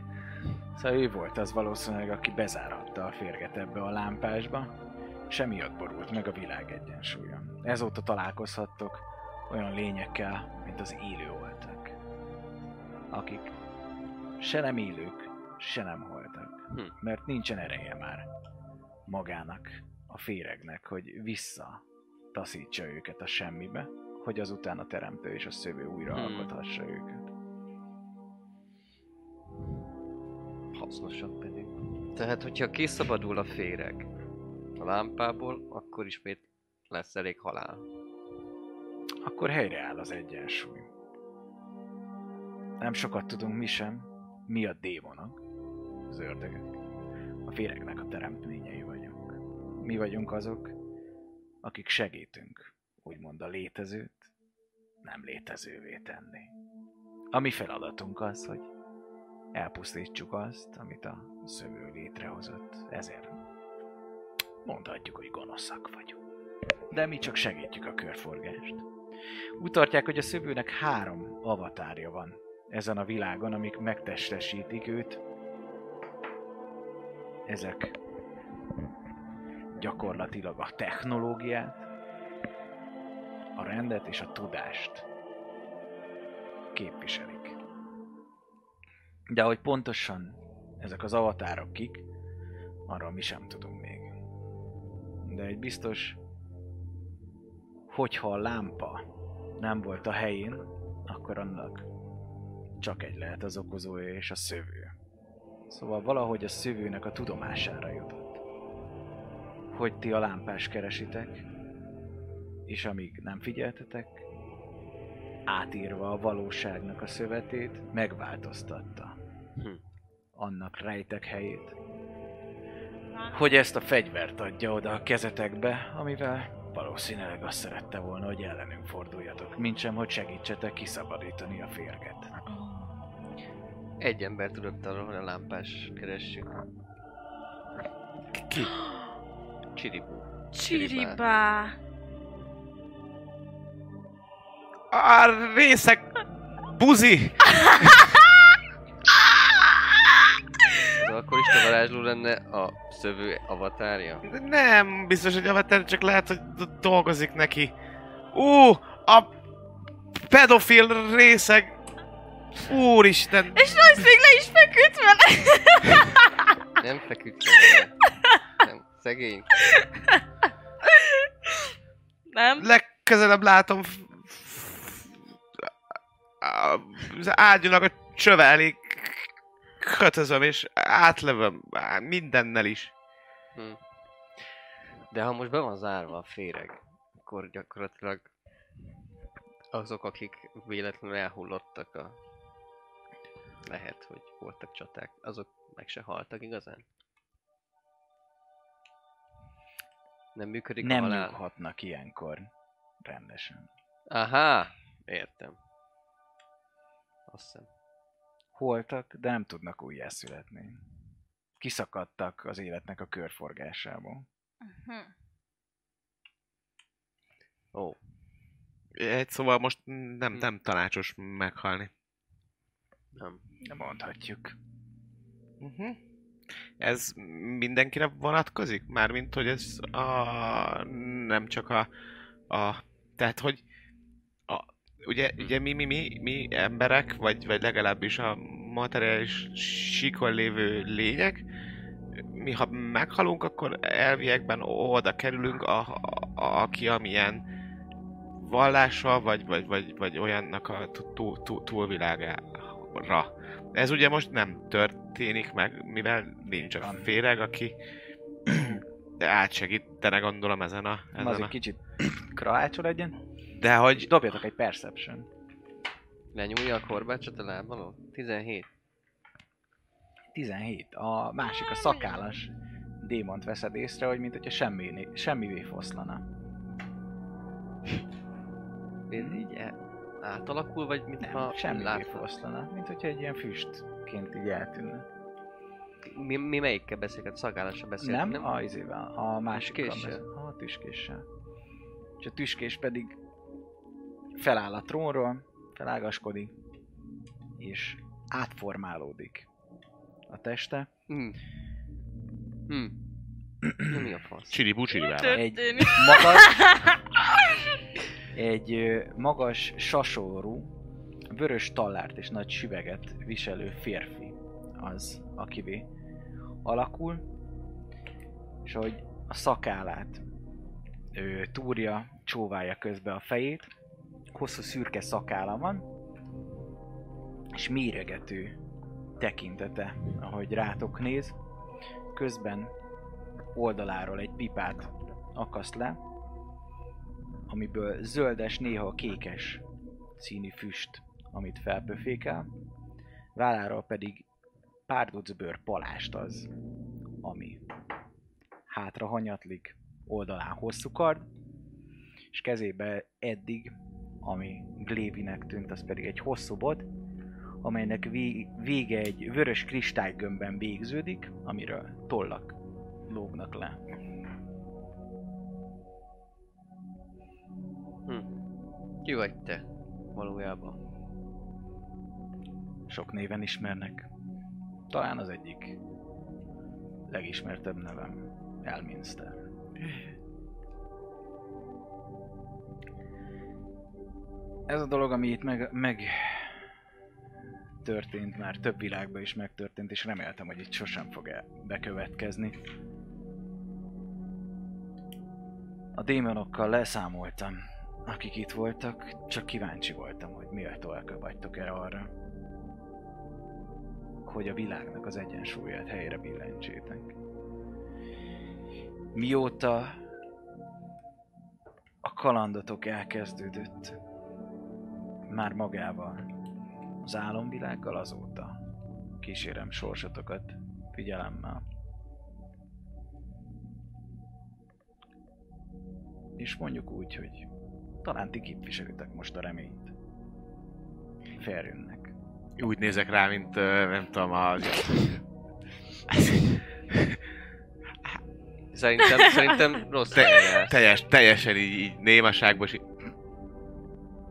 Speaker 1: Szóval ő volt az valószínűleg, aki bezárhatta a férget ebbe a lámpásba, és emiatt borult meg a világ egyensúlya. Ezóta találkozhattok olyan lényekkel, mint az élő voltak, akik se nem élők, se nem holtak,
Speaker 4: Hm.
Speaker 1: mert nincsen ereje már magának, a féregnek, hogy vissza taszítsa őket a semmibe, hogy azután a teremtő és a szövő újra
Speaker 4: Hmm.
Speaker 1: alkothassa őket.
Speaker 4: hasznosak pedig. Tehát, hogyha kiszabadul a féreg a lámpából, akkor ismét lesz elég halál.
Speaker 1: Akkor helyreáll az egyensúly. Nem sokat tudunk mi sem, mi a démonok, az ördögök. A féregnek a teremtményei vagyunk. Mi vagyunk azok, akik segítünk, úgymond a létezőt, nem létezővé tenni. A mi feladatunk az, hogy elpusztítsuk azt, amit a szövő létrehozott. Ezért mondhatjuk, hogy gonoszak vagyunk. De mi csak segítjük a körforgást. Úgy tartják, hogy a szövőnek három avatárja van ezen a világon, amik megtestesítik őt. Ezek gyakorlatilag a technológiát, a rendet és a tudást képviselik. De hogy pontosan ezek az avatárok kik, arról mi sem tudunk még. De egy biztos, hogyha a lámpa nem volt a helyén, akkor annak csak egy lehet az okozója és a szövő. Szóval valahogy a szövőnek a tudomására jutott. Hogy ti a lámpás keresitek, és amíg nem figyeltetek, átírva a valóságnak a szövetét, megváltoztatta
Speaker 4: Hm.
Speaker 1: annak rejtek helyét. Hogy ezt a fegyvert adja oda a kezetekbe, amivel valószínűleg azt szerette volna, hogy ellenünk forduljatok, mintsem, hogy segítsetek kiszabadítani a férget.
Speaker 4: Egy ember tudott arról, hogy a lámpás keressük.
Speaker 1: Ki?
Speaker 4: Csiribú.
Speaker 3: Csiribá.
Speaker 2: A részek! Buzi!
Speaker 4: Az alkoholista varázsló lenne a szövő avatárja?
Speaker 2: Nem biztos, hogy avatar, csak lehet, hogy d- dolgozik neki. Ú, a pedofil részeg! Úristen!
Speaker 3: És Royce még le is feküdt vele.
Speaker 4: Nem feküdt fel. Nem, szegény.
Speaker 3: Nem?
Speaker 2: Legközelebb látom f- f- a- az ágyúnak a csövelik. Kötözöm és átlövöm á, mindennel is.
Speaker 4: Hm. De ha most be van zárva a féreg, akkor gyakorlatilag azok, akik véletlenül elhullottak a... Lehet, hogy voltak csaták, azok meg se haltak igazán? Nem működik a
Speaker 1: Nem
Speaker 4: halál?
Speaker 1: nyughatnak ilyenkor rendesen.
Speaker 4: Aha! Értem. Azt hiszem.
Speaker 1: Holtak, de nem tudnak újjászületni. Kiszakadtak az életnek a körforgásából.
Speaker 3: Hm.
Speaker 4: Ó,
Speaker 2: Egy szóval most nem,
Speaker 4: Hm.
Speaker 2: nem tanácsos meghalni.
Speaker 4: nem.
Speaker 1: Nem mondhatjuk.
Speaker 2: Uh-huh. Ez mindenkire vonatkozik? Mármint, hogy ez a... nem csak a... a... Tehát, hogy... A, ugye, ugye mi, mi, mi, mi emberek, vagy, vagy legalábbis a materiális síkon lévő lények, mi ha meghalunk, akkor elviekben oda kerülünk, a, a, a, aki amilyen vallással, vagy, vagy, vagy, vagy olyannak a tú- tú- tú- túlvilágára. Ez ugye most nem történik meg, mivel nincs a féreg, aki de átsegítene gondolom ezen a...
Speaker 1: Na, az
Speaker 2: Ezen
Speaker 1: egy
Speaker 2: a...
Speaker 1: kicsit kralácsol egyen,
Speaker 2: De
Speaker 1: és
Speaker 2: hogy...
Speaker 1: dobjatok egy perception.
Speaker 4: Lenyúlja a korbácsot a láb alól? 17.
Speaker 1: 17. A másik, a szakállas démont veszed észre, hogy mint hogyha semmi, semmivé foszlana.
Speaker 4: Ez így e- átalakul, vagy mint
Speaker 1: Nem,
Speaker 4: ha
Speaker 1: semmivé
Speaker 4: látna?
Speaker 1: foszlana. Mint hogyha egy ilyen füstként így eltűnne.
Speaker 4: Mi, mi melyikkel beszélget? Szagálásra beszélt,
Speaker 1: Nem,
Speaker 4: nem?
Speaker 1: nem? A, izével, a másikkal.
Speaker 4: Tüskéssel?
Speaker 1: beszél. A tüskéssel. És a tüskés pedig feláll a trónról, felágaskodik, és átformálódik a teste.
Speaker 4: Hm. Hm. Na, mi a fasz?
Speaker 2: Csiri bucsirivával.
Speaker 1: Egy
Speaker 3: Történik.
Speaker 1: magas, egy ö, magas sasorú, vörös tallárt és nagy süveget viselő férfi az, akivé alakul, és hogy a szakállát ő túrja, csóválja közbe a fejét, hosszú szürke szakála van, és méregető tekintete, ahogy rátok néz. Közben oldaláról egy pipát akaszt le, amiből zöldes, néha kékes színű füst, amit felpöfékel. Válláról pedig pár duc bőr palást az, ami hátra hanyatlik, oldalán hosszú kard, és kezébe eddig, ami glévinek tűnt, az pedig egy hosszú bot, amelynek vé- vége egy vörös kristálygömbben végződik, amiről tollak lógnak le.
Speaker 4: Hm. Ki vagy te valójában?
Speaker 1: Sok néven ismernek. Talán az egyik legismertebb nevem Elminster. Ez a dolog, ami itt meg, meg történt, már több világban is megtörtént, és reméltem, hogy itt sosem fog el bekövetkezni. A démonokkal leszámoltam, akik itt voltak, csak kíváncsi voltam, hogy miért vagytok erre arra hogy a világnak az egyensúlyát helyre billentsétek. Mióta a kalandotok elkezdődött, már magával, az álomvilággal azóta kísérem sorsotokat figyelemmel. És mondjuk úgy, hogy talán ti képviselitek most a reményt. Felrűnnek.
Speaker 2: Úgy nézek rá, mint ö, nem tudom, az...
Speaker 4: Szerintem, szerintem rossz helyen jársz.
Speaker 2: Teljes, teljesen így, így némaságban, és így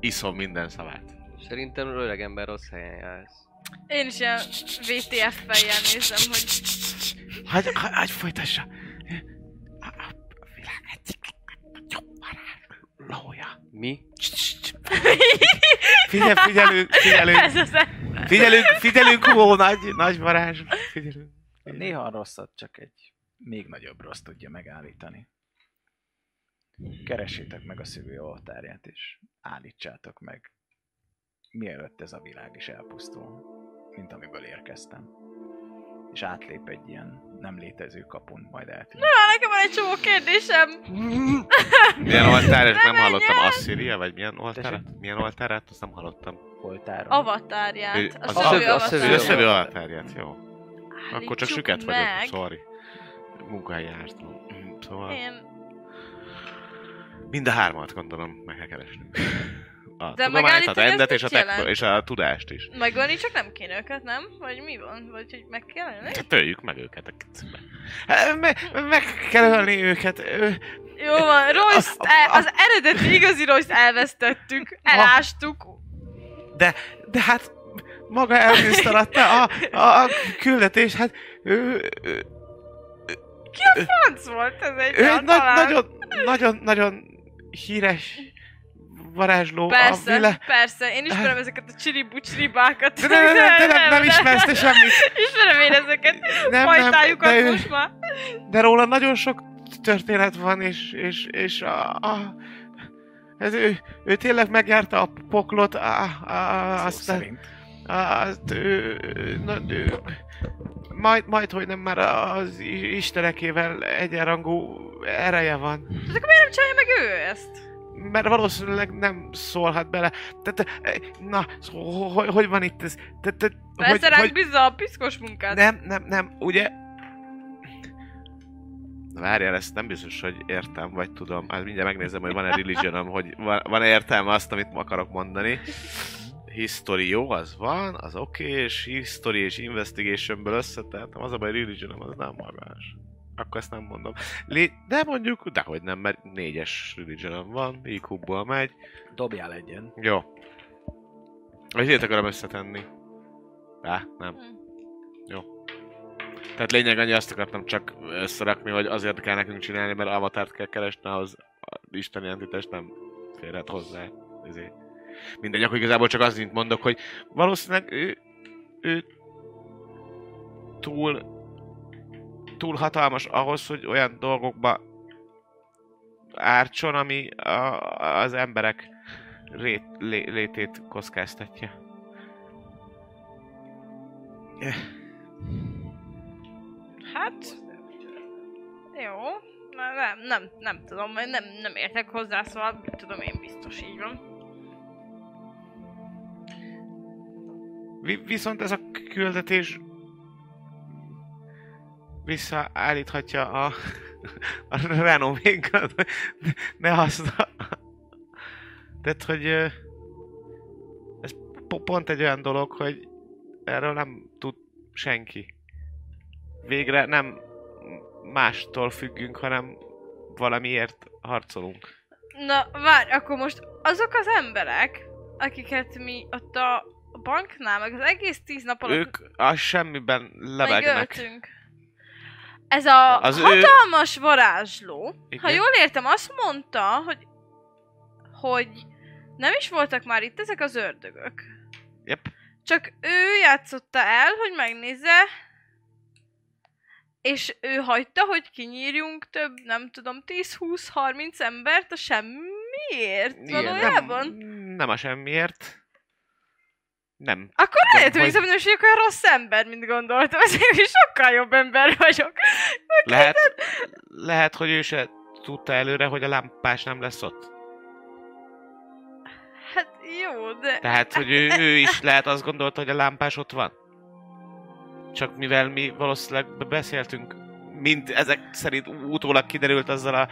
Speaker 2: iszom minden szavát.
Speaker 4: Szerintem öreg ember rossz helyen jársz.
Speaker 3: Én is ilyen VTF fejjel nézem, hogy
Speaker 2: Hagy, hagy, hagy folytassa. A, a, a világ egyik legjobb varázs- lója.
Speaker 4: Mi?
Speaker 2: Figyel, figyelünk,
Speaker 3: ez
Speaker 2: figyelünk,
Speaker 3: az e-
Speaker 2: figyelünk, figyelünk, ó, nagy, nagy varázs, figyelünk.
Speaker 1: Néha a rosszat csak egy még nagyobb rossz tudja megállítani. Keresétek meg a szívő oltárját, és állítsátok meg, mielőtt ez a világ is elpusztul, mint amiből érkeztem. És átlép egy ilyen nem létező kapun, majd eltűnik.
Speaker 3: nekem van egy csomó kérdésem.
Speaker 4: Hm.
Speaker 2: Milyen oltár, és nem
Speaker 3: menjen!
Speaker 2: hallottam, Asszíria, vagy milyen oltár?
Speaker 1: Tessék?
Speaker 2: Milyen oltárát, azt nem hallottam.
Speaker 1: Oltáron.
Speaker 3: Avatárját.
Speaker 2: Az
Speaker 3: Hát, A szövő
Speaker 4: a- a szövő-
Speaker 2: Ő
Speaker 3: avatárját.
Speaker 2: összevő oltárját, jó. Akkor
Speaker 3: Állítsuk
Speaker 2: csak süket
Speaker 3: meg.
Speaker 2: vagyok, szóval sorry. Munkahelyen jártam. Szóval
Speaker 3: Én...
Speaker 2: mind a hármat gondolom meg kell keresni. A
Speaker 3: De
Speaker 2: tudományt, a
Speaker 3: megállítani ezt
Speaker 2: rendet és a,
Speaker 3: mit jelent?
Speaker 2: techno- és a tudást is.
Speaker 3: Megölni csak nem kéne őket, nem? Vagy mi van? Vagy hogy meg kell ölni?
Speaker 2: Hát Töljük meg őket a kicsibe. Hát, Me- meg kell ölni őket. Ő-
Speaker 3: Jó van, Royce, el, az eredeti igazi Royce elvesztettük,
Speaker 2: Ah.
Speaker 3: elástuk.
Speaker 2: De hát maga elbiztalatta a, a, a küldetés, hát ő, ő,
Speaker 3: Franc volt ez egy
Speaker 2: ő egy nagy,
Speaker 3: talán.
Speaker 2: nagyon, nagyon, nagyon híres varázsló a
Speaker 3: Persze,
Speaker 2: vilá...
Speaker 3: persze, én ismerem ezeket a csiribucsiribákat.
Speaker 2: Ah. De, de, de, de, de, nem, nem ismersz te semmit.
Speaker 3: Ismerem én ezeket,
Speaker 2: Nem, nem,
Speaker 3: fajtájukat
Speaker 2: de, ő,
Speaker 3: most már.
Speaker 2: de róla nagyon sok történet van, és, és, és a, a, ez ő, ő tényleg megjárta a poklot, a, a,
Speaker 1: Szó
Speaker 2: aztán
Speaker 1: szerint.
Speaker 2: Azt, ő, na, ő, majd, majd, hogy nem már az i- istenekével egyenrangú ereje van.
Speaker 3: Nem csinálja meg ő ezt.
Speaker 2: Mert valószínűleg nem szólhat bele. Tehát, eh, na, szó- ho- hogy, hogy van itt ez? Tehát, tehát,
Speaker 3: Persze
Speaker 2: hogy,
Speaker 3: ránk
Speaker 2: hogy,
Speaker 3: bízza a piszkos munkát.
Speaker 2: nem, nem, nem, ugye? Na várjál, ezt nem biztos, hogy értem, vagy tudom. Hát mindjárt megnézem, hogy van-e religionom, hogy va- van-e értelme azt, amit akarok mondani. History jó, az van, az oké, okay, és history és investigationből összeteltem, az a baj, religionom az nem magás. Akkor ezt nem mondom. Lé- de mondjuk, dehogy nem, mert négyes religionom van, IQ-ból megy.
Speaker 1: Dobjál egyen.
Speaker 2: Jó. Ezért akarom összetenni. Á, nem.
Speaker 3: Hm.
Speaker 2: Jó. Tehát lényeg annyi azt akartam csak összerakni, hogy azért kell nekünk csinálni, mert avatárt kell keresni, ahhoz a isteni entitás nem férhet hozzá. Ezért. Mindegy, akkor igazából csak az mint mondok, hogy valószínűleg ő, ő túl, túl hatalmas ahhoz, hogy olyan dolgokba ártson, ami a, az emberek rét, lé, létét kockáztatja.
Speaker 3: Hát... Jó. Na, Nem, nem, nem tudom, mert nem, nem értek hozzá, szóval mit tudom én biztos így van.
Speaker 2: Vi- viszont ez a küldetés visszaállíthatja a, a renomékat. Ne használ. Tehát, hogy ö, ez po- pont egy olyan dolog, hogy erről nem tud senki. Végre nem mástól függünk, hanem valamiért harcolunk.
Speaker 3: Na, várj, akkor most azok az emberek, akiket mi ott a banknál, meg az egész tíz nap alatt
Speaker 2: Ők a semmiben lebegnek.
Speaker 3: megöltünk. Ez a
Speaker 2: Az
Speaker 3: az
Speaker 2: ő-
Speaker 3: hatalmas ő... varázsló,
Speaker 2: Igen.
Speaker 3: ha jól értem, azt mondta, hogy, hogy nem is voltak már itt ezek az ördögök.
Speaker 2: Jep.
Speaker 3: Csak ő játszotta el, hogy megnézze, és ő hagyta, hogy kinyírjunk több, nem tudom, 10-20-30 embert a semmiért
Speaker 2: Igen,
Speaker 3: valójában.
Speaker 2: nem, nem a semmiért. Nem.
Speaker 3: Akkor
Speaker 2: De
Speaker 3: lehet, hogy
Speaker 2: vagy-
Speaker 3: bizonyos, hogy olyan rossz ember, mint gondoltam, ezért is sokkal jobb ember vagyok.
Speaker 2: Lehet, lehet, hogy ő se tudta előre, hogy a lámpás nem lesz ott.
Speaker 3: Hát jó, de...
Speaker 2: Tehát, hogy ő, ő is lehet azt gondolta, hogy a lámpás ott van. Csak mivel mi valószínűleg be- beszéltünk, mint ezek szerint utólag kiderült azzal a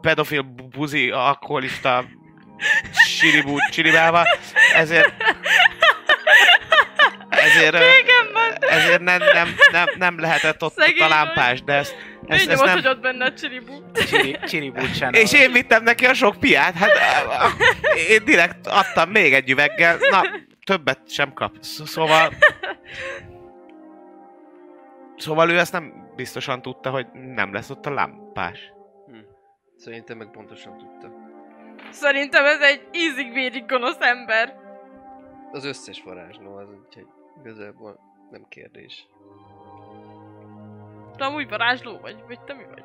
Speaker 2: pedofil bu- buzi alkoholista siribú csiribával, ezért ezért, ö,
Speaker 3: Végem van!
Speaker 2: ezért nem, nem, nem, nem lehetett ott
Speaker 3: Szegény
Speaker 2: a
Speaker 3: vagy.
Speaker 2: lámpás, de ezt,
Speaker 3: Ez, ez
Speaker 2: ezt, ezt
Speaker 3: nem...
Speaker 2: nem,
Speaker 3: hogy ott benne a csiribú.
Speaker 1: Csiri, csiribúcsán.
Speaker 2: És én vittem neki a sok piát, hát á, á, én direkt adtam még egy üveggel, na, többet sem kap. Sz- Szóval... Szóval ő ezt nem biztosan tudta, hogy nem lesz ott a lámpás.
Speaker 4: Szerintem meg pontosan tudta.
Speaker 3: Szerintem ez egy ízig-vérig gonosz ember.
Speaker 4: Az összes varázsló az, úgyhogy igazából nem kérdés.
Speaker 3: Te amúgy varázsló vagy, vagy te mi vagy?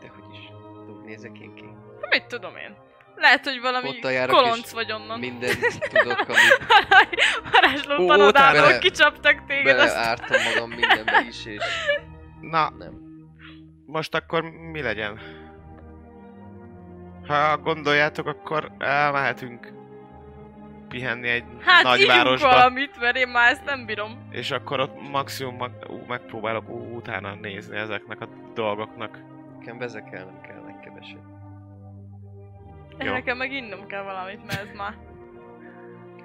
Speaker 4: De hogy is. Úgy nézek én ki.
Speaker 3: Hát mit tudom én? Lehet, hogy valami
Speaker 4: Ott járok,
Speaker 3: kolonc
Speaker 4: és
Speaker 3: vagy onnan.
Speaker 4: Mindent tudok, amit
Speaker 3: varázsló
Speaker 2: Ó,
Speaker 3: tanodából
Speaker 4: tényleg.
Speaker 3: kicsaptak téged, azt...
Speaker 4: beleártam magam mindenbe is, és
Speaker 2: Na,
Speaker 4: nem.
Speaker 2: most akkor mi legyen? Ha gondoljátok, akkor elmehetünk pihenni egy
Speaker 3: Hát írjunk
Speaker 2: nagyvárosba.
Speaker 3: valamit, mert én már ezt nem bírom.
Speaker 2: És akkor ott maximum mag- ú, megpróbálok ú- utána nézni ezeknek a dolgoknak.
Speaker 4: Nekem vezekelnem kell legkeveset.
Speaker 3: És
Speaker 2: Jó.
Speaker 3: nekem meg innom kell valamit, mert ez már...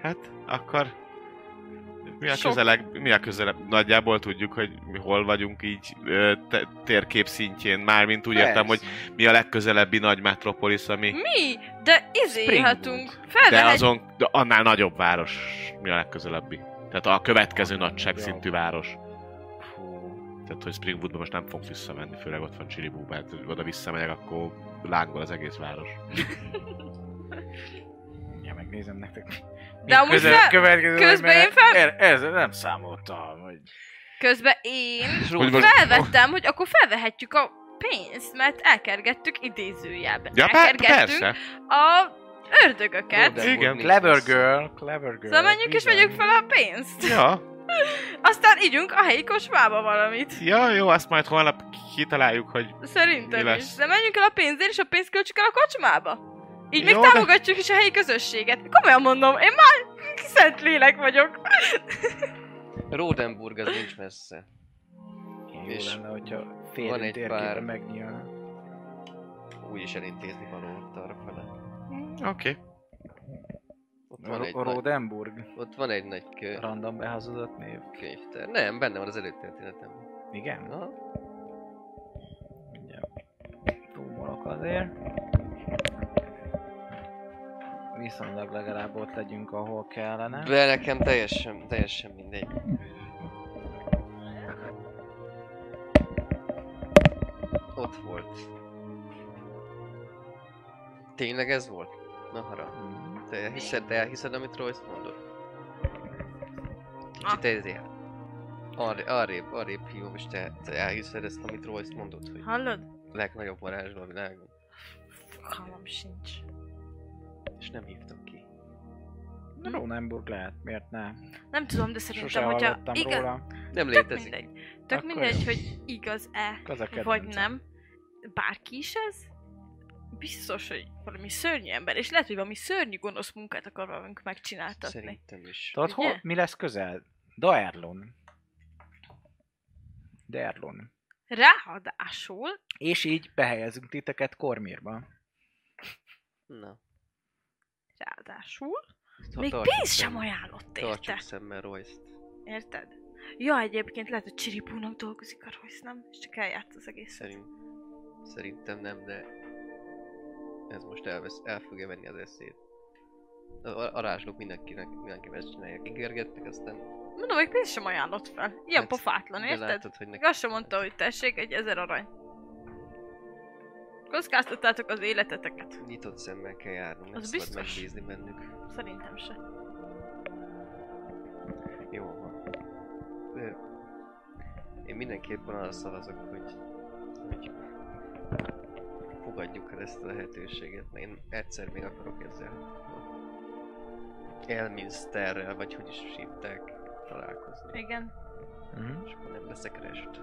Speaker 2: Hát, akkor... Mi a,
Speaker 3: Sok.
Speaker 2: közeleg, mi a közeleg? Nagyjából tudjuk, hogy mi hol vagyunk így ö, te- térkép szintjén. Mármint úgy értem, hogy
Speaker 4: Persze.
Speaker 2: mi a legközelebbi nagy metropolis, ami...
Speaker 3: Mi? De izéhatunk.
Speaker 2: De
Speaker 3: Felvehet...
Speaker 2: azon, de annál nagyobb város mi a legközelebbi. Tehát a következő nagyságszintű város. Tehát, hogy Springwoodba most nem fogunk visszamenni, főleg ott van Chilibú, mert hogy oda visszamegyek, akkor lángol az egész város.
Speaker 1: Ja, megnézem nektek.
Speaker 3: De amúgy
Speaker 1: Közel-
Speaker 3: fel-
Speaker 1: következő, vagy,
Speaker 3: közben
Speaker 1: mert
Speaker 3: én fel-
Speaker 1: er- Ezzel nem számoltam, hogy...
Speaker 3: Közben én
Speaker 2: Hogy most-
Speaker 3: felvettem, hogy akkor felvehetjük a pénzt, mert elkergettük idézőjelben.
Speaker 2: Ja, per-
Speaker 3: elkergettük
Speaker 2: persze.
Speaker 3: a ördögöket.
Speaker 4: Voldemort
Speaker 2: Igen.
Speaker 4: nincs
Speaker 1: Clever
Speaker 4: messze.
Speaker 1: girl, clever girl.
Speaker 3: Szóval menjünk és
Speaker 1: bizony.
Speaker 3: vegyük fel a pénzt.
Speaker 2: Ja,
Speaker 3: Aztán ígyunk a helyi kocsmába valamit.
Speaker 2: ja, jó, azt majd holnap kitaláljuk, hogy Mi
Speaker 3: Szerintem
Speaker 2: lesz?
Speaker 3: is. De menjünk el a pénzért, és a pénzt költsük el a kocsmába. Így még
Speaker 2: Jó, de-
Speaker 3: támogatjuk is a helyi közösséget. Komolyan mondom, én már szent lélek vagyok.
Speaker 4: Rodenburg az nincs messze.
Speaker 1: Jó
Speaker 4: és
Speaker 1: lenne, hogyha
Speaker 4: van
Speaker 1: fél
Speaker 4: egy
Speaker 1: térképre
Speaker 4: pár-
Speaker 1: megnyílna.
Speaker 4: Úgy is elintézni való ott arra fele.
Speaker 2: oké. Okay.
Speaker 4: Ott van, egy
Speaker 1: Ro-
Speaker 4: nagy,
Speaker 1: Rodenburg,
Speaker 4: ott van egy nagy kö,
Speaker 1: random behazudott név.
Speaker 4: könyvtár. Nem, benne van az előtörténetemben.
Speaker 1: Igen?
Speaker 4: Na,
Speaker 1: Mindjárt túlmolok azért. Viszonylag legalább ott legyünk, ahol kellene.
Speaker 4: De nekem teljesen, teljesen mindegy. Ott volt. Tényleg ez volt? Na harag.
Speaker 1: Mm.
Speaker 4: Te hiszed, te elhiszed, amit Royce mondott? Kicsit ezért. Arrébb, arrébb, arrébb hívom, és te, te elhiszed ezt, amit Royce mondott, hogy
Speaker 3: Hallod?
Speaker 4: a legnagyobb varázsló a világon.
Speaker 3: Fogalmam sincs.
Speaker 4: És nem hívtam ki.
Speaker 1: Rónenburg lehet, miért ne?
Speaker 3: Nem tudom, de szerintem,
Speaker 1: Sose
Speaker 3: hogyha
Speaker 1: hallottam
Speaker 3: igaz,
Speaker 1: róla.
Speaker 4: Nem
Speaker 3: tök
Speaker 4: létezik.
Speaker 3: mindegy, tök
Speaker 1: Akkor
Speaker 3: mindegy
Speaker 1: jó.
Speaker 3: hogy igaz-e,
Speaker 1: Az a
Speaker 3: vagy
Speaker 1: kedvencem.
Speaker 3: nem. Bárki is ez, biztos, hogy valami szörnyű ember, és lehet, hogy valami szörnyű gonosz munkát akar velünk megcsináltatni.
Speaker 4: Szerintem is.
Speaker 1: Tudod,
Speaker 3: Ugye?
Speaker 1: hol, mi lesz közel? Daerlon. Daerlon.
Speaker 3: Ráadásul,
Speaker 1: És így behelyezünk titeket Kormirba.
Speaker 4: Na.
Speaker 3: ráadásul,
Speaker 4: Tar-
Speaker 3: még
Speaker 4: tartsuk
Speaker 3: pénzt sem
Speaker 4: szemmel-
Speaker 3: ajánlott
Speaker 4: Tartsuk
Speaker 3: érte.
Speaker 4: szemmel royce
Speaker 3: Érted? Ja, egyébként lehet, hogy Csiripúnak dolgozik a Royce, nem? És csak eljárt az egész.
Speaker 4: Szerint, szerintem nem, de ez most elvesz, el fogja venni az eszét. A- a- Arázslók mindenkinek, mindenki ezt csinálják, ígérgetnek, aztán...
Speaker 3: Mondom, hogy pénzt sem ajánlott fel. Ilyen
Speaker 4: Hát,
Speaker 3: pofátlan,
Speaker 4: de
Speaker 3: érted?
Speaker 4: Látod, hogy
Speaker 3: Meg
Speaker 4: neki...
Speaker 3: azt sem mondta, hogy tessék, egy ezer arany. Kockáztattátok az életeteket.
Speaker 4: Nyitott szemmel kell járnunk, nem
Speaker 3: Az
Speaker 4: szabad
Speaker 3: biztos.
Speaker 4: megbízni bennük.
Speaker 3: Szerintem se.
Speaker 4: Jó van. Ö, Én mindenképpen arra szavazok, hogy, hogy fogadjuk el ezt a lehetőséget, mert én egyszer még akarok ezzel Elminsterrel, vagy hogy is hívták, találkozni.
Speaker 3: Igen,
Speaker 1: Uh-huh.
Speaker 4: És akkor nem leszek rest.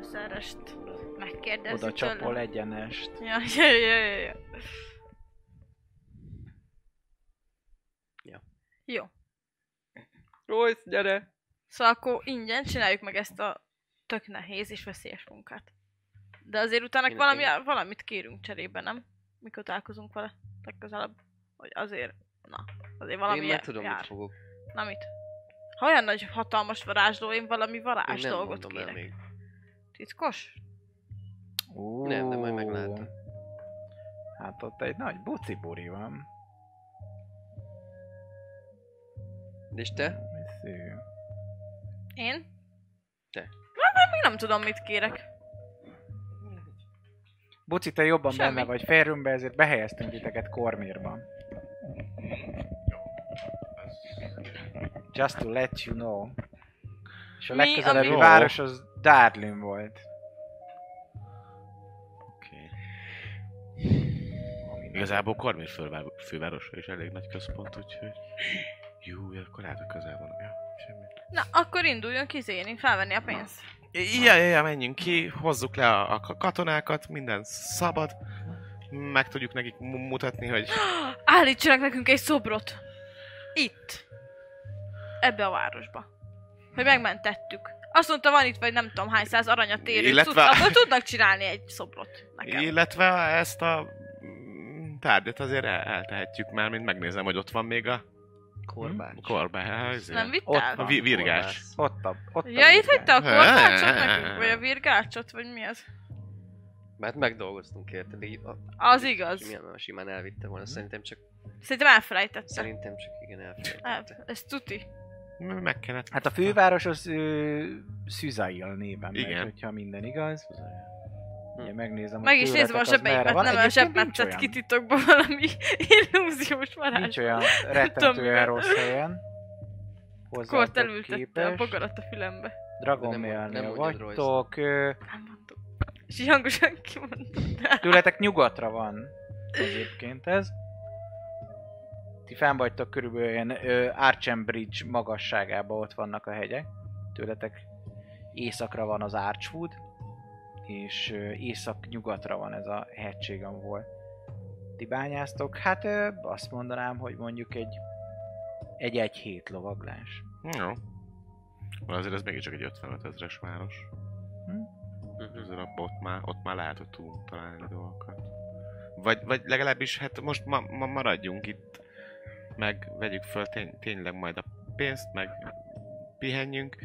Speaker 3: összerest megkérdezi
Speaker 1: Oda csapol
Speaker 3: tőle.
Speaker 1: egyenest.
Speaker 3: Ja, ja, ja, ja, ja.
Speaker 4: Ja.
Speaker 3: Jó.
Speaker 4: Royce, gyere!
Speaker 3: Szóval akkor ingyen csináljuk meg ezt a tök nehéz és veszélyes munkát. De azért utána
Speaker 4: Én-
Speaker 3: valami,
Speaker 4: én-
Speaker 3: valamit kérünk cserébe, nem? Mikor találkozunk vele legközelebb. Hogy azért, na, azért valami
Speaker 4: Én már tudom,
Speaker 3: jár.
Speaker 4: mit fogok.
Speaker 3: Na mit? Ha olyan nagy hatalmas varázsló, én valami
Speaker 4: Én
Speaker 3: varázs
Speaker 4: nem
Speaker 3: dolgot
Speaker 4: mondom el
Speaker 3: kérek.
Speaker 4: még.
Speaker 3: Titkos?
Speaker 4: Nem, de majd meglátom.
Speaker 1: Hát ott egy nagy buciburi van.
Speaker 4: És te?
Speaker 1: Szű.
Speaker 3: Én?
Speaker 4: Te.
Speaker 3: Na, de még nem tudom, mit kérek.
Speaker 1: Buci, te jobban
Speaker 3: Semmi.
Speaker 1: Semmi. benne vagy férünkbe, ezért behelyeztünk titeket Kormirba. Just to let you know. És a
Speaker 3: Mi,
Speaker 1: legközelebbi
Speaker 3: ami-
Speaker 1: város az Darlin volt.
Speaker 2: Okay. Igazából Kormir fővár- fővárosa is elég nagy központ, úgyhogy... Jó, akkor lehet, hogy közel van. Ja, semmi.
Speaker 3: Na, akkor induljunk izéni, felvenni a pénzt.
Speaker 2: Ja, ja, ja, menjünk ki, hozzuk le a, a katonákat, minden szabad. Meg tudjuk nekik mu- mutatni, hogy
Speaker 3: Állítsanak nekünk egy szobrot. Itt. Ebbe a városba. Hogy megmentettük. Azt mondta, van itt vagy nem tudom hány száz aranyat érő
Speaker 2: Illetve-
Speaker 3: Illetve... abból tudnak csinálni egy szobrot nekem.
Speaker 2: Illetve ezt a mm, tárgyat azért el- eltehetjük már, mint megnézem, hogy ott van még a
Speaker 4: Korbács.
Speaker 2: korbája.
Speaker 3: Nem
Speaker 1: Ott
Speaker 3: vittál?
Speaker 1: van.
Speaker 2: A Hm? vi- virgás.
Speaker 4: Korbász.
Speaker 1: Ott a... Ott a
Speaker 3: Ja, itt
Speaker 1: vége.
Speaker 3: hagyta a korpácsot nekünk?
Speaker 2: Há.
Speaker 3: Vagy a virgácsot? Vagy mi az?
Speaker 4: Mert megdolgoztunk érted, így a...
Speaker 3: Az igaz.
Speaker 4: Simán, simán elvitte volna, szerintem csak,
Speaker 3: Szerintem elfelejtette.
Speaker 4: szerintem csak igen
Speaker 3: El,
Speaker 4: elfelejtette.
Speaker 3: ez tuti.
Speaker 2: Meg kellett.
Speaker 1: Hát a főváros az ö, Szüzail néven megy,
Speaker 2: Igen.
Speaker 1: hogyha minden igaz. Ugye megnézem,
Speaker 3: Meg
Speaker 1: hogy
Speaker 3: is
Speaker 1: tőletek
Speaker 3: nézve a
Speaker 1: az
Speaker 3: zsebeimet,
Speaker 1: merre van.
Speaker 3: nem a
Speaker 1: Egyébként nincs
Speaker 3: zsebemet tett
Speaker 1: olyan.
Speaker 3: ki titokba valami illúziós varázs.
Speaker 1: Nincs olyan
Speaker 3: Tudom, mivel.
Speaker 1: rettentően rossz helyen.
Speaker 3: Kort
Speaker 1: Hozzátok
Speaker 3: elültette a
Speaker 1: képest.
Speaker 3: bogarat a fülembe.
Speaker 1: Dragon
Speaker 4: Nem mond- nem
Speaker 1: Mail-nél
Speaker 4: mondjad Royce-t.
Speaker 1: vagytok. ö,
Speaker 3: Nem mondtuk. És így hangosan kimondtam.
Speaker 1: Tőletek nyugatra van egyébként ez. Ti fenn vagytok körülbelül ilyen ö, Archen Bridge magasságában ott vannak a hegyek. Tőletek északra van az Archwood, és ö, észak-nyugatra van ez a hegység, ahol ti bányáztok. Hát ö, azt mondanám, hogy mondjuk egy egy-egy hét lovaglás.
Speaker 2: Jó. Van azért ez mégiscsak egy 55 ezres város.
Speaker 4: Mhm.
Speaker 2: Azért abban ott már, ott már lehet, hogy tudunk találni dolgokat. Vagy, vagy legalábbis hát most ma, ma maradjunk itt, meg vegyük föl tény, tényleg majd a pénzt, meg pihenjünk,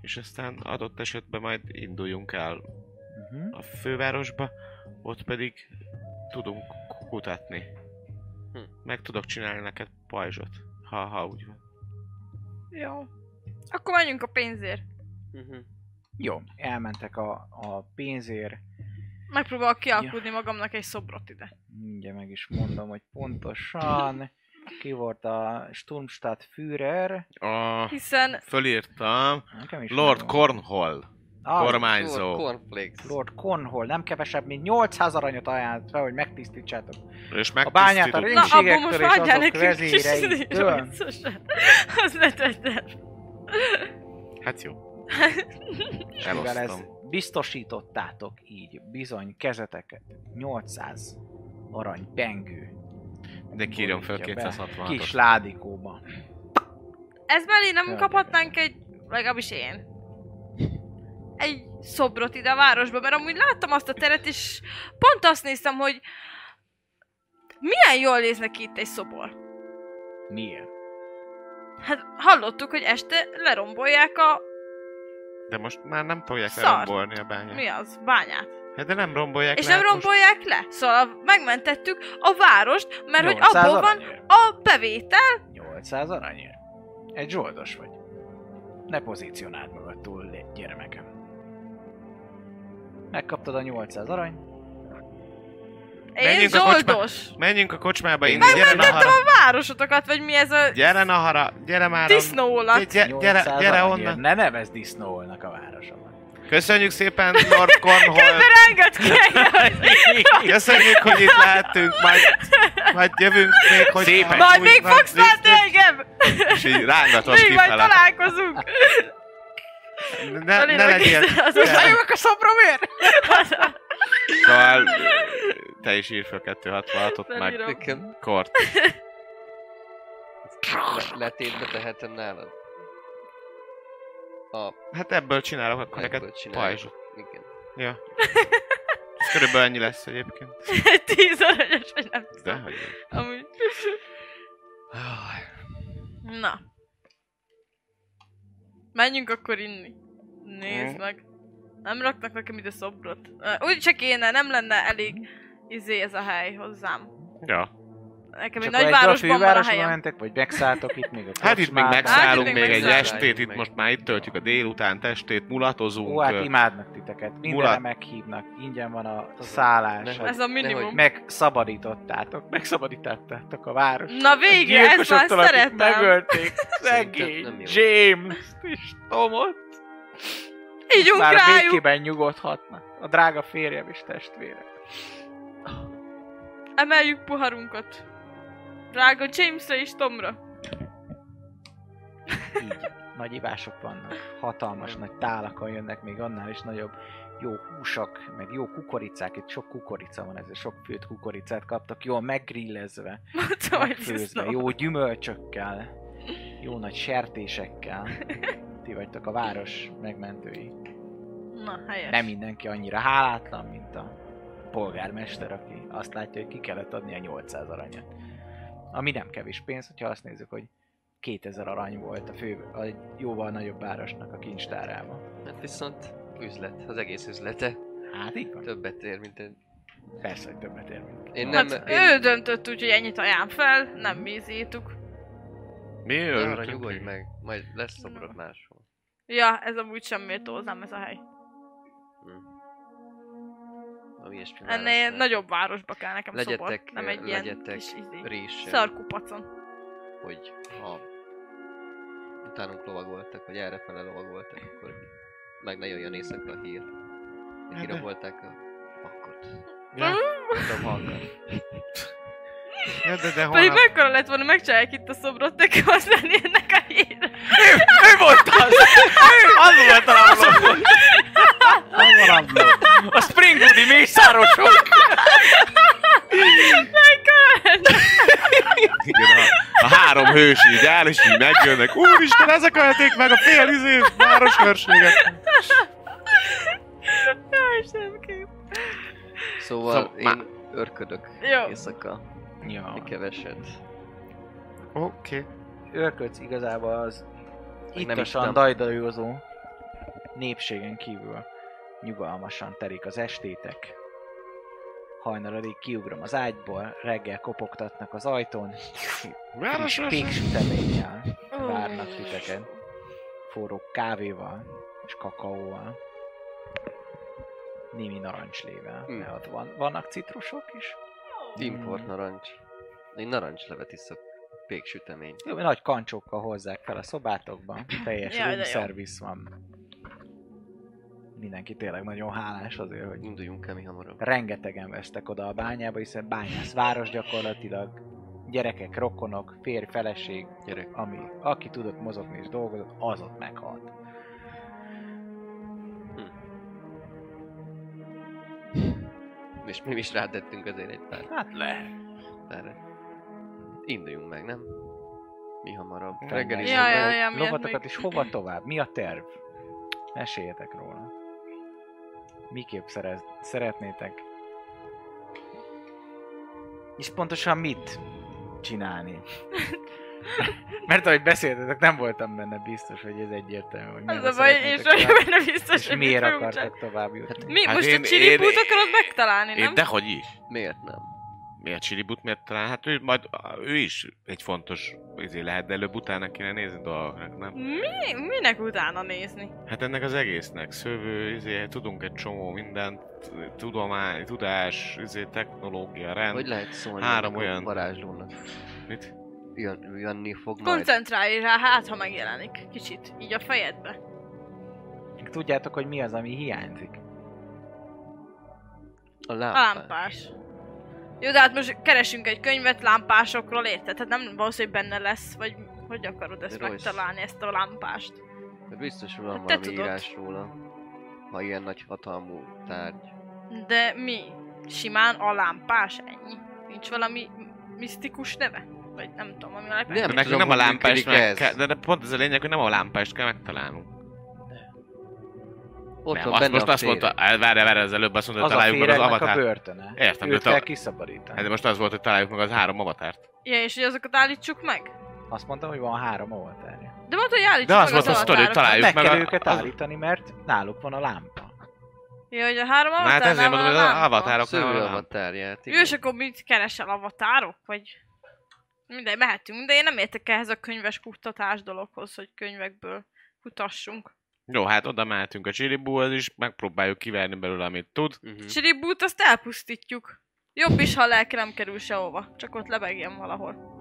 Speaker 2: és aztán adott esetben majd induljunk el
Speaker 1: Uh-huh.
Speaker 2: a fővárosba, ott pedig tudunk kutatni.
Speaker 4: Hm.
Speaker 2: Meg tudok csinálni neked pajzsot, ha, ha úgy van.
Speaker 3: Jó. Akkor menjünk a pénzért.
Speaker 4: Mhm.
Speaker 1: Jó, elmentek a, a pénzért,
Speaker 3: Megpróbálok kialkudni magamnak egy szobrot ide.
Speaker 1: Mindjárt meg is mondom, hogy pontosan ki volt a Sturmstadt Führer.
Speaker 2: A,
Speaker 3: Hiszen
Speaker 2: fölírtam,
Speaker 1: Nekem is
Speaker 2: Lord
Speaker 1: megvan.
Speaker 2: Cornhall.
Speaker 1: Ah,
Speaker 2: Kormányzó.
Speaker 4: Cornflakes.
Speaker 1: Lord Cornhole nem kevesebb, mint 800 aranyot ajánlott fel, hogy megtisztítsátok.
Speaker 2: És
Speaker 1: A bányát a
Speaker 2: megtisztítottuk.
Speaker 3: Na, abból
Speaker 1: rémségektől és
Speaker 3: most adjál
Speaker 1: azok
Speaker 3: nekünk kis
Speaker 1: vezéreitől.
Speaker 3: viccosan. Az ne tedd el.
Speaker 2: Hát jó.
Speaker 1: És mivel ez
Speaker 2: Elosztom.
Speaker 1: biztosítottátok így bizony kezeteket 800 arany pengő.
Speaker 2: De kírjam fel
Speaker 1: borítja be
Speaker 2: 260
Speaker 1: Kis ládikóba.
Speaker 3: Ez mellé nem
Speaker 1: Jaj,
Speaker 3: kaphatnánk egy, legalábbis én, egy szobrot ide a városba, mert amúgy láttam azt a teret, és pont azt néztem, hogy milyen jól néznek ki itt egy szobor.
Speaker 1: Miért?
Speaker 3: Hát hallottuk, hogy este lerombolják a,
Speaker 2: De most már nem fogják
Speaker 3: Szar.
Speaker 2: lerombolni a bányát.
Speaker 3: mi az, bányát.
Speaker 2: Hát de nem rombolják
Speaker 3: És
Speaker 2: le,
Speaker 3: nem
Speaker 2: hát most
Speaker 3: rombolják le. Szóval megmentettük a várost, mert hogy
Speaker 1: 800
Speaker 3: abból van
Speaker 1: aranyért.
Speaker 3: a bevétel.
Speaker 1: 800 aranyért? Egy zsoldos vagy. Ne pozícionáld magad túl, lé- gyermekem. Megkaptad a 800 arany.
Speaker 3: Én
Speaker 2: Menjünk a kocsmába.
Speaker 3: zsoldos.
Speaker 2: Menjünk a kocsmába
Speaker 1: Én
Speaker 2: inni, gyere nahara,
Speaker 3: A városotokat, vagy mi ez a
Speaker 2: gyere nahara, gyere már,
Speaker 3: disznólat.
Speaker 2: gyere,
Speaker 1: 800
Speaker 2: gyere, gyere
Speaker 1: aranyért.
Speaker 2: onnan.
Speaker 1: Ne nevezd disznóolnak a városomat.
Speaker 2: Köszönjük szépen Lord Cornhold,
Speaker 3: Közben renget kell.
Speaker 2: köszönjük, hogy itt lehettünk, majd, majd jövünk még, hogy...
Speaker 1: Szépen.
Speaker 2: ha
Speaker 3: Majd
Speaker 2: úgy
Speaker 3: még
Speaker 2: van,
Speaker 3: fogsz
Speaker 2: vicc-
Speaker 3: látni engem!
Speaker 2: És így rángatom
Speaker 3: Még majd
Speaker 2: kifele.
Speaker 3: találkozunk!
Speaker 2: Ne, ne legyél,
Speaker 3: Azon
Speaker 1: a szobromért!
Speaker 2: szóval te is ír fel 266-ot, meg
Speaker 3: Felírom.
Speaker 4: Nekem
Speaker 2: kort.
Speaker 4: le- letétbe tehetem nálad. A
Speaker 2: Hát ebből csinálok akkor
Speaker 4: ebből
Speaker 2: neked
Speaker 4: csináljuk.
Speaker 2: pajzsot.
Speaker 4: Igen.
Speaker 2: Ja. Ez körülbelül ennyi lesz egyébként.
Speaker 3: egy tíz aranyos, vagy nem
Speaker 2: De
Speaker 3: tudom.
Speaker 2: hogy
Speaker 3: Amúgy. Na. Menjünk akkor inni. Nézd
Speaker 1: Hm.
Speaker 3: meg. Nem raknak nekem ide szobrot. Ö, Úgy se kéne, nem lenne elég izé ez a hely hozzám.
Speaker 2: Ja.
Speaker 3: Nekem egy
Speaker 1: Csak
Speaker 3: nagy
Speaker 1: egy darab
Speaker 3: városban van a
Speaker 1: fővárosba
Speaker 3: helyem.
Speaker 1: mentek, vagy megszálltok itt még a
Speaker 2: Hát itt még
Speaker 1: kocsmában.
Speaker 2: megszállunk még egy
Speaker 4: megszállunk.
Speaker 2: estét, itt most már itt töltjük a délután testét,
Speaker 1: Ó,
Speaker 2: mulatozunk.
Speaker 1: hát
Speaker 2: ö,
Speaker 1: imádnak titeket. Mindenre
Speaker 2: Mulat.
Speaker 1: meghívnak. Ingyen van a szállás.
Speaker 4: Nehogy-
Speaker 3: Ez a minimum.
Speaker 1: Megszabadítottátok. Megszabadítottátok a város.
Speaker 3: Na végre, ezt már
Speaker 1: gyilkosoktól, akik
Speaker 3: szeretem.
Speaker 1: Megölték. Szegény
Speaker 4: nem jó.
Speaker 1: James és Tomot.
Speaker 3: Ígyunk
Speaker 1: Már
Speaker 3: rájuk.
Speaker 1: békében nyugodhatnak. A drága férjem és testvére.
Speaker 3: Emeljük poharunkat. Drága Jamesre és Tomra.
Speaker 1: Így nagy ivások vannak. Hatalmas nagy tálakon jönnek még annál is nagyobb jó húsak, meg jó kukoricák, itt sok kukorica van, ezért sok főtt kukoricát kaptak, jól megrillezve,
Speaker 3: Mondtam, hogy
Speaker 1: megfőzve,
Speaker 3: disznó.
Speaker 1: jó gyümölcsökkel, jó nagy sertésekkel. Ti vagytok a város megmentői.
Speaker 3: Na, helyes.
Speaker 1: nem mindenki annyira hálátlan, mint a polgármester, aki azt látja, hogy ki kellett adni a 800 aranyat. Ami nem kevés pénz, hogyha azt nézzük, hogy 2000 arany volt a fő, a jóval nagyobb városnak a kincstárában.
Speaker 4: Hát viszont üzlet, az egész üzlete.
Speaker 1: Hát így van.
Speaker 4: Többet ér, mint egy...
Speaker 1: Persze, hogy többet ér, mint
Speaker 4: Én nem...
Speaker 3: Hát
Speaker 4: én...
Speaker 3: ő döntött úgy, hogy ennyit ajánl fel, nem bízítuk.
Speaker 2: Mi
Speaker 4: Ne arra
Speaker 2: örültünk?
Speaker 4: nyugodj
Speaker 2: még?
Speaker 4: meg, majd lesz szobrod máshol.
Speaker 3: Ja, ez amúgy sem méltóznám ez a hely.
Speaker 4: Ami ilyesmi
Speaker 3: Ennél
Speaker 4: választás.
Speaker 3: Hát nagyobb városba kell nekem
Speaker 4: Legyetek,
Speaker 3: szobor, nem egy ilyen
Speaker 4: legyetek
Speaker 3: kis izé.
Speaker 4: résen,
Speaker 3: Szarkupacon.
Speaker 4: hogy ha utánunk lovagoltak, vagy errefele lovagoltak, akkor meg ne jöjjön éjszakra a hír.
Speaker 1: Hát
Speaker 2: de-
Speaker 4: Kirabolták a vakot.
Speaker 3: Mm,
Speaker 2: Ja,
Speaker 4: Vagy A vakat.
Speaker 2: ja, de, de
Speaker 3: Pedig
Speaker 2: holnap...
Speaker 3: mekkora lett volna, megcsinálják itt a szobrot, nekem az lenni ennek a híre.
Speaker 1: Ő volt az! Az volt a rabló! Az a rabló! A Springwoodi mészárosok!
Speaker 2: Igen, a, a három hős így áll, és így megjönnek. Úristen, ezek ölték meg a fél izé városhörséget.
Speaker 3: Jaj, sem kép.
Speaker 4: Szóval
Speaker 2: Szóval
Speaker 4: én
Speaker 2: má-
Speaker 4: örködök
Speaker 3: Jó.
Speaker 4: éjszaka,
Speaker 1: Ja.
Speaker 4: egy keveset.
Speaker 2: Oké. Okay.
Speaker 1: őrködsz igazából az
Speaker 4: nem
Speaker 1: ittasan
Speaker 4: ittam.
Speaker 1: dajdalőzó népségen kívül nyugalmasan telik az estétek. Hajnaladig kiugrom az ágyból, reggel kopogtatnak az ajtón, friss péksüteménnyel várnak titeket. Forró kávéval és kakaóval. Némi narancslével,
Speaker 4: Mm.
Speaker 1: mert ott van, vannak citrusok is.
Speaker 4: Import
Speaker 1: Mm.
Speaker 4: narancs. Én narancslevet iszok. Péksütemény.
Speaker 1: Jó, nagy kancsókkal hozzák fel a szobátokba. Teljes
Speaker 3: Jaj, de
Speaker 1: room
Speaker 3: jó.
Speaker 1: service van. mindenki tényleg nagyon hálás azért, hogy
Speaker 4: Induljunk el mi hamarabb.
Speaker 1: rengetegen vesztek oda a bányába, hiszen bányász város gyakorlatilag, gyerekek, rokonok, férj, feleség,
Speaker 4: Gyerek.
Speaker 1: ami, aki tudott mozogni és dolgozott, az ott meghalt.
Speaker 4: És mi is rátettünk azért egy pár
Speaker 1: Hát lehet.
Speaker 4: erre. Induljunk meg, nem? Mi hamarabb.
Speaker 1: Reggel
Speaker 4: Reggel is.
Speaker 1: is.
Speaker 3: Ja, ja,
Speaker 4: meg.
Speaker 3: ja, miatt
Speaker 1: Lovatokat
Speaker 3: még-
Speaker 1: is hova tovább? Mi a terv? Meséljetek róla. Miképp szerez, szeretnétek? És pontosan mit csinálni? Mert ahogy beszéltetek, nem voltam benne biztos, hogy ez egyértelmű, hogy
Speaker 3: Az
Speaker 1: mire
Speaker 3: a baj, és
Speaker 1: szeretnétek
Speaker 3: vagyok
Speaker 1: tovább-
Speaker 3: benne biztos,
Speaker 1: és
Speaker 3: hogy
Speaker 1: miért
Speaker 3: mit fogunk
Speaker 1: akartak tovább jutni?
Speaker 3: Mi?
Speaker 2: Hát
Speaker 3: Most
Speaker 2: én-
Speaker 3: a csiripút
Speaker 2: én-
Speaker 3: akarod megtalálni,
Speaker 2: Én
Speaker 3: nem?
Speaker 2: dehogy is.
Speaker 4: Miért nem?
Speaker 2: Miért Csiribut, miért talán? Hát ő, majd, ő is egy fontos izé lehet, de előbb-utána kéne nézni dolgoknak, nem?
Speaker 3: Mi? Minek utána nézni?
Speaker 2: Hát ennek az egésznek szövő, izé, tudunk egy csomó mindent, tudomány, tudás, izé, technológia, rend.
Speaker 4: Hogy lehet szólni
Speaker 2: Három
Speaker 4: ennek a
Speaker 2: olyan-
Speaker 4: varázslónak?
Speaker 2: Mit?
Speaker 4: Jön, jönni fog majd.
Speaker 3: Koncentrálj rá, hát ha megjelenik. Kicsit, így a fejedbe.
Speaker 1: Tudjátok, hogy mi az, ami hiányzik?
Speaker 4: A
Speaker 3: A
Speaker 4: lámpás.
Speaker 3: lámpás. Jó, de hát most keresünk egy könyvet lámpásokról, érted? Tehát nem valószínű, hogy benne lesz, vagy hogy akarod ezt
Speaker 4: Royce.
Speaker 3: megtalálni, ezt a lámpást?
Speaker 4: De biztos, hogy van
Speaker 3: Hát te
Speaker 4: valami
Speaker 3: tudod.
Speaker 4: írás róla. Ha ilyen nagy hatalmú tárgy.
Speaker 3: De mi? Simán a lámpás? Ennyi? Nincs valami misztikus neve? Vagy nem tudom, ami a
Speaker 2: De
Speaker 4: Nem
Speaker 2: nekünk
Speaker 4: tudom,
Speaker 2: nem a
Speaker 4: hogy
Speaker 2: lámpást
Speaker 4: működik
Speaker 2: meg
Speaker 4: ez.
Speaker 2: kell, de, de pont ez a lényeg, hogy nem a lámpást kell megtalálnunk.
Speaker 4: Ott
Speaker 2: nem,
Speaker 4: van
Speaker 2: azt,
Speaker 4: benne
Speaker 2: most
Speaker 4: a
Speaker 2: azt mondta, várj, várj, várj, az előbb azt mondta,
Speaker 1: Az
Speaker 2: hogy
Speaker 1: a
Speaker 2: találjuk meg az
Speaker 1: férjnek a
Speaker 2: avatárt.
Speaker 1: börtöne.
Speaker 2: Értem, de
Speaker 1: Őt
Speaker 2: te-
Speaker 1: kell
Speaker 2: Hát de
Speaker 1: kiszabadítani.
Speaker 2: most az volt, hogy találjuk meg az három avatárt.
Speaker 3: Ja, és hogy azokat állítsuk meg?
Speaker 1: Azt mondtam, hogy van három oltárja.
Speaker 3: De mondta, hogy állítsuk
Speaker 2: De az
Speaker 3: meg
Speaker 2: volt a
Speaker 3: az
Speaker 2: sztori, hogy
Speaker 3: avatárokat.
Speaker 2: találjuk
Speaker 1: Meg
Speaker 2: meg
Speaker 1: kell
Speaker 2: a-
Speaker 1: őket
Speaker 2: az-
Speaker 1: állítani, mert náluk van a lámpa.
Speaker 3: Ja, hogy a három
Speaker 2: Na, hát
Speaker 3: avatárnál
Speaker 2: ezért
Speaker 3: van
Speaker 2: mondom,
Speaker 3: a
Speaker 2: hogy az
Speaker 3: lámpa.
Speaker 2: avatárok-
Speaker 4: Szövő
Speaker 2: nem,
Speaker 4: a
Speaker 2: nem.
Speaker 4: tárját.
Speaker 3: Jó, és akkor mit keresel, avatárok? Vagy... Mindegy, mehetünk, de én nem értek ehhez a könyves kutatás dologhoz, hogy könyvekből kutassunk.
Speaker 2: Jó, hát oda mehetünk a csiribúhoz is, megpróbáljuk kiverni belőle, amit tud.
Speaker 4: Mhm. Hm.
Speaker 3: Mm. Csiribút azt elpusztítjuk. Jobb is, ha a lelke nem kerül sehova, csak ott lebegjen valahol.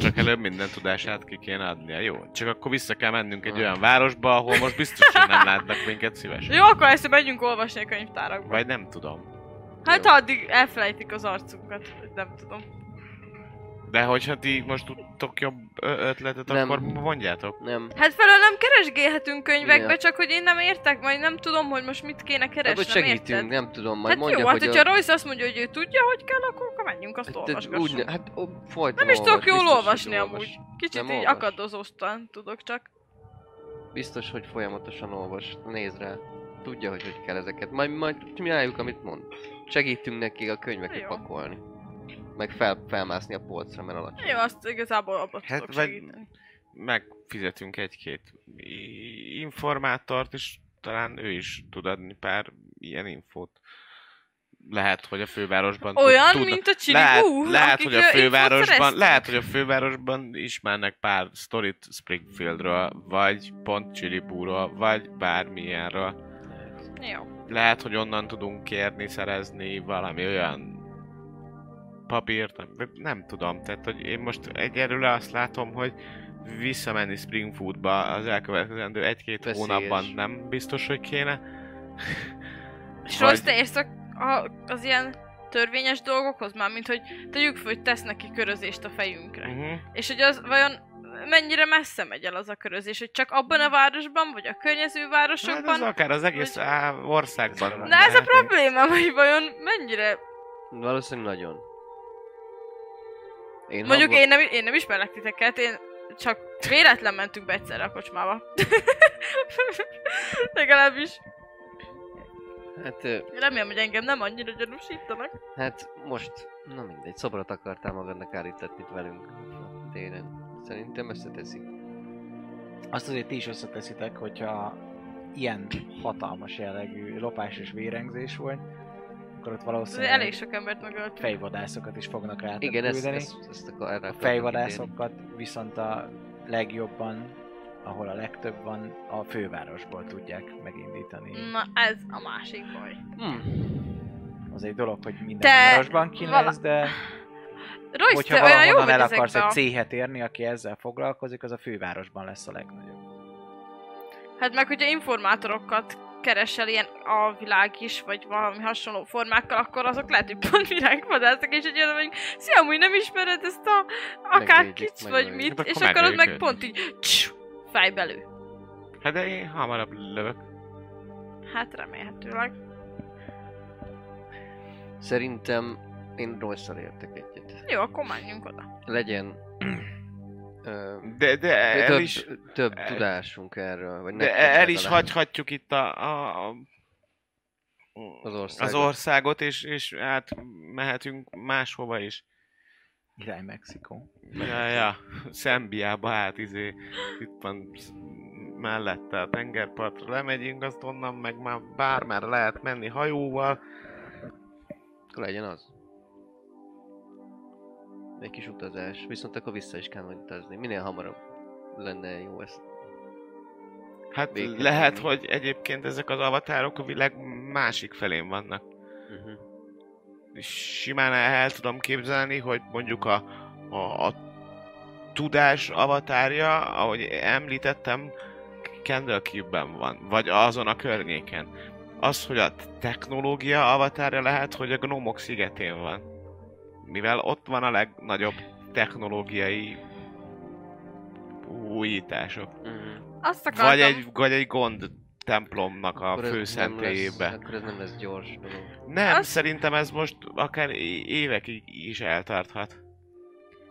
Speaker 2: Csak előbb minden tudását ki kéne adnia, jó? Csak akkor vissza kell mennünk egy
Speaker 4: Ah.
Speaker 2: olyan városba, ahol most biztos, hogy nem látnak minket szívesen.
Speaker 3: Jó, akkor ezt megyünk olvasni a könyvtárakba.
Speaker 2: Vagy nem tudom.
Speaker 3: Hát
Speaker 4: Jó.
Speaker 3: ha addig elfelejtik az arcunkat, vagy nem tudom.
Speaker 2: De hogyha ti most tudtok jobb ö- ötletet,
Speaker 4: Nem.
Speaker 2: akkor mondjátok.
Speaker 4: Nem.
Speaker 3: Hát felől nem keresgélhetünk könyvekbe,
Speaker 4: Igen.
Speaker 3: csak hogy én nem értek, majd nem tudom, hogy most mit kéne
Speaker 4: Hát, hogy
Speaker 3: keresnem,
Speaker 4: segítünk,
Speaker 3: érted?
Speaker 4: nem tudom, majd
Speaker 3: Hát
Speaker 4: mondja,
Speaker 3: jó, hát
Speaker 4: hogy
Speaker 3: hogyha a... Royce azt mondja, hogy ő tudja, hogy kell, akkor, akkor menjünk, azt
Speaker 4: Hát, tehát
Speaker 3: olvasgassunk.
Speaker 4: úgy- hát ó, folyton
Speaker 3: Nem is tudok
Speaker 4: olvas,
Speaker 3: jól
Speaker 4: biztos, hogy
Speaker 3: olvasni
Speaker 4: olvas.
Speaker 3: amúgy. Kicsit
Speaker 4: Nem
Speaker 3: így
Speaker 4: olvas.
Speaker 3: akadozóztan tudok csak.
Speaker 4: Biztos, hogy folyamatosan olvas. Nézd rá. Tudja, hogy hogy kell ezeket. Majd, majd csináljuk, amit mond. Segítünk neki a könyveket
Speaker 3: Jó.
Speaker 4: pakolni. Meg fel, felmászni a polcra, mert alacsony.
Speaker 3: Jó, azt igazából abban
Speaker 2: Hát,
Speaker 3: tudok
Speaker 2: vagy-
Speaker 3: segíteni.
Speaker 2: Megfizetünk egy-két i- informátort, és talán ő is tud adni pár ilyen infót. Lehet, hogy a fővárosban tud-
Speaker 3: Olyan,
Speaker 2: tudna-
Speaker 3: mint a Csili
Speaker 2: lehet,
Speaker 3: Hú,
Speaker 2: lehet,
Speaker 3: akik,
Speaker 2: hogy
Speaker 3: ö,
Speaker 2: a
Speaker 3: infót
Speaker 2: fővárosban,
Speaker 3: szereztek.
Speaker 2: lehet, hogy a fővárosban ismernek pár sztorit Springfieldről, vagy pont Csillibúról, vagy bármilyenről.
Speaker 3: Jó.
Speaker 2: Lehet, hogy onnan tudunk kérni, szerezni valami olyan papírt, nem, nem tudom. Tehát, hogy én most egyelőre azt látom, hogy visszamenni Springfieldba az elkövetkezendő egy-két
Speaker 4: Veszélyes.
Speaker 2: hónapban nem biztos, hogy kéne.
Speaker 3: És
Speaker 2: Vagy-
Speaker 3: Rossz, te érsz a, a, az ilyen törvényes dolgokhoz? Mármint, hogy tegyük fel, hogy tesznek ki körözést a fejünkre.
Speaker 2: Uh-huh.
Speaker 3: És hogy az vajon mennyire messze megy el az a körözés, hogy csak abban a városban, vagy a környező
Speaker 2: Hát az
Speaker 3: városokban?
Speaker 2: akár az egész
Speaker 3: Vagy-
Speaker 2: á, országban.
Speaker 3: Na ez a
Speaker 2: lehetünk.
Speaker 3: probléma, hogy vajon mennyire...
Speaker 4: Valószínűleg nagyon. Én
Speaker 3: Mondjuk
Speaker 4: hangot-
Speaker 3: én nem, én nem ismerlek titeket, én csak véletlen mentünk be egyszerre a kocsmába. Legalábbis
Speaker 4: Hát, ö,
Speaker 3: remélem, hogy engem nem annyira gyanúsítanak.
Speaker 4: hát most... Na mindegy, szobrot akartál magadnak állítani itt velünk. a Téren. Szerintem összeteszik.
Speaker 1: Azt azért ti is összeteszitek, hogyha ilyen hatalmas jellegű lopás és vérengzés volt, akkor ott valószínűleg
Speaker 3: Elég sok embert megöltünk.
Speaker 1: fejvadászokat is fognak rá
Speaker 4: Igen, ezt,
Speaker 1: Hát küldeni.
Speaker 4: ezt, ezt akar, erre
Speaker 1: A
Speaker 4: akartam kitérni.
Speaker 1: fejvadászokat viszont a legjobban, ahol a legtöbb van, a fővárosból tudják megindítani.
Speaker 3: Na ez a másik baj.
Speaker 4: Hmm.
Speaker 1: Az egy dolog, hogy minden
Speaker 3: Te-
Speaker 1: városban ki
Speaker 3: vala-
Speaker 1: lesz, de
Speaker 3: Royce,
Speaker 1: hogyha
Speaker 3: te olyan jó
Speaker 1: valahonnan
Speaker 3: vagy
Speaker 1: el akarsz
Speaker 3: ezekben.
Speaker 1: egy
Speaker 3: a-
Speaker 1: céhet érni, aki ezzel foglalkozik, az a fővárosban lesz a legnagyobb.
Speaker 3: Hát meg hogyha informátorokat keresel ilyen a világ is, vagy valami hasonló formákkal, akkor azok lehet, hogy pont virágvadászok, és egy olyan, hogy szia, amúgy nem ismered ezt a
Speaker 4: Megvédjük,
Speaker 3: akárkit, vagy
Speaker 4: megvédjük.
Speaker 3: mit,
Speaker 2: Hát
Speaker 3: és
Speaker 2: akkor
Speaker 3: akkor az
Speaker 2: megöljük
Speaker 3: meg
Speaker 2: őt.
Speaker 3: pont így css, fejbelő.
Speaker 2: Hát de én hamarabb lövök.
Speaker 3: Hát remélhetőleg.
Speaker 4: Szerintem én rosszal értek egyet.
Speaker 3: Jó, akkor menjünk oda.
Speaker 4: Legyen... ö,
Speaker 2: De, de el
Speaker 4: több,
Speaker 2: is,
Speaker 4: több
Speaker 2: el-
Speaker 4: tudásunk erről, vagy
Speaker 2: de
Speaker 4: nektek
Speaker 2: el is
Speaker 4: legalább.
Speaker 2: hagyhatjuk itt a, a, a
Speaker 4: Az országot.
Speaker 2: az országot, és, és hát mehetünk máshova is.
Speaker 1: Irány Mexikó.
Speaker 2: Ja, ja, Szembiába, hát izé, itt van sz- mellette a tengerpartra lemegyünk, azt onnan meg már bármerre lehet menni hajóval.
Speaker 4: Akkor legyen az. Egy kis utazás, viszont akkor vissza is kell majd utazni. Minél hamarabb lenne jó ezt.
Speaker 2: Hát
Speaker 4: Végtelen
Speaker 2: lehet,
Speaker 4: mi?
Speaker 2: hogy egyébként ezek az avatárok a világ másik felén vannak.
Speaker 1: Mhm.
Speaker 4: Uh-huh.
Speaker 2: simán el, el tudom képzelni, hogy mondjuk a, a, a tudás avatárja, ahogy említettem, Candlekeep-ben van, vagy azon a környéken. Az, hogy a technológia avatárja lehet, hogy a Gnomok szigetén van. Mivel ott van a legnagyobb technológiai újítások.
Speaker 4: Uh-huh.
Speaker 3: Azt akartam.
Speaker 2: Vagy egy, vagy egy gond templomnak Mhm. a főszentélyébe.
Speaker 4: Akkor ez nem lesz gyors dolog.
Speaker 2: Nem,
Speaker 3: Azt-
Speaker 2: szerintem ez most akár é- évekig is eltarthat.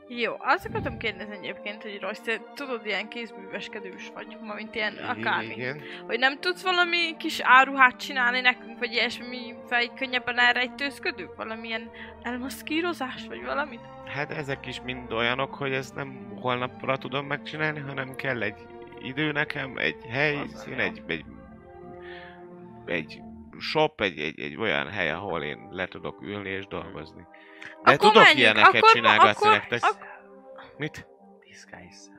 Speaker 3: Jó, azt akartam kérdezni egyébként, hogy Royce, te tudod, ilyen kézműveskedős vagy, ma mint ilyen akármi.
Speaker 2: Igen.
Speaker 3: Hogy nem tudsz valami kis áruhát csinálni nekünk, vagy ilyesmi, vagy könnyebben elrejtőzködünk? Valamilyen elmaszkírozás, vagy valamit?
Speaker 2: Hát ezek is mind olyanok, hogy ezt nem holnapra tudom megcsinálni, hanem kell egy idő nekem, egy helyszín, egy, egy, egy shop, egy, egy, egy olyan hely, ahol én le tudok ülni és dolgozni. De
Speaker 3: Akkor
Speaker 2: tudok
Speaker 3: menjünk,
Speaker 2: ilyeneket
Speaker 3: akkor-
Speaker 2: csinálgatni
Speaker 3: akkor-
Speaker 2: nektek.
Speaker 3: ak-
Speaker 2: Mit?
Speaker 1: Disguise.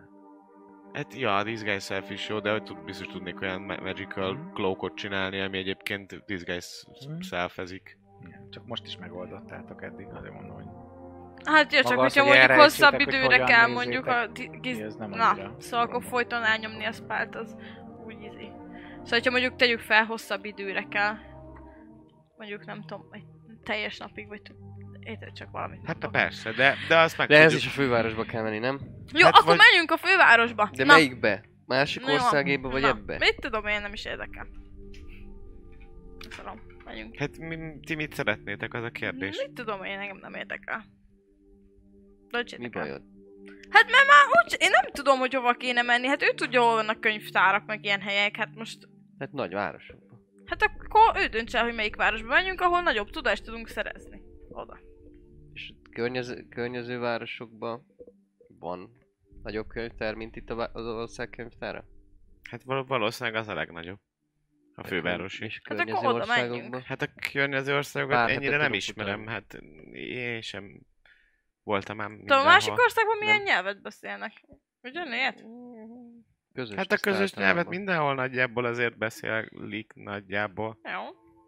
Speaker 2: Hát ja, a Disguise Self is jó, de hogy tud, biztos tudnék olyan ma- Magical
Speaker 3: Mhm.
Speaker 2: Cloakot csinálni, ami egyébként Disguise
Speaker 1: Mhm.
Speaker 2: selfezik.
Speaker 1: Igen, csak most is megoldottátok eddig, azért mondom, hogy
Speaker 3: Hát jó, csak
Speaker 1: Maga az,
Speaker 3: hogyha
Speaker 1: hogy
Speaker 3: mondjuk
Speaker 1: elrejtsétek,
Speaker 3: hosszabb
Speaker 1: hogy
Speaker 3: időre
Speaker 1: hogyan
Speaker 3: kell
Speaker 1: nézzétek
Speaker 3: mondjuk a... di- giz-
Speaker 1: mi ez nem
Speaker 3: Na,
Speaker 1: annyira.
Speaker 3: szóval akkor folyton elnyomni a spált, az úgy izé. Szóval, hogyha mondjuk tegyük fel, hosszabb időre kell. Mondjuk nem tudom, egy teljes napig, vagy tud- érted csak valamit. nem
Speaker 2: Hát na
Speaker 3: tudom.
Speaker 2: persze, de, de azt meg
Speaker 4: De ez
Speaker 2: tudjuk.
Speaker 4: is a fővárosba kell menni, nem?
Speaker 3: Jó,
Speaker 2: hát
Speaker 3: akkor
Speaker 2: vagy-
Speaker 3: menjünk a fővárosba.
Speaker 4: De
Speaker 3: Na.
Speaker 4: melyikbe? Másik
Speaker 3: Na jó,
Speaker 4: országébe vagy
Speaker 3: na,
Speaker 4: ebbe?
Speaker 3: Mit tudom én, nem is érdekel. Szarom, menjünk.
Speaker 2: Hát mi, ti mit szeretnétek, az a kérdés.
Speaker 3: Mit tudom én, engem nem érdekel. Nincs
Speaker 4: Mi
Speaker 3: érdekel.
Speaker 4: bajod?
Speaker 3: Hát mert már úgy, én nem tudom, hogy hova kéne menni, hát ő tudja, hol vannak könyvtárak, meg ilyen helyek, hát most...
Speaker 4: Hát nagy városokba.
Speaker 3: Hát akkor ő döntse el, hogy melyik városba menjünk, ahol nagyobb tudást tudunk szerezni. Oda.
Speaker 4: És környező, környező városokba van nagyobb könyvtár, mint itt a vá- az ország könyvtára?
Speaker 2: Hát val- valószínűleg az a legnagyobb. A fővárosi.
Speaker 4: És
Speaker 3: Hát akkor
Speaker 4: környező
Speaker 3: oda
Speaker 4: országokba?
Speaker 3: menjünk.
Speaker 2: Hát a környező országokat
Speaker 4: Pár
Speaker 2: ennyire
Speaker 4: hetet
Speaker 2: nem
Speaker 4: tudok
Speaker 2: ismerem,
Speaker 4: utána.
Speaker 2: hát én sem voltam ám
Speaker 3: Tudom, a
Speaker 2: mindenhol.
Speaker 3: másik országban milyen
Speaker 4: Nem.
Speaker 3: nyelvet beszélnek. Ugyanilyet?
Speaker 4: Közös
Speaker 2: Hát a közös
Speaker 4: tiszteletlen
Speaker 2: nyelvet
Speaker 4: van.
Speaker 2: mindenhol nagyjából azért beszélik nagyjából.
Speaker 3: Jó,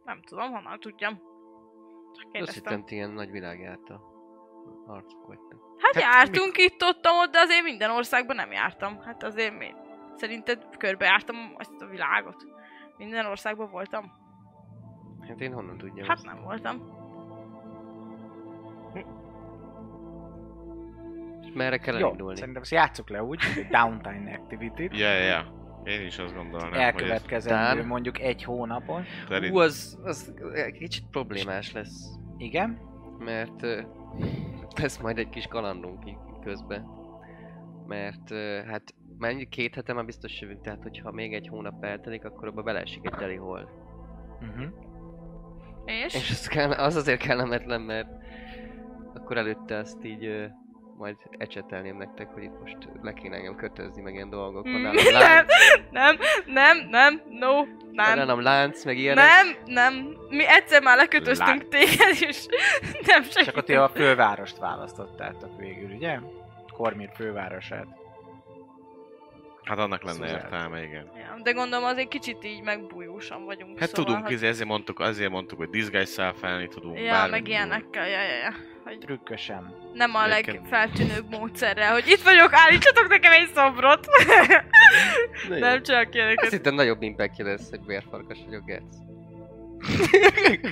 Speaker 3: nem tudom, honnan tudjam. Csak
Speaker 4: Azt
Speaker 3: kérdeztem.
Speaker 4: hittem, ti ilyen nagy világjárta arcok vagytok.
Speaker 3: Hát
Speaker 2: Hát
Speaker 3: jártunk itt, ott, ott, de azért minden országban nem jártam. Hát azért mi? Szerinted körbejártam ezt a világot? Minden országban voltam?
Speaker 4: Hát én honnan tudjam
Speaker 3: Hát
Speaker 4: ezt?
Speaker 3: nem voltam.
Speaker 4: És merre kell
Speaker 1: Jó,
Speaker 4: elindulni?
Speaker 1: szerintem ezt játsszuk le úgy, hogy downtime activity
Speaker 2: Ja, ja, ja. Én is azt gondolnám, hogy ez
Speaker 1: elkövetkezendő
Speaker 4: Után-
Speaker 1: mondjuk egy hónapon.
Speaker 2: szerint...
Speaker 4: Ú, az, az kicsit problémás lesz,
Speaker 1: Igen,
Speaker 4: mert ö, lesz majd egy kis kalandunk í- közben. Mert ö, hát mennyi két hete már biztos jövünk, tehát hogyha még egy hónap eltelik, akkor abba beleesik egy teli hol.
Speaker 1: uh-huh.
Speaker 3: És?
Speaker 4: És az, kell, az azért kellemetlen, mert akkor előtte azt így ö, majd ecsetelném nektek, hogy itt most le kéne engem kötözni, meg ilyen dolgok. Van
Speaker 3: Mm,
Speaker 4: nálam lánc,
Speaker 3: Nem, nem, nem, no,
Speaker 4: van
Speaker 3: nem.
Speaker 4: nálam lánc, meg ilyenek.
Speaker 3: Nem, nem. Mi egyszer már lekötöztünk
Speaker 2: Lát.
Speaker 3: téged, és nem
Speaker 1: Csak ott ti
Speaker 3: segített.
Speaker 1: a fővárost választottátok végül, ugye? Kormir fővárosát.
Speaker 2: Hát annak lenne
Speaker 7: Szuzát.
Speaker 2: értelme, igen.
Speaker 3: Ja, de gondolom azért kicsit így megbújúsan vagyunk.
Speaker 2: Hát
Speaker 3: szóval,
Speaker 2: tudunk,
Speaker 3: hogy...
Speaker 2: izé, ezért mondtuk, azért mondtuk, hogy disguise self tudunk
Speaker 3: Ja,
Speaker 2: bármit
Speaker 3: meg
Speaker 2: tudunk.
Speaker 3: ilyenekkel, ja, ja, ja. Hogy
Speaker 7: Trükkösen.
Speaker 3: nem a
Speaker 2: Nekem-
Speaker 3: legfeltűnőbb módszerrel, hogy itt vagyok, állítsatok nekem egy szobrot. nem csak
Speaker 4: Azt
Speaker 3: ilyeneket.
Speaker 4: hittem nagyobb impact lesz, hogy vérfarkas vagyok, Gerc.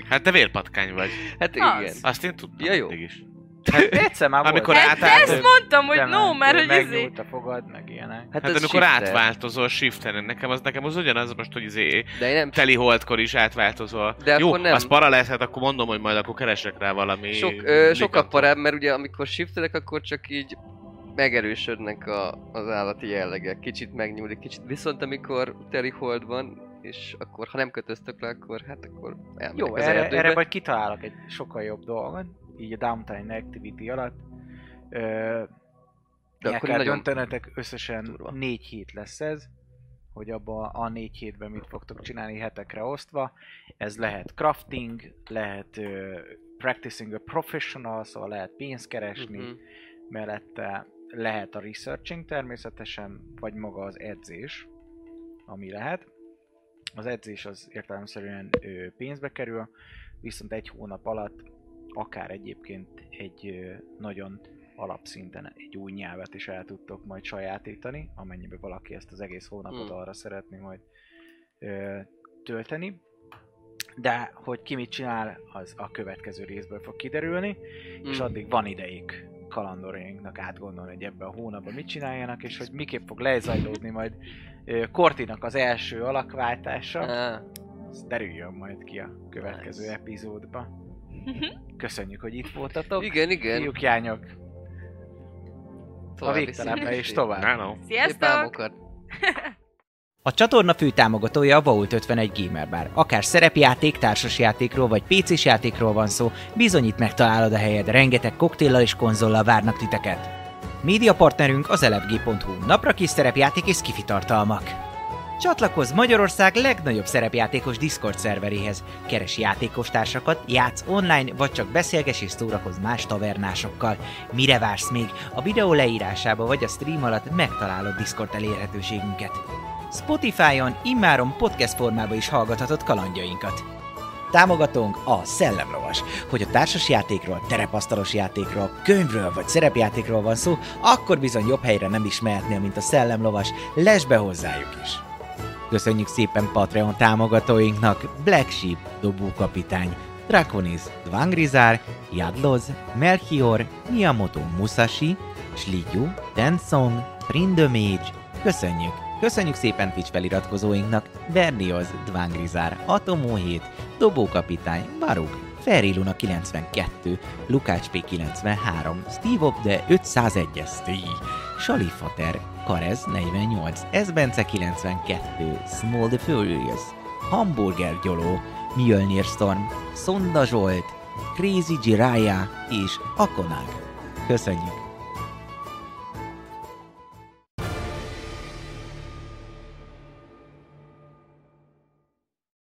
Speaker 2: Hát te vérpatkány vagy.
Speaker 4: Hát
Speaker 3: Az.
Speaker 4: igen.
Speaker 2: Azt én tudtam
Speaker 4: Ja, jó.
Speaker 2: mindig is.
Speaker 1: Hát
Speaker 7: Egyszer már volt.
Speaker 2: Amikor
Speaker 3: Hát,
Speaker 2: átállt-
Speaker 3: ezt mondtam, hogy no, mert hogy izé.
Speaker 7: Megnyúlt a fogad, meg ilyenek.
Speaker 2: Hát,
Speaker 4: ez
Speaker 2: amikor
Speaker 4: shifter.
Speaker 2: átváltozol shifteren, nekem az, nekem az ugyanaz most, hogy izé,
Speaker 4: De én nem
Speaker 2: teli holdkor is átváltozol.
Speaker 4: De
Speaker 2: Jó,
Speaker 4: akkor nem.
Speaker 2: az para lesz, hát akkor mondom, hogy majd akkor keresek rá valami...
Speaker 4: sok, ö, sokkal
Speaker 2: likantot.
Speaker 4: parább, mert ugye amikor shiftelek, akkor csak így megerősödnek a, az állati jellegek. Kicsit megnyúlik, kicsit. Viszont amikor teli hold van, és akkor ha nem kötöztök le, akkor hát akkor elmegyek
Speaker 7: Jó,
Speaker 4: az
Speaker 7: erre,
Speaker 4: erdőbe.
Speaker 7: erre majd kitalálok egy sokkal jobb dolgot, így a Downtime Activity alatt. Ö,
Speaker 4: De
Speaker 7: el
Speaker 4: akkor
Speaker 7: kell
Speaker 4: nagyon
Speaker 7: döntenetek, összesen
Speaker 4: durva.
Speaker 7: négy hét lesz ez, hogy abba a négy hétben mit fogtok csinálni hetekre osztva. Ez lehet crafting, lehet ö, practicing a professional, szóval lehet pénzt keresni,
Speaker 4: Mhm.
Speaker 7: mellette lehet a researching természetesen, vagy maga az edzés, ami lehet. Az edzés az értelemszerűen ö, pénzbe kerül, viszont egy hónap alatt akár egyébként egy ö, nagyon alapszinten egy új nyelvet is el tudtok majd sajátítani, amennyiben valaki ezt az egész hónapot
Speaker 4: Mm.
Speaker 7: arra szeretné majd ö, tölteni. De hogy ki mit csinál, az a következő részből fog kiderülni és
Speaker 4: Mm.
Speaker 7: addig van idejük kalandorjainknak átgondolni, hogy ebben a hónapban mit csináljanak, és hogy miképp fog lezajlódni majd ö, Kortinak az első alakváltása.
Speaker 4: Á,
Speaker 7: Ez derüljön majd ki a következő
Speaker 4: Nice.
Speaker 7: epizódba.
Speaker 3: Mhm.
Speaker 7: Köszönjük, hogy itt voltatok.
Speaker 4: Igen, igen.
Speaker 7: Fiúk, jányok, a
Speaker 4: További
Speaker 7: végtelenbe
Speaker 4: szép
Speaker 7: és tovább.
Speaker 2: Hello.
Speaker 4: Szép
Speaker 3: Sziasztok!
Speaker 4: álmokat.
Speaker 1: A csatorna fő támogatója a Vault 51 Gamer Bar. Akár szerepjáték, társasjátékról vagy pc játékról van szó, bizonyít megtalálod a helyed, rengeteg koktéllal és konzollal várnak titeket. Média partnerünk az elefg.hu, napra kis szerepjáték és skifi tartalmak. Csatlakozz Magyarország legnagyobb szerepjátékos Discord szerveréhez. Keres játékostársakat, játsz online, vagy csak beszélges és szórakozz más tavernásokkal. Mire vársz még? A videó leírásába vagy a stream alatt megtalálod Discord elérhetőségünket. Spotify-on immáron podcast formában is hallgathatod kalandjainkat. Támogatónk a Szellemlovas. Hogy a társasjátékról, terepasztalos játékról, könyvről vagy szerepjátékról van szó, akkor bizony jobb helyre nem is mehetnél, mint a Szellemlovas. Lesz be hozzájuk is! Köszönjük szépen Patreon támogatóinknak Black Sheep, Dobókapitány, Draconis, Dvangrizár, Jadloz, Melchior, Miyamoto Musashi, Slidyu, Tenzon, Trindomage, Köszönjük! Köszönjük szépen Twitch feliratkozóinknak! Bernioz, Dvángrizár, Atomó 7, Dobókapitány, Baruk, Feriluna 92, Lukács P93, Steve Obde 501 STI, Salifater, Karez 48, Esbence 92, Small the Furious, Hamburger Gyoló, Mjölnir Storm, Szonda Zsolt, Crazy Jiraya és Akonag. Köszönjük!